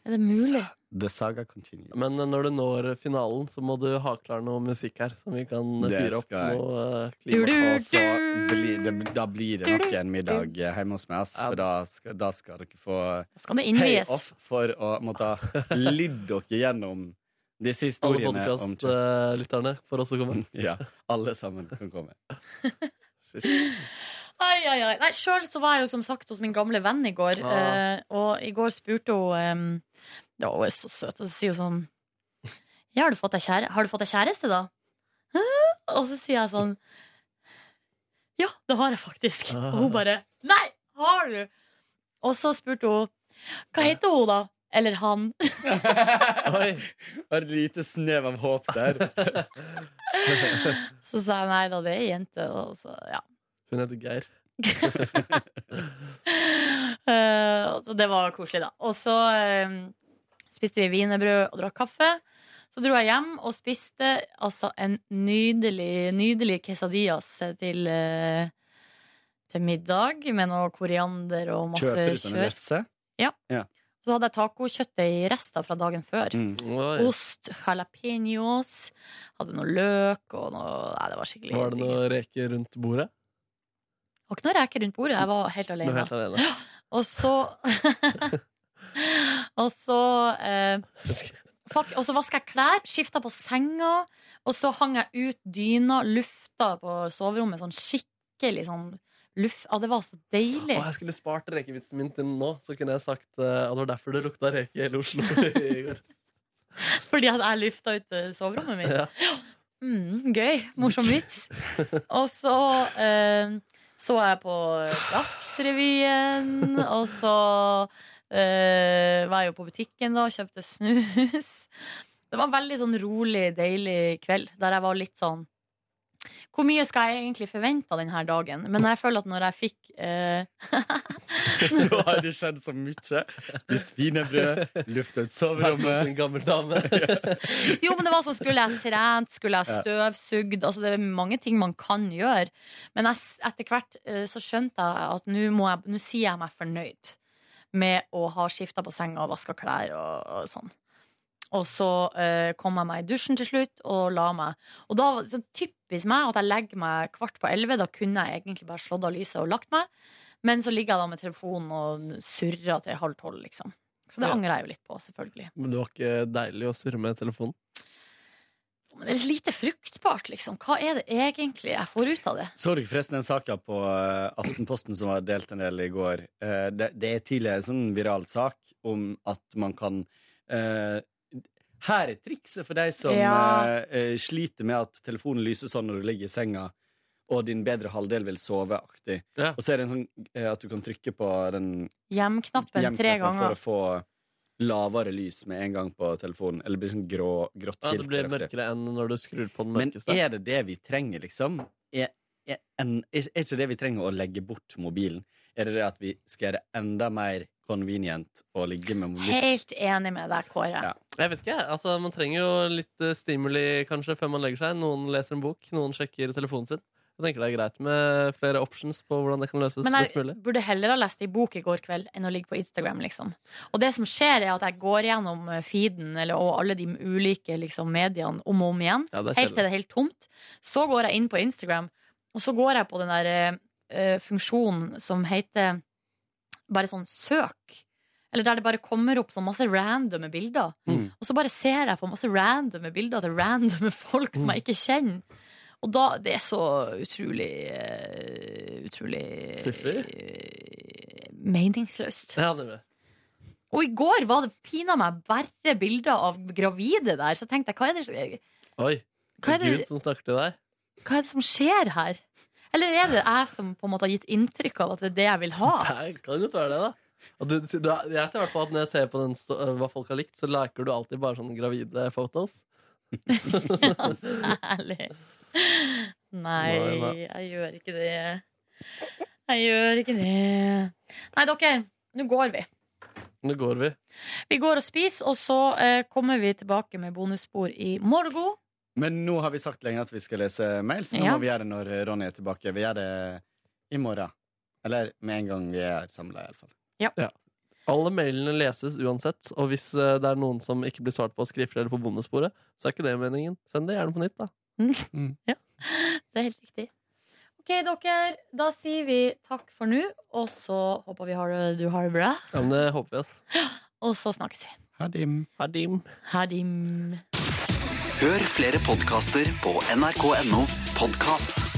Er det mulig? The saga continues. Men eh, når du når finalen, så må du ha klar noe musikk her, som vi kan eh, Det fyre opp skal jeg. noe eh, Og klima. så blir det, da blir det nok en middag eh, hjemme hos meg, ass, for da skal, da skal dere få skal det innvies. payoff for å måtte ha lidd dere gjennom disse Alle eh, historiene. om kjø- podkastlytterne får også komme. (laughs) eh. ja, alle sammen kan komme. Ai, ai, ai. Nei, sjøl så var jeg jo som sagt hos min gamle venn i går, Ah. eh, og i går spurte hun em, Det var hun er så søt, og så sier hun sånn Ja, har du fått deg kjære, har du fått deg kjæreste, da? Hæ? Og så sier jeg sånn Ja, det har jeg faktisk. Og hun bare Nei, har du? Og så spurte hun Hva heter hun, da? Eller han? (laughs) Oi, var et lite snev av håp der. Så sa jeg nei da, det er ei jente. Og så, ja. Hun heter Geir. Eh, så det var koselig, da. Og så eh, spiste vi wienerbrød og drakk kaffe. Så dro jeg hjem og spiste altså en nydelig, nydelig quesadillas til, eh, til middag med noe koriander og masse Kjøper du sånne kjør. lefse? Ja. Ja. Så hadde jeg tacokjøttet i rester fra dagen før. Mm. Oi. Ost, jalapeños, hadde noe løk og noe Nei, det var skikkelig Var det digg. noe reker rundt bordet? Det var ikke noe reker rundt bordet. Jeg var helt Du alene. var helt alene. Og så (laughs) Og så eh, fuck, Og så vaska jeg klær, skifta på senga, og så hang jeg ut dyna, lufta på soverommet sånn skikkelig sånn luft Ja, det var så deilig. Å, jeg skulle spart rekevitsen min til nå, så kunne jeg sagt eh, at det var derfor det lukta reke i hele Oslo i (laughs) går. (laughs) Fordi at jeg lufta ut eh, soverommet mitt. Ja. (gasps) Mm, gøy. Morsom vits. Og så eh, så jeg på eh, Dagsrevyen, og så eh, var jeg jo på butikken da og kjøpte snus. Det var en veldig sånn rolig, deilig kveld, der jeg var litt sånn Hvor mye skal jeg egentlig forvente av denne dagen? Men jeg føler at når jeg fikk eh, (laughs) Nå har det skjedd så mye. Spist wienerbrød, lufta ut Vært hos soverommet. en gammel dame. (laughs) Jo, men det var sånn, skulle jeg trent, skulle jeg støvsugd Altså det er mange ting man kan gjøre Men jeg, s- etter hvert eh, så skjønte jeg at nå må jeg, nå sier jeg meg fornøyd Med å ha skiftet på senga og vasket klær og, og sånn og så eh, kom jeg meg i dusjen til slutt Og la meg Og da var det sånn typisk meg at jeg legger meg kvart på 11 Da kunne jeg egentlig bare slått av lyset og lagt meg Men så ligger jeg da med telefonen Og surrer til halv tolv liksom Så det Ja. angrer jeg jo litt på selvfølgelig Men det var ikke deilig å surre med telefonen? Men det er lite fruktbart, liksom. Hva er det egentlig jeg får ut av det? Så dere forresten den saka på eh, Aftenposten som var delt en del i går? Eh, Det, det er tidligere en sånn viral sak om at man kan eh, Her er trikset for deg som Ja. eh, eh, sliter med at telefonen lyser sånn når du ligger i senga, og din bedre halvdel vil sove-aktig. Og så er det en sånn eh, at du kan trykke på den Hjem-knappen tre hjemknappen ganger. for å få lavere lys med en gang på telefonen. Eller blir sånn grå, grått Ja, det blir filteraktig. mørkere enn når du skrur på den Men mørkeste. er det det vi trenger, liksom? Er, er, en, er er ikke det vi trenger å legge bort mobilen? Er det det at vi skal gjøre det enda mer convenient å ligge med mobilen? Helt enig med deg, Kåre. Jeg vet ikke, jeg. altså Man trenger jo litt eh, stimuli kanskje før man legger seg. Noen leser en bok, noen sjekker telefonen sin. Jeg tenker det er greit med flere options på hvordan det kan løses Men best mulig. jeg burde heller ha lest ei bok i går kveld enn å ligge på Instagram, liksom. Og det som skjer, er at jeg går gjennom eh, feeden eller, og alle de ulike liksom, mediene om og om igjen. Ja, det er helt til kjedelig. det er helt tomt. Så går jeg inn på Instagram, og så går jeg på den der eh, eh, funksjonen som heter bare sånn søk. Eller der det bare kommer opp sånn masse randomme bilder. Mm. Og så bare ser jeg på masse randomme bilder til randomme folk som jeg ikke kjenner. Og da, det er så utrolig eh, Utrolig eh, meningsløst. Ja, det er det. Og i går var det pina meg bare bilder av gravide der, så tenkte jeg hva er det, Oi. Hva det er er det- Gud som snakker til deg. hva er det som skjer her? Eller er det jeg som på en måte har gitt inntrykk av at det er det jeg vil ha? Det kan godt være det, da. Og du, du, jeg ser i hvert fall at når jeg ser på den, sto- hva folk har likt, så liker du alltid bare sånne gravide fotos. (laughs) Ærlig. Nei, Nei, nei. jeg gjør ikke det. Jeg gjør ikke det. Nei, dere, nå går vi. Nå går vi. Vi går og spiser, og så eh, kommer vi tilbake med bonusspor i morgen. Men nå har vi sagt lenge at vi skal lese mail, så nå Ja. må vi gjøre det når Ronny er tilbake. Vi gjør det i morgen. Eller med en gang vi er samla, iallfall. Ja. Alle mailene leses uansett, og hvis eh, det er noen som ikke blir svart på skriftlig eller på bondesporet, så er ikke det meningen. Send det gjerne på nytt, da. Det er helt riktig. Ok, dere, da sier vi takk for nå, og så håper vi har det, du har det bra. Ja, men det håper vi, altså. Og så snakkes vi. Hadim. Hadim. Hadim. Hør flere podkaster på nrk.no podkast.